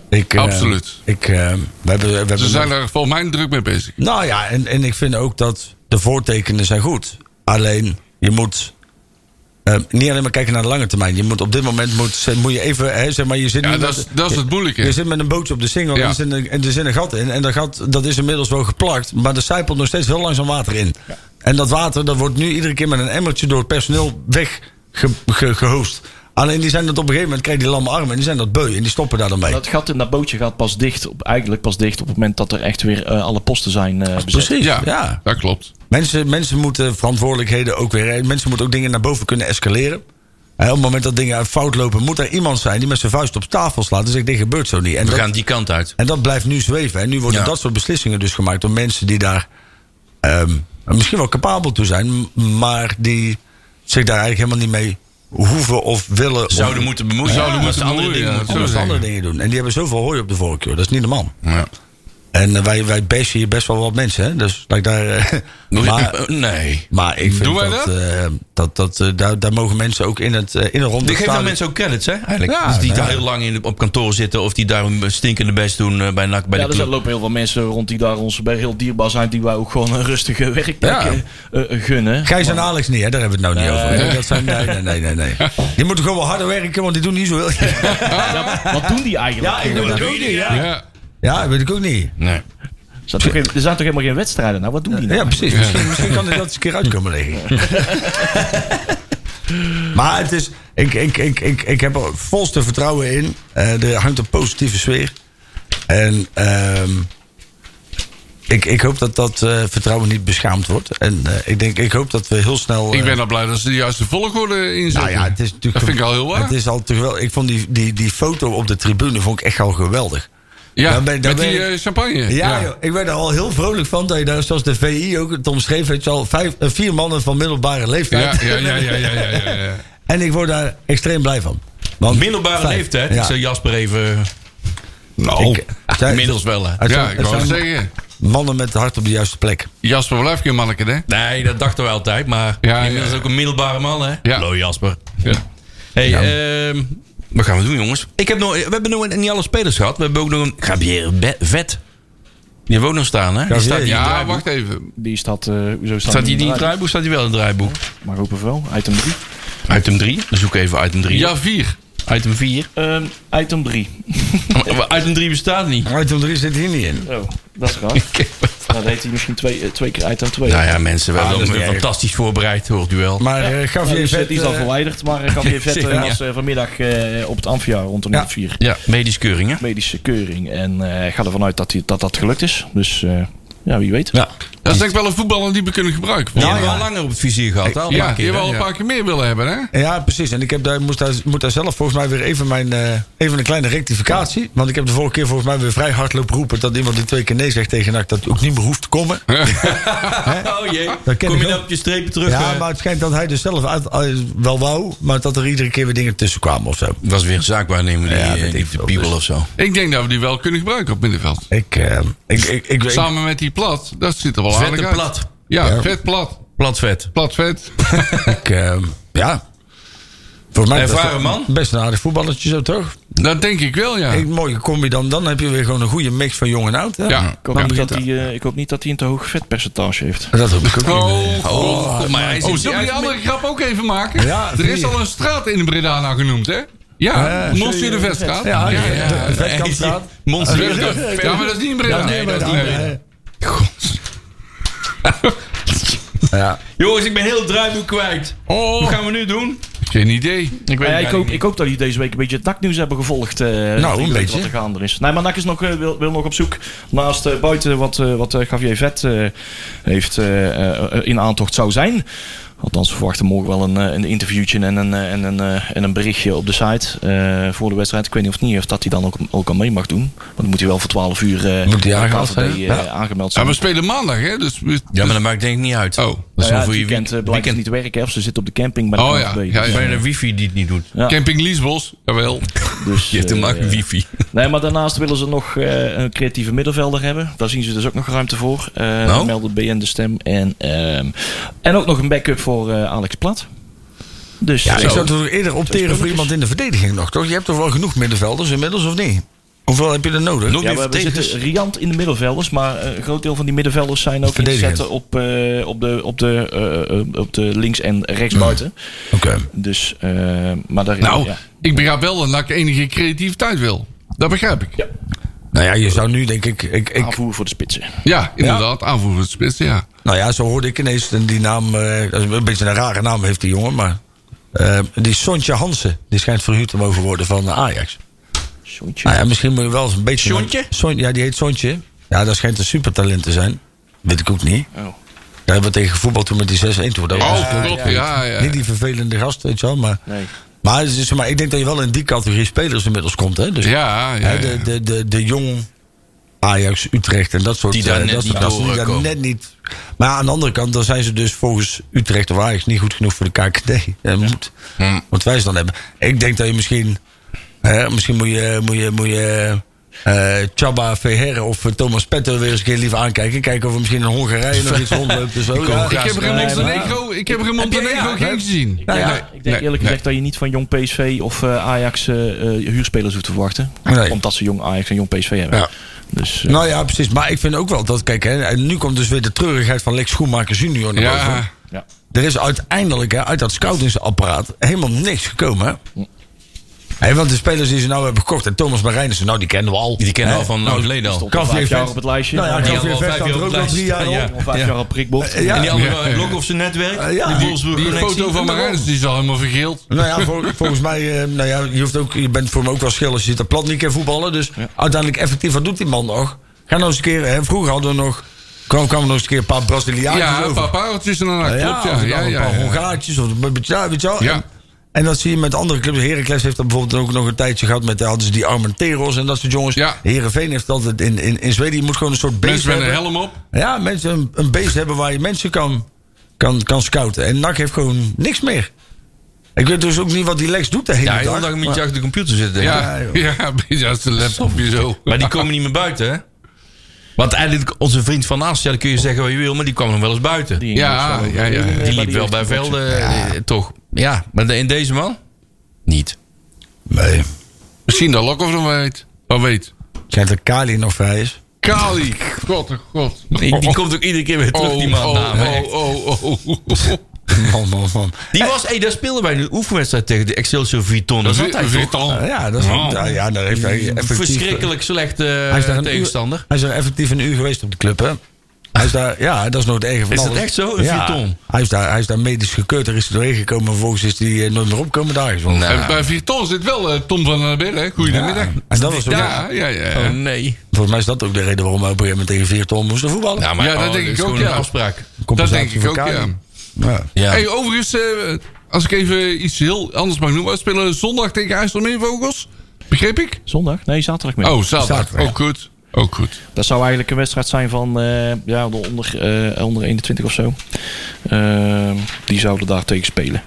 [SPEAKER 3] Ik, eh,
[SPEAKER 4] Absoluut.
[SPEAKER 3] Ik, eh, we hebben, we hebben
[SPEAKER 4] Ze zijn daar volgens mij druk mee bezig.
[SPEAKER 3] Nou ja, en, en ik vind ook dat de voortekenen zijn goed. Alleen, je moet eh, niet alleen maar kijken naar de lange termijn. Je moet op dit moment moet, moet je even, hè, zeg maar, je zit
[SPEAKER 4] Ja,
[SPEAKER 3] nu Dus
[SPEAKER 4] dat is,
[SPEAKER 3] met-
[SPEAKER 4] dat is het moeilijke.
[SPEAKER 3] je zit met een bootje op de single
[SPEAKER 4] Ja.
[SPEAKER 3] en, er zit een, en er zit een gat in. En dat gat dat is inmiddels wel geplakt. Maar er zijpelt nog steeds heel langzaam water in. En dat water dat wordt nu iedere keer met een emmertje door het personeel weggehoost. Alleen die zijn dat op een gegeven moment krijgen die lamme armen. En die zijn dat beu. En die stoppen daar dan mee.
[SPEAKER 5] Dat gat in dat bootje gaat pas dicht, op, eigenlijk pas dicht op het moment dat er echt weer eh, alle posten zijn eh, bezet.
[SPEAKER 3] Precies.
[SPEAKER 4] Ja,
[SPEAKER 3] ja.
[SPEAKER 4] dat klopt.
[SPEAKER 3] Mensen, mensen moeten verantwoordelijkheden ook weer. Mensen moeten ook dingen naar boven kunnen escaleren. En op het moment dat dingen fout lopen, moet er iemand zijn die met zijn vuist op tafel slaat. En zegt: Dit gebeurt zo niet. En,
[SPEAKER 2] We
[SPEAKER 3] dat,
[SPEAKER 2] gaan die kant uit.
[SPEAKER 3] en dat blijft nu zweven. En nu worden
[SPEAKER 2] Ja.
[SPEAKER 3] dat soort beslissingen dus gemaakt door mensen die daar ehm, misschien wel capabel toe zijn, m- maar die zich daar eigenlijk helemaal niet mee hoeven of willen.
[SPEAKER 2] Zouden
[SPEAKER 3] of,
[SPEAKER 2] moeten bemoeien.
[SPEAKER 4] Zouden
[SPEAKER 2] omdat ze
[SPEAKER 4] moeten
[SPEAKER 2] andere dingen
[SPEAKER 4] bemoeien, ja.
[SPEAKER 2] moeten
[SPEAKER 3] anders
[SPEAKER 4] zo
[SPEAKER 3] andere dingen doen. En die hebben zoveel hooi op de vork, joh. Dat is niet normaal. En eh, wij, wij bashen hier best wel wat mensen, hè? Dus laat ik daar. eh,
[SPEAKER 2] doen.
[SPEAKER 3] maar-
[SPEAKER 2] Eh, Nee.
[SPEAKER 3] Maar ik vind
[SPEAKER 4] Doen wij
[SPEAKER 3] dat,
[SPEAKER 4] dat?
[SPEAKER 3] eh, dat, dat eh, daar, daar mogen mensen ook in, het, eh, in een ronde
[SPEAKER 2] Dit geeft aan
[SPEAKER 3] staan.
[SPEAKER 2] mensen ook credits, hè? Eigenlijk.
[SPEAKER 3] Ja,
[SPEAKER 2] dus die
[SPEAKER 3] nou
[SPEAKER 2] daar
[SPEAKER 3] ja.
[SPEAKER 2] heel lang in, op kantoor zitten of die daar hun stinkende best doen eh, bij, NAC, bij
[SPEAKER 5] ja,
[SPEAKER 2] de
[SPEAKER 5] dus er
[SPEAKER 2] club.
[SPEAKER 5] lopen heel veel mensen rond die daar ons bij heel dierbaar zijn, die wij ook gewoon een rustige werkplek
[SPEAKER 3] Ja.
[SPEAKER 5] eh, eh, gunnen.
[SPEAKER 3] Gijs en Alex niet, hè? daar hebben we het nou niet over. hè? Dat zijn, nee, nee, nee, nee, nee. Die moeten gewoon wel harder werken, want die doen niet zo heel...
[SPEAKER 5] Ja, wat doen die eigenlijk?
[SPEAKER 3] ook niet, ja.
[SPEAKER 4] Ja.
[SPEAKER 3] Ja, weet ik ook niet.
[SPEAKER 2] Nee.
[SPEAKER 5] Er zijn toch geen- er zijn toch helemaal geen wedstrijden? Nou, wat doen die nou?
[SPEAKER 3] Ja, precies. Misschien, misschien kan er dat eens een keer uitkomen, denk ik. maar het is, ik, ik, ik, ik, ik heb er volste vertrouwen in. Eh, er hangt een positieve sfeer. En ehm, ik, ik hoop dat dat eh, vertrouwen niet beschaamd wordt. En eh, ik, denk, ik hoop dat we heel snel...
[SPEAKER 4] Ik
[SPEAKER 3] eh,
[SPEAKER 4] ben al blij dat ze de juiste volgorde
[SPEAKER 3] nou
[SPEAKER 4] inzetten.
[SPEAKER 3] ja, het is natuurlijk.
[SPEAKER 4] dat vind ik al heel waar.
[SPEAKER 3] Het is al te geweldig. Ik vond die, die, die foto op de tribune vond ik echt al geweldig.
[SPEAKER 4] ja,
[SPEAKER 3] daar ben- daar
[SPEAKER 4] met die
[SPEAKER 3] ben ik-
[SPEAKER 4] eh, champagne.
[SPEAKER 3] Ja, joh, ik werd er al heel vrolijk van dat je daar, zoals de VI ook het omschreef, weet je al, vijf, eh, vier mannen van middelbare
[SPEAKER 4] Ja,
[SPEAKER 3] leeftijd.
[SPEAKER 4] ja, ja, ja, ja, ja, ja, ja.
[SPEAKER 3] En ik word daar extreem blij van. Want
[SPEAKER 2] Middelbare
[SPEAKER 3] Vijf,
[SPEAKER 2] leeftijd.
[SPEAKER 3] ja.
[SPEAKER 2] Ik zei Jasper even...
[SPEAKER 4] Nou,
[SPEAKER 3] Ik- zij-
[SPEAKER 2] Inmiddels wel, hè?
[SPEAKER 3] het
[SPEAKER 4] ja,
[SPEAKER 3] zijn-
[SPEAKER 4] ik
[SPEAKER 3] het
[SPEAKER 4] wou
[SPEAKER 3] zijn
[SPEAKER 4] zeggen.
[SPEAKER 3] Mannen met het hart op de juiste plek.
[SPEAKER 4] Jasper, blijf je manneke, hè?
[SPEAKER 2] Nee, dat dachten we altijd. Maar
[SPEAKER 4] Ja,
[SPEAKER 2] inmiddels
[SPEAKER 4] ja.
[SPEAKER 2] ook een middelbare man, hè?
[SPEAKER 4] Ja.
[SPEAKER 2] Hallo Jasper.
[SPEAKER 4] Ja.
[SPEAKER 2] Hey, ehm, wat gaan we doen, jongens? Ik heb nog, we hebben nog niet alle spelers gehad. We hebben ook nog een Gabriel Be- Vet. Die woont nog staan, hè? Die
[SPEAKER 3] Gabriel,
[SPEAKER 2] staat niet in het
[SPEAKER 4] Ja,
[SPEAKER 2] draaiboek.
[SPEAKER 4] wacht even.
[SPEAKER 5] Die staat, eh hoezo staat,
[SPEAKER 2] Staat hij
[SPEAKER 5] die
[SPEAKER 2] niet in het draaiboek? Staat hij wel in het draaiboek?
[SPEAKER 5] Maar open wel, item 3.
[SPEAKER 2] Item 3. Zoek even item 3.
[SPEAKER 4] Ja, vier.
[SPEAKER 2] Item 4.
[SPEAKER 5] Ehm, item 3.
[SPEAKER 2] item 3 bestaat niet.
[SPEAKER 3] Item 3 zit hier niet in.
[SPEAKER 5] Oh, dat is raar. Nou, Dan heet hij misschien twee, eh, twee keer item 2.
[SPEAKER 2] Nou ja, mensen, we
[SPEAKER 3] Ah,
[SPEAKER 2] hebben
[SPEAKER 3] dat is niet
[SPEAKER 2] fantastisch voorbereid, hoort u wel.
[SPEAKER 3] Maar eh, gaf
[SPEAKER 5] Ja,
[SPEAKER 3] je
[SPEAKER 5] dus, eh,
[SPEAKER 3] vet,
[SPEAKER 5] die is al
[SPEAKER 3] eh,
[SPEAKER 5] verwijderd, maar ik had weer vet
[SPEAKER 2] Ja.
[SPEAKER 5] was eh, vanmiddag eh, op het Amphia rond een
[SPEAKER 3] Ja.
[SPEAKER 5] uur of vier.
[SPEAKER 2] Ja, medisch keuringen.
[SPEAKER 5] Medische keuring en eh, ik ga ervan uit dat, die, dat dat gelukt is. Dus eh, ja, wie weet.
[SPEAKER 2] Ja.
[SPEAKER 4] Dat is denk ik wel een voetballer die we kunnen gebruiken.
[SPEAKER 2] Die
[SPEAKER 4] Ja,
[SPEAKER 2] hebben we al langer op het vizier gehad, hè, al een paar
[SPEAKER 4] ja die
[SPEAKER 2] keer.
[SPEAKER 4] hebben
[SPEAKER 2] hè?
[SPEAKER 4] we al een paar keer meer willen hebben, hè?
[SPEAKER 3] Ja, precies. En ik heb daar, moest daar, moet daar zelf volgens mij weer even, mijn, eh, even een kleine rectificatie. Want ik heb de vorige keer volgens mij weer vrij hard lopen roepen... dat iemand die twee keer nee zegt tegen NAC... dat ook niet meer hoeft te komen.
[SPEAKER 2] Oh jee,
[SPEAKER 3] Dat ken
[SPEAKER 2] kom je
[SPEAKER 3] ik
[SPEAKER 2] dan
[SPEAKER 3] ook.
[SPEAKER 2] op je strepen terug?
[SPEAKER 3] Ja,
[SPEAKER 2] eh?
[SPEAKER 3] maar het schijnt dat hij dus zelf uit, uit- wel wou... maar dat er iedere keer weer dingen tussen kwamen of zo.
[SPEAKER 2] was weer een zaakwaarnemer, die,
[SPEAKER 3] Ja,
[SPEAKER 2] eh,
[SPEAKER 3] weet
[SPEAKER 2] die
[SPEAKER 3] ik
[SPEAKER 2] de
[SPEAKER 3] veel,
[SPEAKER 2] piebel
[SPEAKER 3] dus.
[SPEAKER 2] of zo.
[SPEAKER 4] Ik denk dat we die wel kunnen gebruiken op middenveld.
[SPEAKER 3] Ik, eh, ik, ik, ik, weet
[SPEAKER 4] Samen met die plat, dat zit er wel
[SPEAKER 2] Vet
[SPEAKER 4] aardig
[SPEAKER 2] en
[SPEAKER 4] uit.
[SPEAKER 2] plat.
[SPEAKER 4] Ja,
[SPEAKER 3] Ja.
[SPEAKER 4] vet plat.
[SPEAKER 2] Plat vet.
[SPEAKER 4] Plat vet.
[SPEAKER 3] ik, eh, ja. Volgens mij
[SPEAKER 2] Ervaren man.
[SPEAKER 3] Best een aardig voetballertje zo, toch?
[SPEAKER 4] Dat denk ik wel, ja.
[SPEAKER 3] Een mooie combi dan. Dan heb je weer gewoon een goede mix van jong en oud. Hè?
[SPEAKER 4] Ja.
[SPEAKER 5] Ik hoop, niet dat hij, eh, ik hoop niet dat hij een te hoog vetpercentage heeft.
[SPEAKER 3] Dat hoop ik ook niet.
[SPEAKER 4] Oh,
[SPEAKER 2] Oh, kom maar. Hij
[SPEAKER 4] Oh,
[SPEAKER 2] zit
[SPEAKER 4] zullen we die andere grap ook even maken?
[SPEAKER 3] Ja,
[SPEAKER 4] er is
[SPEAKER 3] zie je.
[SPEAKER 4] al een straat in Breda nou genoemd, hè? Ja,
[SPEAKER 3] Eh,
[SPEAKER 4] Monsieur de Veststraat.
[SPEAKER 3] Ja, ja, ja. De vetkampstraat.
[SPEAKER 2] Monsieur
[SPEAKER 4] Ja,
[SPEAKER 2] de
[SPEAKER 4] Ja, maar dat is niet in Breda.
[SPEAKER 3] Ja,
[SPEAKER 4] Nee, dat is niet in Breda.
[SPEAKER 3] nee. Ja.
[SPEAKER 2] Jongens, ik ben heel druimuur kwijt.
[SPEAKER 4] Oh,
[SPEAKER 2] Wat gaan we nu doen?
[SPEAKER 4] geen idee.
[SPEAKER 5] Ik,
[SPEAKER 2] weet het
[SPEAKER 5] ik, hoop,
[SPEAKER 2] niet.
[SPEAKER 5] ik hoop dat jullie deze week een beetje het naknieuws hebben gevolgd. eh, dat jullie
[SPEAKER 3] Nou, een
[SPEAKER 5] weten
[SPEAKER 3] beetje.
[SPEAKER 5] Wat er gaande is. Nee, maar NAC is nog, eh, wil, wil nog op zoek. Naast eh, buiten wat, eh, wat eh, Javier Vet eh, heeft, eh, eh, in aantocht zou zijn. Althans, we verwachten morgen wel een, eh, een interviewtje en een, eh, en, een, eh, en een berichtje op de site eh, voor de wedstrijd. Ik weet niet of het niet of dat hij dan ook, ook al mee mag doen. Want dan moet hij wel voor 12 uur eh,
[SPEAKER 3] Moet hij
[SPEAKER 5] bij de
[SPEAKER 3] aangemeld
[SPEAKER 5] KVB,
[SPEAKER 3] zijn?
[SPEAKER 5] eh,
[SPEAKER 3] Ja.
[SPEAKER 5] aangemeld
[SPEAKER 4] Ja,
[SPEAKER 5] zijn.
[SPEAKER 4] we spelen maandag, hè? Dus, we-
[SPEAKER 2] Ja, maar dat maakt denk ik niet uit.
[SPEAKER 4] Oh,
[SPEAKER 2] dat is
[SPEAKER 5] Nou
[SPEAKER 2] wel
[SPEAKER 5] ja,
[SPEAKER 2] voor
[SPEAKER 5] het
[SPEAKER 2] je
[SPEAKER 5] weekend eh,
[SPEAKER 2] weekend.
[SPEAKER 5] blijkt
[SPEAKER 2] weekend.
[SPEAKER 5] niet werken. hè, Of ze zitten op de camping bij de
[SPEAKER 4] Oh ja,
[SPEAKER 5] KNVB.
[SPEAKER 4] ja, ja.
[SPEAKER 5] Dus,
[SPEAKER 2] Bijna de wifi die het niet doet.
[SPEAKER 5] Ja.
[SPEAKER 4] Camping Liesbos, jawel.
[SPEAKER 5] Dus,
[SPEAKER 2] Je hebt
[SPEAKER 5] eh,
[SPEAKER 2] hem maar wifi.
[SPEAKER 5] Nee, maar daarnaast willen ze nog eh, een creatieve middenvelder hebben. Daar zien ze dus ook nog ruimte voor. Eh
[SPEAKER 2] Nou.
[SPEAKER 5] Melden BN de stem. En, ehm, en ook nog een backup voor eh, Alex Plat. Dus
[SPEAKER 3] Ja,
[SPEAKER 5] zo.
[SPEAKER 3] ik zou toch eerder opteren voor iemand in de verdediging nog, toch? Je hebt toch wel genoeg middenvelders inmiddels, of niet? Hoeveel heb je er nodig?
[SPEAKER 2] Nog-
[SPEAKER 5] Ja, we, we
[SPEAKER 2] verdedigers.
[SPEAKER 5] zitten riant in de middenvelders, maar eh, een groot deel van die middenvelders zijn ook
[SPEAKER 3] Verdedigend.
[SPEAKER 5] inzetten op, eh, op, de, op, de, eh, eh, op de links- en rechtsbuiten.
[SPEAKER 3] Oké.
[SPEAKER 5] Dus, eh, maar daar,
[SPEAKER 4] Nou,
[SPEAKER 5] ja.
[SPEAKER 4] ik begrijp wel dat ik enige creativiteit wil. Dat begrijp ik. Ja,
[SPEAKER 3] Nou ja, je zou nu denk ik... ik, ik
[SPEAKER 5] aanvoer voor de spitsen.
[SPEAKER 4] inderdaad. Aanvoerder het spits, ja.
[SPEAKER 3] nou ja, zo hoorde ik ineens en die naam... eh, dat is een beetje een rare naam heeft die jongen, maar... eh, die Sontje Hansen, die schijnt verhuurd te mogen worden van Ajax.
[SPEAKER 5] Sjoentje.
[SPEAKER 3] Nou ja, misschien moet je wel eens een beetje...
[SPEAKER 2] Sontje?
[SPEAKER 3] Son- ja, die heet Sontje. Ja, dat schijnt een supertalent te zijn. Weet ik ook niet.
[SPEAKER 5] Oh.
[SPEAKER 3] Daar hebben we tegen voetbal toen met die 6-1 toen. Dat was-
[SPEAKER 4] oh, klopt, ja. ja,
[SPEAKER 3] Niet die vervelende gast, weet je wel, maar...
[SPEAKER 5] Nee.
[SPEAKER 3] Maar, het is- maar ik denk dat je wel in die categorie spelers inmiddels komt. Hè? Dus,
[SPEAKER 4] Ja, ja,
[SPEAKER 3] hè,
[SPEAKER 4] ja.
[SPEAKER 3] De, de, de, de jong Ajax, Utrecht en dat soort
[SPEAKER 2] Die daar
[SPEAKER 3] eh,
[SPEAKER 2] net
[SPEAKER 3] dat
[SPEAKER 2] niet
[SPEAKER 3] soort gasten die daar
[SPEAKER 2] doorkomen.
[SPEAKER 3] net niet. Maar aan de andere kant, dan zijn ze dus volgens Utrecht of Ajax niet goed genoeg voor de KKD. Eh, moet,
[SPEAKER 4] Hm.
[SPEAKER 3] Wat wij ze dan hebben. Ik denk dat je misschien. Hè, misschien moet je. Moet je, moet je eh Chaba Verheer of eh, Thomas Petter weer eens een keer liever aankijken. Kijken of er misschien in Hongarije nog iets rondloopt. of zo. Ja.
[SPEAKER 4] Ik heb er in
[SPEAKER 5] Nee, maar-
[SPEAKER 4] Montenegro, ik heb er in Montenegro
[SPEAKER 3] ja,
[SPEAKER 4] geen
[SPEAKER 3] hè?
[SPEAKER 4] gezien.
[SPEAKER 5] Ik denk,
[SPEAKER 3] ja,
[SPEAKER 5] ik denk eerlijk gezegd dat je niet van jong PSV of eh, Ajax eh, eh, huurspelers hoeft te verwachten.
[SPEAKER 3] Nee.
[SPEAKER 5] Omdat ze jong Ajax en jong PSV hebben.
[SPEAKER 3] Ja.
[SPEAKER 5] Dus, eh,
[SPEAKER 3] Nou ja, precies. Maar ik vind ook wel dat, kijk, hè, en nu komt dus weer de treurigheid van Lex Schoenmaker junior naar boven.
[SPEAKER 4] Ja,
[SPEAKER 5] ja.
[SPEAKER 3] Er is uiteindelijk hè, uit dat scoutingsapparaat helemaal niks gekomen. hè? Hé, want de spelers die ze nou hebben gekocht, en Thomas Marijnissen, nou die kennen we al.
[SPEAKER 2] Die kennen we al
[SPEAKER 3] Hè?
[SPEAKER 2] van lang geleden al.
[SPEAKER 5] Nou, Stond al
[SPEAKER 3] Kafje
[SPEAKER 5] vijf jaar
[SPEAKER 3] vet.
[SPEAKER 5] op het lijstje.
[SPEAKER 3] Nou ja,
[SPEAKER 5] Eh,
[SPEAKER 2] Die
[SPEAKER 3] Kafje
[SPEAKER 2] hadden we al
[SPEAKER 3] vet
[SPEAKER 2] vijf jaar
[SPEAKER 3] staat er
[SPEAKER 2] op
[SPEAKER 3] ook al
[SPEAKER 2] lijst.
[SPEAKER 3] drie jaar
[SPEAKER 2] Ja.
[SPEAKER 3] op. Eh,
[SPEAKER 5] al vijf jaar op prikbord.
[SPEAKER 3] Ja.
[SPEAKER 2] En die andere
[SPEAKER 4] Ja.
[SPEAKER 2] blok of zijn netwerk.
[SPEAKER 3] Eh, ja.
[SPEAKER 2] Die Wolfsburg
[SPEAKER 4] Die
[SPEAKER 2] Connectie.
[SPEAKER 4] foto van Marijns die is al helemaal vergeeld.
[SPEAKER 3] Nou ja, vol- volgens mij, eh, nou ja, je, hoeft ook, je bent voor me ook wel schil als je dat plat niet kan voetballen. Dus uiteindelijk effectief, wat doet die man nog? Ga nou eens een keer, hè, vroeger hadden we nog, kwam, kwamen nog eens een keer een paar Brazilianen
[SPEAKER 4] Ja, een
[SPEAKER 3] Ah, over.
[SPEAKER 4] paar pareltjes en dan
[SPEAKER 3] Ja,
[SPEAKER 4] klopt. Ja,
[SPEAKER 3] of
[SPEAKER 4] ja,
[SPEAKER 3] een
[SPEAKER 4] ja,
[SPEAKER 3] paar
[SPEAKER 4] ja.
[SPEAKER 3] Hongaartjes of een beetje- ja, weet je wel.
[SPEAKER 4] Ja.
[SPEAKER 3] En, en dat zie je met andere clubs. Heracles heeft dat bijvoorbeeld ook nog een tijdje gehad met eh, hadden ze die Armenteros en dat soort jongens.
[SPEAKER 4] Ja.
[SPEAKER 3] Herenveen heeft dat altijd in, in, in Zweden. Je moet gewoon een soort base
[SPEAKER 4] Mensen met een
[SPEAKER 3] hebben.
[SPEAKER 4] helm op.
[SPEAKER 3] Ja, mensen een, een base hebben waar je mensen kan, kan, kan scouten. En NAC heeft gewoon niks meer. Ik weet dus ook niet wat die Lex doet de hele
[SPEAKER 2] Ja,
[SPEAKER 3] dag.
[SPEAKER 2] de hele dag moet
[SPEAKER 3] Maar-
[SPEAKER 2] je achter de computer zitten. denk ik.
[SPEAKER 4] Ja,
[SPEAKER 3] joh.
[SPEAKER 4] ja, een beetje als een laptopje zo.
[SPEAKER 2] Maar die komen niet meer buiten, hè? Want eigenlijk, onze vriend Van Aast, ja, dan kun je zeggen wat je wil, maar die kwam nog wel eens buiten. Die,
[SPEAKER 4] Ja, ja, ja.
[SPEAKER 5] Die
[SPEAKER 2] liep wel bij velden, eh, toch? Ja, maar de- in deze man? Niet.
[SPEAKER 3] Nee. Het
[SPEAKER 4] Misschien dat Lokhoff nog weet. Wat weet.
[SPEAKER 3] schijnt dat Kali nog vrij is.
[SPEAKER 4] Kali. God, oh, god.
[SPEAKER 2] Die, die komt ook iedere keer weer terug, die man. Nou,
[SPEAKER 4] Oh,
[SPEAKER 2] namen, echt.
[SPEAKER 4] oh, oh, oh, oh.
[SPEAKER 3] Man, man, man.
[SPEAKER 2] Die was, hey, daar speelden wij een oefenwedstrijd tegen de Excelsior Viton. Dat
[SPEAKER 4] Dat
[SPEAKER 2] is altijd
[SPEAKER 4] is
[SPEAKER 2] toch?
[SPEAKER 4] weer
[SPEAKER 3] Nou ja, dat is,
[SPEAKER 2] Oh.
[SPEAKER 3] ja, ja, daar heeft hij effectief...
[SPEAKER 2] verschrikkelijk slechte
[SPEAKER 3] Hij
[SPEAKER 4] Eh,
[SPEAKER 3] is daar een
[SPEAKER 2] tegenstander.
[SPEAKER 3] uur- hij is daar effectief een uur geweest op de club, hè? Hij is daar, ja, dat is nooit erg van
[SPEAKER 2] Is dat
[SPEAKER 3] alles.
[SPEAKER 2] echt zo? Een
[SPEAKER 3] ja,
[SPEAKER 2] vierton?
[SPEAKER 3] Hij is, daar, hij is daar medisch gekeurd, er is hij doorheen gekomen. En vervolgens is hij eh, nooit meer opkomen daar. gezond.
[SPEAKER 2] Nou,
[SPEAKER 4] En bij Vierton zit wel eh, Tom van der Bellen. Goedemiddag.
[SPEAKER 3] En dat was ook,
[SPEAKER 4] Ja, ja,
[SPEAKER 2] Oh,
[SPEAKER 4] ja.
[SPEAKER 2] nee.
[SPEAKER 3] Volgens mij is dat ook de reden waarom hij op een gegeven moment tegen vier ton moesten voetballen.
[SPEAKER 2] Nou, maar,
[SPEAKER 4] Ja, dat
[SPEAKER 2] oh,
[SPEAKER 4] denk
[SPEAKER 2] is
[SPEAKER 4] ik ook,
[SPEAKER 2] gewoon
[SPEAKER 4] ja.
[SPEAKER 2] een afspraak.
[SPEAKER 4] Dat
[SPEAKER 3] Compensatie
[SPEAKER 4] denk ik
[SPEAKER 3] voor
[SPEAKER 4] ook,
[SPEAKER 3] Kali.
[SPEAKER 4] ja.
[SPEAKER 3] Ja.
[SPEAKER 2] Ja.
[SPEAKER 4] Hey, overigens, eh, als ik even iets heel anders mag noemen. We spelen zondag tegen IJsselmeervogels. Begreep ik?
[SPEAKER 5] Zondag? Nee, zaterdagmiddag.
[SPEAKER 4] Oh, zaterdag.
[SPEAKER 3] Zaterdag, ja.
[SPEAKER 4] Ook goed. Ook goed.
[SPEAKER 5] Dat zou eigenlijk een wedstrijd zijn van eh, ja, de onder, eh, onder 21 of zo. Ehm, die zouden daar tegen spelen.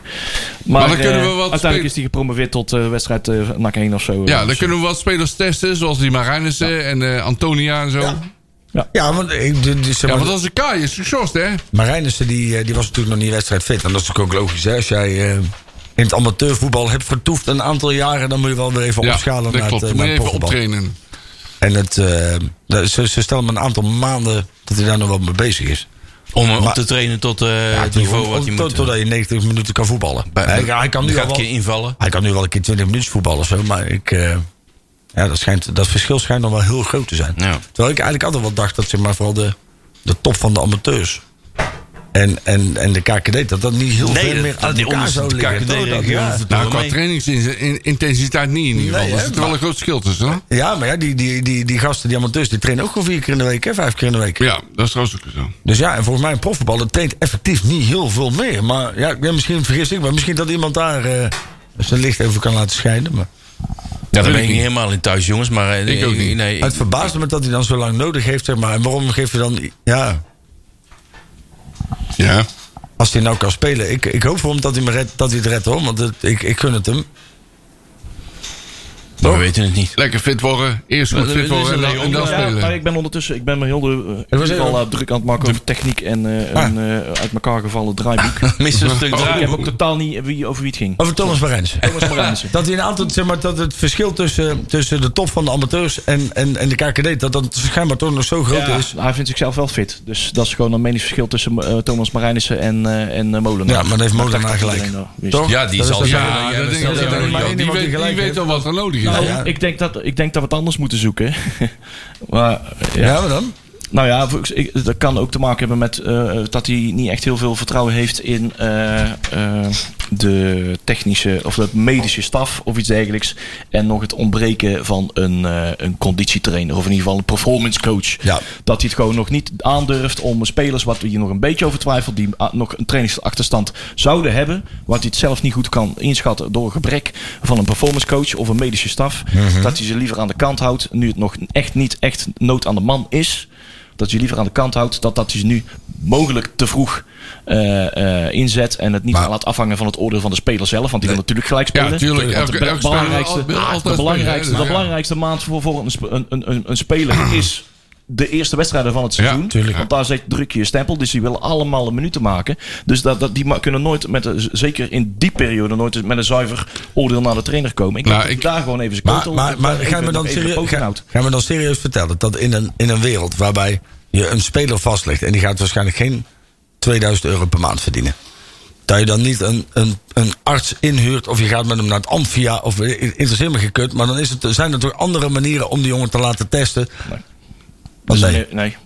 [SPEAKER 5] Maar,
[SPEAKER 4] dan kunnen we
[SPEAKER 5] eh,
[SPEAKER 4] wat
[SPEAKER 5] uiteindelijk
[SPEAKER 4] spelen.
[SPEAKER 5] is die gepromoveerd tot eh, wedstrijd eh NAC 1 of zo.
[SPEAKER 4] Ja,
[SPEAKER 5] Dus,
[SPEAKER 4] dan kunnen we wat spelers testen. Zoals die Marijnissen en eh, Antonia en zo. Ja,
[SPEAKER 3] Ja, want ik, de- de- zeg maar,
[SPEAKER 4] want dat is een kaai. Is geschorst, hè?
[SPEAKER 3] Marijnissen die, eh, die was natuurlijk nog niet wedstrijd fit. En dat is natuurlijk ook logisch. Hè? Als jij eh, in het amateurvoetbal hebt vertoefd een aantal jaren, dan moet je wel weer even opschalen
[SPEAKER 4] dat
[SPEAKER 3] naar
[SPEAKER 4] klopt.
[SPEAKER 3] het,
[SPEAKER 4] Dan
[SPEAKER 3] eh,
[SPEAKER 4] moet
[SPEAKER 3] naar
[SPEAKER 4] je
[SPEAKER 3] het
[SPEAKER 4] even
[SPEAKER 3] profvoetbal.
[SPEAKER 4] optrainen.
[SPEAKER 3] En het, eh, dat- ze, ze stellen me een aantal maanden dat hij daar nog wel mee bezig is.
[SPEAKER 2] Om eh, op
[SPEAKER 3] Maar-
[SPEAKER 2] te trainen tot eh, het
[SPEAKER 3] Om-
[SPEAKER 2] niveau
[SPEAKER 3] om-
[SPEAKER 2] wat je
[SPEAKER 3] tot-
[SPEAKER 2] moet. eh,
[SPEAKER 3] Totdat je 90 minuten kan voetballen. hij, hij kan
[SPEAKER 2] Dan
[SPEAKER 3] nu
[SPEAKER 2] gaat
[SPEAKER 3] al
[SPEAKER 2] een
[SPEAKER 3] wel,
[SPEAKER 2] keer invallen.
[SPEAKER 3] hij kan nu wel een keer 20 minuten voetballen of zo, maar ik, eh, ja, dat, schijnt, dat verschil schijnt dan wel heel groot te zijn.
[SPEAKER 2] Ja.
[SPEAKER 3] Terwijl ik eigenlijk altijd wel dacht dat zeg maar, vooral de, de top van de amateurs en, en, en de KKD, dat dat niet heel
[SPEAKER 2] Nee,
[SPEAKER 3] veel
[SPEAKER 2] dat-
[SPEAKER 3] meer
[SPEAKER 2] dat
[SPEAKER 3] uit
[SPEAKER 2] die
[SPEAKER 3] elkaar
[SPEAKER 2] onderste
[SPEAKER 3] zou liggen.
[SPEAKER 2] KKD
[SPEAKER 3] Oh, dat-
[SPEAKER 2] regio
[SPEAKER 3] ja.
[SPEAKER 2] verdomme
[SPEAKER 4] Nou, qua
[SPEAKER 2] mee.
[SPEAKER 4] trainingsintensiteit niet in ieder geval.
[SPEAKER 3] Nee,
[SPEAKER 4] er
[SPEAKER 3] hè,
[SPEAKER 4] zit wel een groot verschil tussen. hoor.
[SPEAKER 3] Ja, maar ja, die, die, die, die gasten, die amateurs, die trainen ook gewoon vier keer in de week, hè, vijf keer in de week.
[SPEAKER 4] Ja, dat is trouwens ook zo.
[SPEAKER 3] Dus ja, en volgens mij een profvoetbal, dat traint effectief niet heel veel meer. Maar ja, ik ben misschien vergis ik, maar misschien dat iemand daar eh, zijn licht over kan laten schijnen. Maar
[SPEAKER 2] Ja, daar ben ik
[SPEAKER 4] ik
[SPEAKER 2] niet
[SPEAKER 4] niet.
[SPEAKER 2] helemaal in thuis, jongens. Maar eh,
[SPEAKER 4] Ik ook niet.
[SPEAKER 2] Nee,
[SPEAKER 3] het verbaasde me dat hij dan zo lang nodig heeft, zeg maar. En waarom geeft hij dan... Ja,
[SPEAKER 4] Ja.
[SPEAKER 3] als hij nou kan spelen. Ik, ik hoop voor hem dat hij, me redt, dat hij het redt, hoor. Want het- ik, ik gun het hem.
[SPEAKER 2] we weten het niet.
[SPEAKER 4] Lekker fit worden. Eerst goed
[SPEAKER 2] Maar
[SPEAKER 4] fit
[SPEAKER 2] dat is
[SPEAKER 4] worden en
[SPEAKER 2] een
[SPEAKER 4] dan, en dan
[SPEAKER 5] Ja,
[SPEAKER 4] spelen.
[SPEAKER 5] maar ik ben ondertussen, ik ben me heel de, eh,
[SPEAKER 3] was
[SPEAKER 5] al
[SPEAKER 3] heel-
[SPEAKER 5] eh, druk aan het maken over techniek en eh,
[SPEAKER 3] Ah.
[SPEAKER 5] een eh, uit elkaar gevallen draaiboek. Dus
[SPEAKER 2] Mis een stuk
[SPEAKER 5] Ik heb
[SPEAKER 2] draaiboek.
[SPEAKER 5] ook totaal niet wie, over wie het ging.
[SPEAKER 3] Over Thomas Marijnissen.
[SPEAKER 5] Thomas Marijnissen.
[SPEAKER 3] Dat hij een aantal, zeg maar, dat het verschil tussen, tussen de top van de amateurs en, en, en de KKD... dat dat schijnbaar toch nog zo groot
[SPEAKER 5] Ja,
[SPEAKER 3] is.
[SPEAKER 5] Dus Hij vindt zichzelf wel fit. Dus dat is gewoon een meningsverschil tussen eh, Thomas Marijnissen en, eh, en eh, Molenaar.
[SPEAKER 3] Ja, maar dan heeft Molenaar
[SPEAKER 5] dacht dat
[SPEAKER 3] gelijk.
[SPEAKER 5] iedereen wel wist.
[SPEAKER 3] Toch?
[SPEAKER 2] Ja, die
[SPEAKER 3] Dat is
[SPEAKER 2] zal-
[SPEAKER 3] dat-
[SPEAKER 2] Ja,
[SPEAKER 4] Ja,
[SPEAKER 2] ja,
[SPEAKER 4] dat
[SPEAKER 2] dat
[SPEAKER 4] denk
[SPEAKER 2] stelt
[SPEAKER 4] ik
[SPEAKER 2] hij
[SPEAKER 4] dat
[SPEAKER 2] ook
[SPEAKER 4] ook
[SPEAKER 2] maar
[SPEAKER 4] wel.
[SPEAKER 2] één
[SPEAKER 4] Die
[SPEAKER 3] iemand die
[SPEAKER 4] weet- Die
[SPEAKER 3] gelijk
[SPEAKER 4] weet
[SPEAKER 3] heeft.
[SPEAKER 4] al wat er nodig is.
[SPEAKER 5] Nou,
[SPEAKER 3] ja.
[SPEAKER 5] Ik, denk dat, ik denk dat we het anders moeten zoeken. maar, eh, ja.
[SPEAKER 3] Ja, maar dan?
[SPEAKER 5] Nou ja, voor- ik- dat kan ook te maken hebben met eh, dat hij niet echt heel veel vertrouwen heeft in eh, eh, de technische of de medische staf of iets dergelijks. En nog het ontbreken van een, eh, een conditietrainer of in ieder geval een performance coach.
[SPEAKER 3] Ja.
[SPEAKER 5] Dat hij het gewoon nog niet aandurft om spelers wat je nog een beetje over twijfelt, die ah, nog een trainingsachterstand zouden hebben, wat hij het zelf niet goed kan inschatten door gebrek van een performance coach of een medische staf, dat hij ze liever aan de kant houdt, nu het nog echt niet echt nood aan de man is, dat je liever aan de kant houdt, dat dat hij ze nu mogelijk te vroeg eh, eh, inzet en het niet
[SPEAKER 3] Maar-
[SPEAKER 5] laat afhangen van het oordeel van de speler zelf, want die wil natuurlijk gelijk spelen.
[SPEAKER 4] Ja, tuurlijk.
[SPEAKER 5] Want
[SPEAKER 4] Elke-
[SPEAKER 5] de, be-
[SPEAKER 4] elke speler
[SPEAKER 3] Oh,
[SPEAKER 5] belangrijkste, Ah,
[SPEAKER 4] wil altijd
[SPEAKER 5] de
[SPEAKER 4] spelen, hè,
[SPEAKER 5] belangrijkste,
[SPEAKER 4] dus ja.
[SPEAKER 5] de belangrijkste maand voor, voor een, sp- een, een, een- een speler is de eerste wedstrijden van het seizoen.
[SPEAKER 3] tuurlijk.
[SPEAKER 5] Want daar zit druk je je stempel. Dus die willen allemaal een minuten maken. Dus dat, dat, die ma- kunnen nooit, met een- zeker in die periode, nooit met een zuiver oordeel naar de trainer komen. Ik denk
[SPEAKER 4] Nou,
[SPEAKER 5] dat
[SPEAKER 4] ik-
[SPEAKER 5] hij daar gewoon even zijn
[SPEAKER 3] Maar,
[SPEAKER 5] keutel...
[SPEAKER 3] maar, maar ga, je me dan serieus, ga, ga je me dan serieus vertellen dat in een, in een wereld waarbij je een speler vastlegt en die gaat waarschijnlijk geen 2000 euro per maand verdienen. Dat je dan niet een, een, een arts inhuurt of je gaat met hem naar het Amphia of eh, interesseert me gekut. Maar dan is het, zijn er toch andere manieren om die jongen te laten testen.
[SPEAKER 5] Nee.
[SPEAKER 3] Want nee, je
[SPEAKER 5] nee. nee.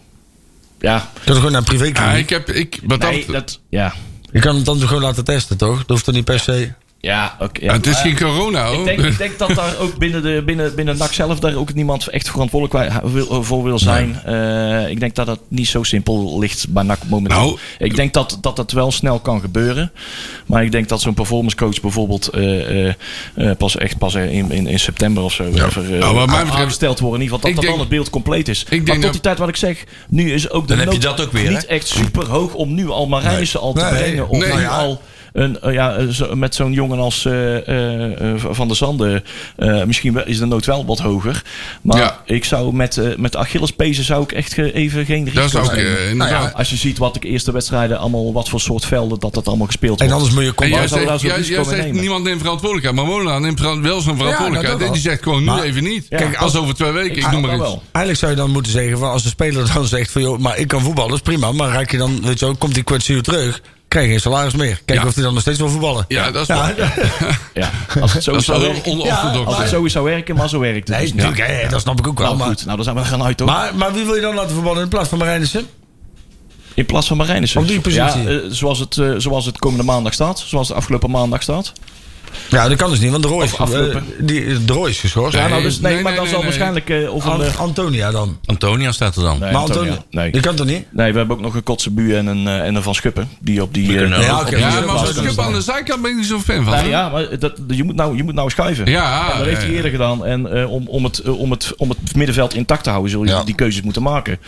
[SPEAKER 5] Ja,
[SPEAKER 3] kan het gewoon naar een
[SPEAKER 4] Ja,
[SPEAKER 3] privékliniek.
[SPEAKER 4] ik heb... Ik, wat
[SPEAKER 5] nee,
[SPEAKER 4] dat-
[SPEAKER 5] dat... Ja,
[SPEAKER 3] Je kan het dan toch gewoon laten testen, toch? Dat hoeft er niet per se.
[SPEAKER 5] ja oké. ja.
[SPEAKER 4] Ja, Het is
[SPEAKER 5] Maar-
[SPEAKER 4] geen corona,
[SPEAKER 5] Ik
[SPEAKER 4] hoor.
[SPEAKER 5] denk, ik denk dat daar ook binnen, de, binnen, binnen NAC zelf daar ook niemand echt verantwoordelijk wa- wil- voor wil zijn. Eh, ik denk dat dat niet zo simpel ligt bij NAC momenteel.
[SPEAKER 4] Nou,
[SPEAKER 5] ik denk dat, dat dat wel snel kan gebeuren. Maar ik denk dat zo'n performance coach bijvoorbeeld eh, eh, eh, pas echt pas in, in, in september of zo even eh,
[SPEAKER 4] Nou, wat mij
[SPEAKER 5] aan-
[SPEAKER 4] betreft-
[SPEAKER 5] aangesteld wordt. In ieder geval
[SPEAKER 4] Ik
[SPEAKER 5] dat, dat
[SPEAKER 4] denk-
[SPEAKER 5] dan het beeld compleet is.
[SPEAKER 4] denk
[SPEAKER 5] maar tot
[SPEAKER 4] dat-
[SPEAKER 5] die tijd wat ik zeg, nu is ook de
[SPEAKER 2] Dan heb je
[SPEAKER 5] nood
[SPEAKER 2] dat ook weer, hè?
[SPEAKER 5] niet echt super hoog om nu al Marijnissen al te
[SPEAKER 3] Nee.
[SPEAKER 5] brengen. Of
[SPEAKER 4] Nee, Nou
[SPEAKER 5] nu
[SPEAKER 4] ja.
[SPEAKER 5] al een, eh, ja, eh, zo- met zo'n jongen als eh, eh, eh, Van der Zanden. eh, misschien wel- is de nood wel wat hoger. Maar
[SPEAKER 4] Ja.
[SPEAKER 5] ik zou met, eh met de Achillespezen zou ik echt eh, even geen risico
[SPEAKER 4] Dat zou ik...
[SPEAKER 5] nemen.
[SPEAKER 4] eh,
[SPEAKER 3] Nou
[SPEAKER 4] Inderdaad.
[SPEAKER 5] Als je ziet wat ik eerste wedstrijden allemaal, wat voor soort velden dat dat allemaal gespeeld
[SPEAKER 3] En
[SPEAKER 5] wordt.
[SPEAKER 3] anders moet je
[SPEAKER 4] En
[SPEAKER 5] waar
[SPEAKER 4] jij
[SPEAKER 3] combinatie.
[SPEAKER 5] zou daar
[SPEAKER 4] zegt,
[SPEAKER 5] zo'n
[SPEAKER 4] jij,
[SPEAKER 5] risico
[SPEAKER 4] jij
[SPEAKER 5] mee
[SPEAKER 4] zegt
[SPEAKER 5] nemen? nou,
[SPEAKER 4] niemand neemt verantwoordelijkheid. Maar Mona neemt verant- wel zijn
[SPEAKER 3] dat ook
[SPEAKER 4] verantwoordelijkheid.
[SPEAKER 3] wel.
[SPEAKER 4] en die zegt gewoon nu
[SPEAKER 3] Maar-
[SPEAKER 4] even niet.
[SPEAKER 5] Ja.
[SPEAKER 4] Kijk, als over twee weken, ik,
[SPEAKER 5] zou
[SPEAKER 3] Ah,
[SPEAKER 4] noem maar
[SPEAKER 5] dat
[SPEAKER 4] iets.
[SPEAKER 5] wel.
[SPEAKER 3] Eigenlijk zou je dan moeten zeggen: van als de speler dan zegt van joh, maar ik kan voetballen, dat is prima. Maar raak je dan, weet je wel, komt die kwetsuur terug, krijg je geen salaris meer. Kijk
[SPEAKER 4] Ja.
[SPEAKER 3] of hij dan nog steeds wil voetballen.
[SPEAKER 4] Ja, dat is waar.
[SPEAKER 5] Ja, als het zo
[SPEAKER 4] Dat is
[SPEAKER 5] zou
[SPEAKER 4] wel
[SPEAKER 5] werken.
[SPEAKER 4] onorthodox.
[SPEAKER 5] Als het zo zou werken, maar zo werkt het
[SPEAKER 3] Nee,
[SPEAKER 5] dus niet.
[SPEAKER 3] natuurlijk, hè, dat snap ik ook wel.
[SPEAKER 5] Nou
[SPEAKER 3] maar,
[SPEAKER 5] goed, nou dan zijn we er gaan uit hoor.
[SPEAKER 3] maar, maar wie wil je dan laten voetballen in plaats van Marijnissen?
[SPEAKER 5] In plaats van Marijnissen.
[SPEAKER 3] Op die positie.
[SPEAKER 5] Ja, eh, zoals, het, eh, zoals het komende maandag staat. Zoals het afgelopen maandag staat.
[SPEAKER 3] Ja, dat kan dus niet, want de Roy is,
[SPEAKER 5] Of aflopen.
[SPEAKER 3] eh, die, de Roy is geschorst.
[SPEAKER 5] Ja,
[SPEAKER 4] Nee,
[SPEAKER 5] nou, dus, nee,
[SPEAKER 4] nee,
[SPEAKER 5] maar dan
[SPEAKER 4] nee,
[SPEAKER 5] zal
[SPEAKER 4] nee,
[SPEAKER 5] waarschijnlijk... eh, of een,
[SPEAKER 3] An-
[SPEAKER 5] eh,
[SPEAKER 3] Antonia dan.
[SPEAKER 2] Antonia staat er dan.
[SPEAKER 5] nee,
[SPEAKER 3] maar Antonia,
[SPEAKER 5] Nee.
[SPEAKER 3] die kan toch niet?
[SPEAKER 5] nee, we hebben ook nog een Kotzebu en een, eh, en een Van Schuppen. Die op die... eh,
[SPEAKER 2] kunnen
[SPEAKER 5] op-
[SPEAKER 2] ook.
[SPEAKER 5] op die-
[SPEAKER 3] Ja,
[SPEAKER 4] Ja,
[SPEAKER 3] dat
[SPEAKER 4] maar
[SPEAKER 3] was
[SPEAKER 4] als
[SPEAKER 5] op
[SPEAKER 4] ik
[SPEAKER 5] die-
[SPEAKER 4] heb aan de zijkant ben ik niet zo'n fan van.
[SPEAKER 5] Nou ja, maar dat, je, moet nou, je moet nou schuiven.
[SPEAKER 4] Ja,
[SPEAKER 5] En dat heeft hij
[SPEAKER 4] ja.
[SPEAKER 5] eerder gedaan. En eh, om, om, het, eh, om, het, om het middenveld intact te houden, zul je
[SPEAKER 3] Ja.
[SPEAKER 5] die keuzes moeten maken.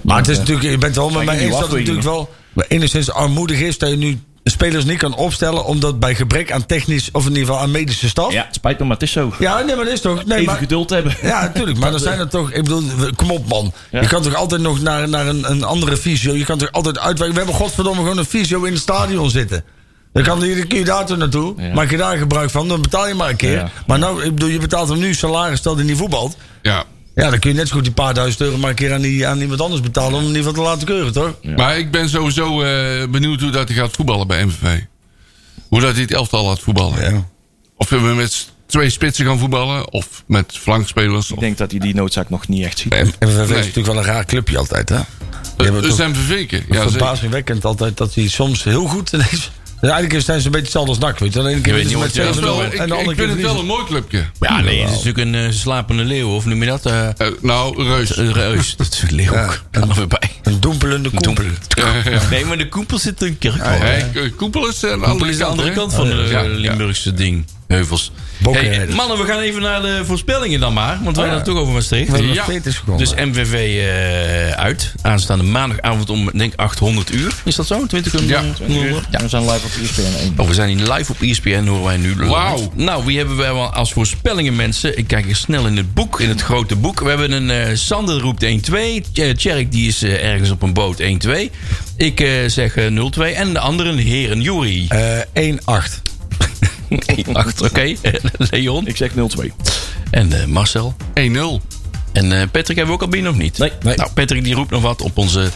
[SPEAKER 3] Maar het is natuurlijk, je bent wel met
[SPEAKER 5] Zijn
[SPEAKER 3] mij
[SPEAKER 5] die
[SPEAKER 3] eens dat het
[SPEAKER 5] afwegingen?
[SPEAKER 3] natuurlijk wel maar enigszins armoedig is dat je nu spelers niet kan opstellen, omdat bij gebrek aan technisch, of in ieder geval aan medische staf.
[SPEAKER 5] Ja, het spijt me, maar het is zo.
[SPEAKER 3] Ja, nee, maar dat is toch? Nee,
[SPEAKER 5] Even
[SPEAKER 3] maar,
[SPEAKER 5] geduld hebben.
[SPEAKER 3] Ja, natuurlijk. Maar dan zijn er toch. Ik bedoel, we- kom op, man.
[SPEAKER 5] Ja.
[SPEAKER 3] Je kan toch altijd nog naar, naar een, een andere fysio. Je kan toch altijd uitwijken. We hebben godverdomme gewoon een fysio in het stadion zitten. Dan, kan, dan kun je daar toe naartoe.
[SPEAKER 5] Ja.
[SPEAKER 3] Maak je daar gebruik van. Dan betaal je maar een keer.
[SPEAKER 5] Ja.
[SPEAKER 3] Maar nou, ik bedoel, je betaalt hem nu salaris stel die niet voetbalt.
[SPEAKER 4] Ja.
[SPEAKER 3] Ja, dan kun je net zo goed die paar duizend euro maar een keer aan, die, aan iemand anders betalen. Om in ieder geval te laten keuren, toch?
[SPEAKER 4] Maar ik ben sowieso eh, benieuwd hoe dat hij gaat voetballen bij MVV. Hoe dat hij het elftal laat voetballen.
[SPEAKER 3] Ja.
[SPEAKER 4] Of we met s- twee spitsen gaan voetballen. Of met flankspelers.
[SPEAKER 5] Ik
[SPEAKER 4] Of,
[SPEAKER 5] denk dat hij die noodzaak nog niet echt ziet.
[SPEAKER 4] Nee,
[SPEAKER 3] En MVV
[SPEAKER 4] Nee.
[SPEAKER 3] is natuurlijk wel een raar clubje altijd, hè? Die hebben
[SPEAKER 4] Eh,
[SPEAKER 3] toch-
[SPEAKER 4] zijn vervinken. Ja,
[SPEAKER 3] Ja,
[SPEAKER 4] zeker.
[SPEAKER 3] verbazingwekkend altijd dat hij soms heel goed ineens... Ja, eigenlijk zijn ze een beetje hetzelfde als NAC, weet je. De ene keer
[SPEAKER 2] weet
[SPEAKER 3] winnen ze
[SPEAKER 2] niet
[SPEAKER 3] met
[SPEAKER 2] wat je-
[SPEAKER 4] Dat is
[SPEAKER 3] 7-0
[SPEAKER 4] wel- ik,
[SPEAKER 3] en de
[SPEAKER 4] ik vind
[SPEAKER 3] andere keer
[SPEAKER 4] het wel
[SPEAKER 3] verliezen.
[SPEAKER 4] een mooi clubje.
[SPEAKER 2] Ja, nee, het is natuurlijk een eh, slapende leeuw, of noem je dat? eh
[SPEAKER 4] Eh, nou, reus.
[SPEAKER 2] een reus. Dat is een leeuw.
[SPEAKER 3] Ja.
[SPEAKER 2] Kan er weer bij.
[SPEAKER 3] Een doempelende koempel.
[SPEAKER 2] Nee, maar de koepel zit in Kerkrol.
[SPEAKER 4] Hey, K- Koepel is aan de
[SPEAKER 2] Dat
[SPEAKER 4] andere
[SPEAKER 2] is
[SPEAKER 4] kant.
[SPEAKER 2] eh, de andere
[SPEAKER 4] hè?
[SPEAKER 2] kant van de eh,
[SPEAKER 4] Ja, ja.
[SPEAKER 2] Limburgse ding. Heuvels.
[SPEAKER 3] Bokken.
[SPEAKER 2] Hey, mannen, we gaan even naar de voorspellingen dan maar. Want wij gaan toch over Maastricht.
[SPEAKER 3] We hebben
[SPEAKER 4] Ja.
[SPEAKER 3] nog 40 seconden.
[SPEAKER 2] Dus MVV eh, uit. Aanstaande maandagavond om denk ik, 800 uur. Is dat zo? 20 uur?
[SPEAKER 4] Ja.
[SPEAKER 5] Ja. We zijn live op E ESPN 1.
[SPEAKER 2] Oh, we zijn hier live op ESPN, horen wij nu live.
[SPEAKER 4] Wauw.
[SPEAKER 2] Nou, wie hebben wij wel als voorspellingen, mensen? Ik kijk eens snel in het boek, in het grote boek. We hebben een eh, Sander roept 1-2. Tjerk, die is eh, ergens op een boot 1-2. Ik eh, zeg eh, 0-2. En de anderen, heren, Jury.
[SPEAKER 3] Eh, 1-8.
[SPEAKER 2] 1-8, oké. Leon.
[SPEAKER 5] Ik zeg 0-2.
[SPEAKER 2] En eh, Marcel.
[SPEAKER 4] 1-0.
[SPEAKER 2] En eh, Patrick hebben we ook al binnen of niet?
[SPEAKER 5] Nee.
[SPEAKER 3] Nee.
[SPEAKER 2] Nou, Patrick die roept nog wat op onze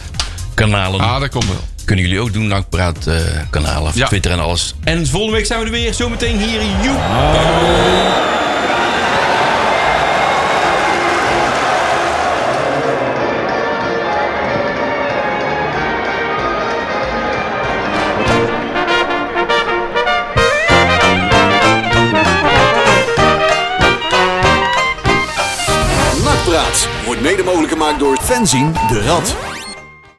[SPEAKER 2] kanalen.
[SPEAKER 4] Ah, dat komt wel.
[SPEAKER 2] Kunnen jullie ook doen, Nakpraat eh kanalen,
[SPEAKER 4] Ja.
[SPEAKER 2] Twitter en alles. En volgende week zijn we er weer. Zometeen hier in Joep.
[SPEAKER 1] Nakpraat wordt mede mogelijk gemaakt door Fenzin de Rad.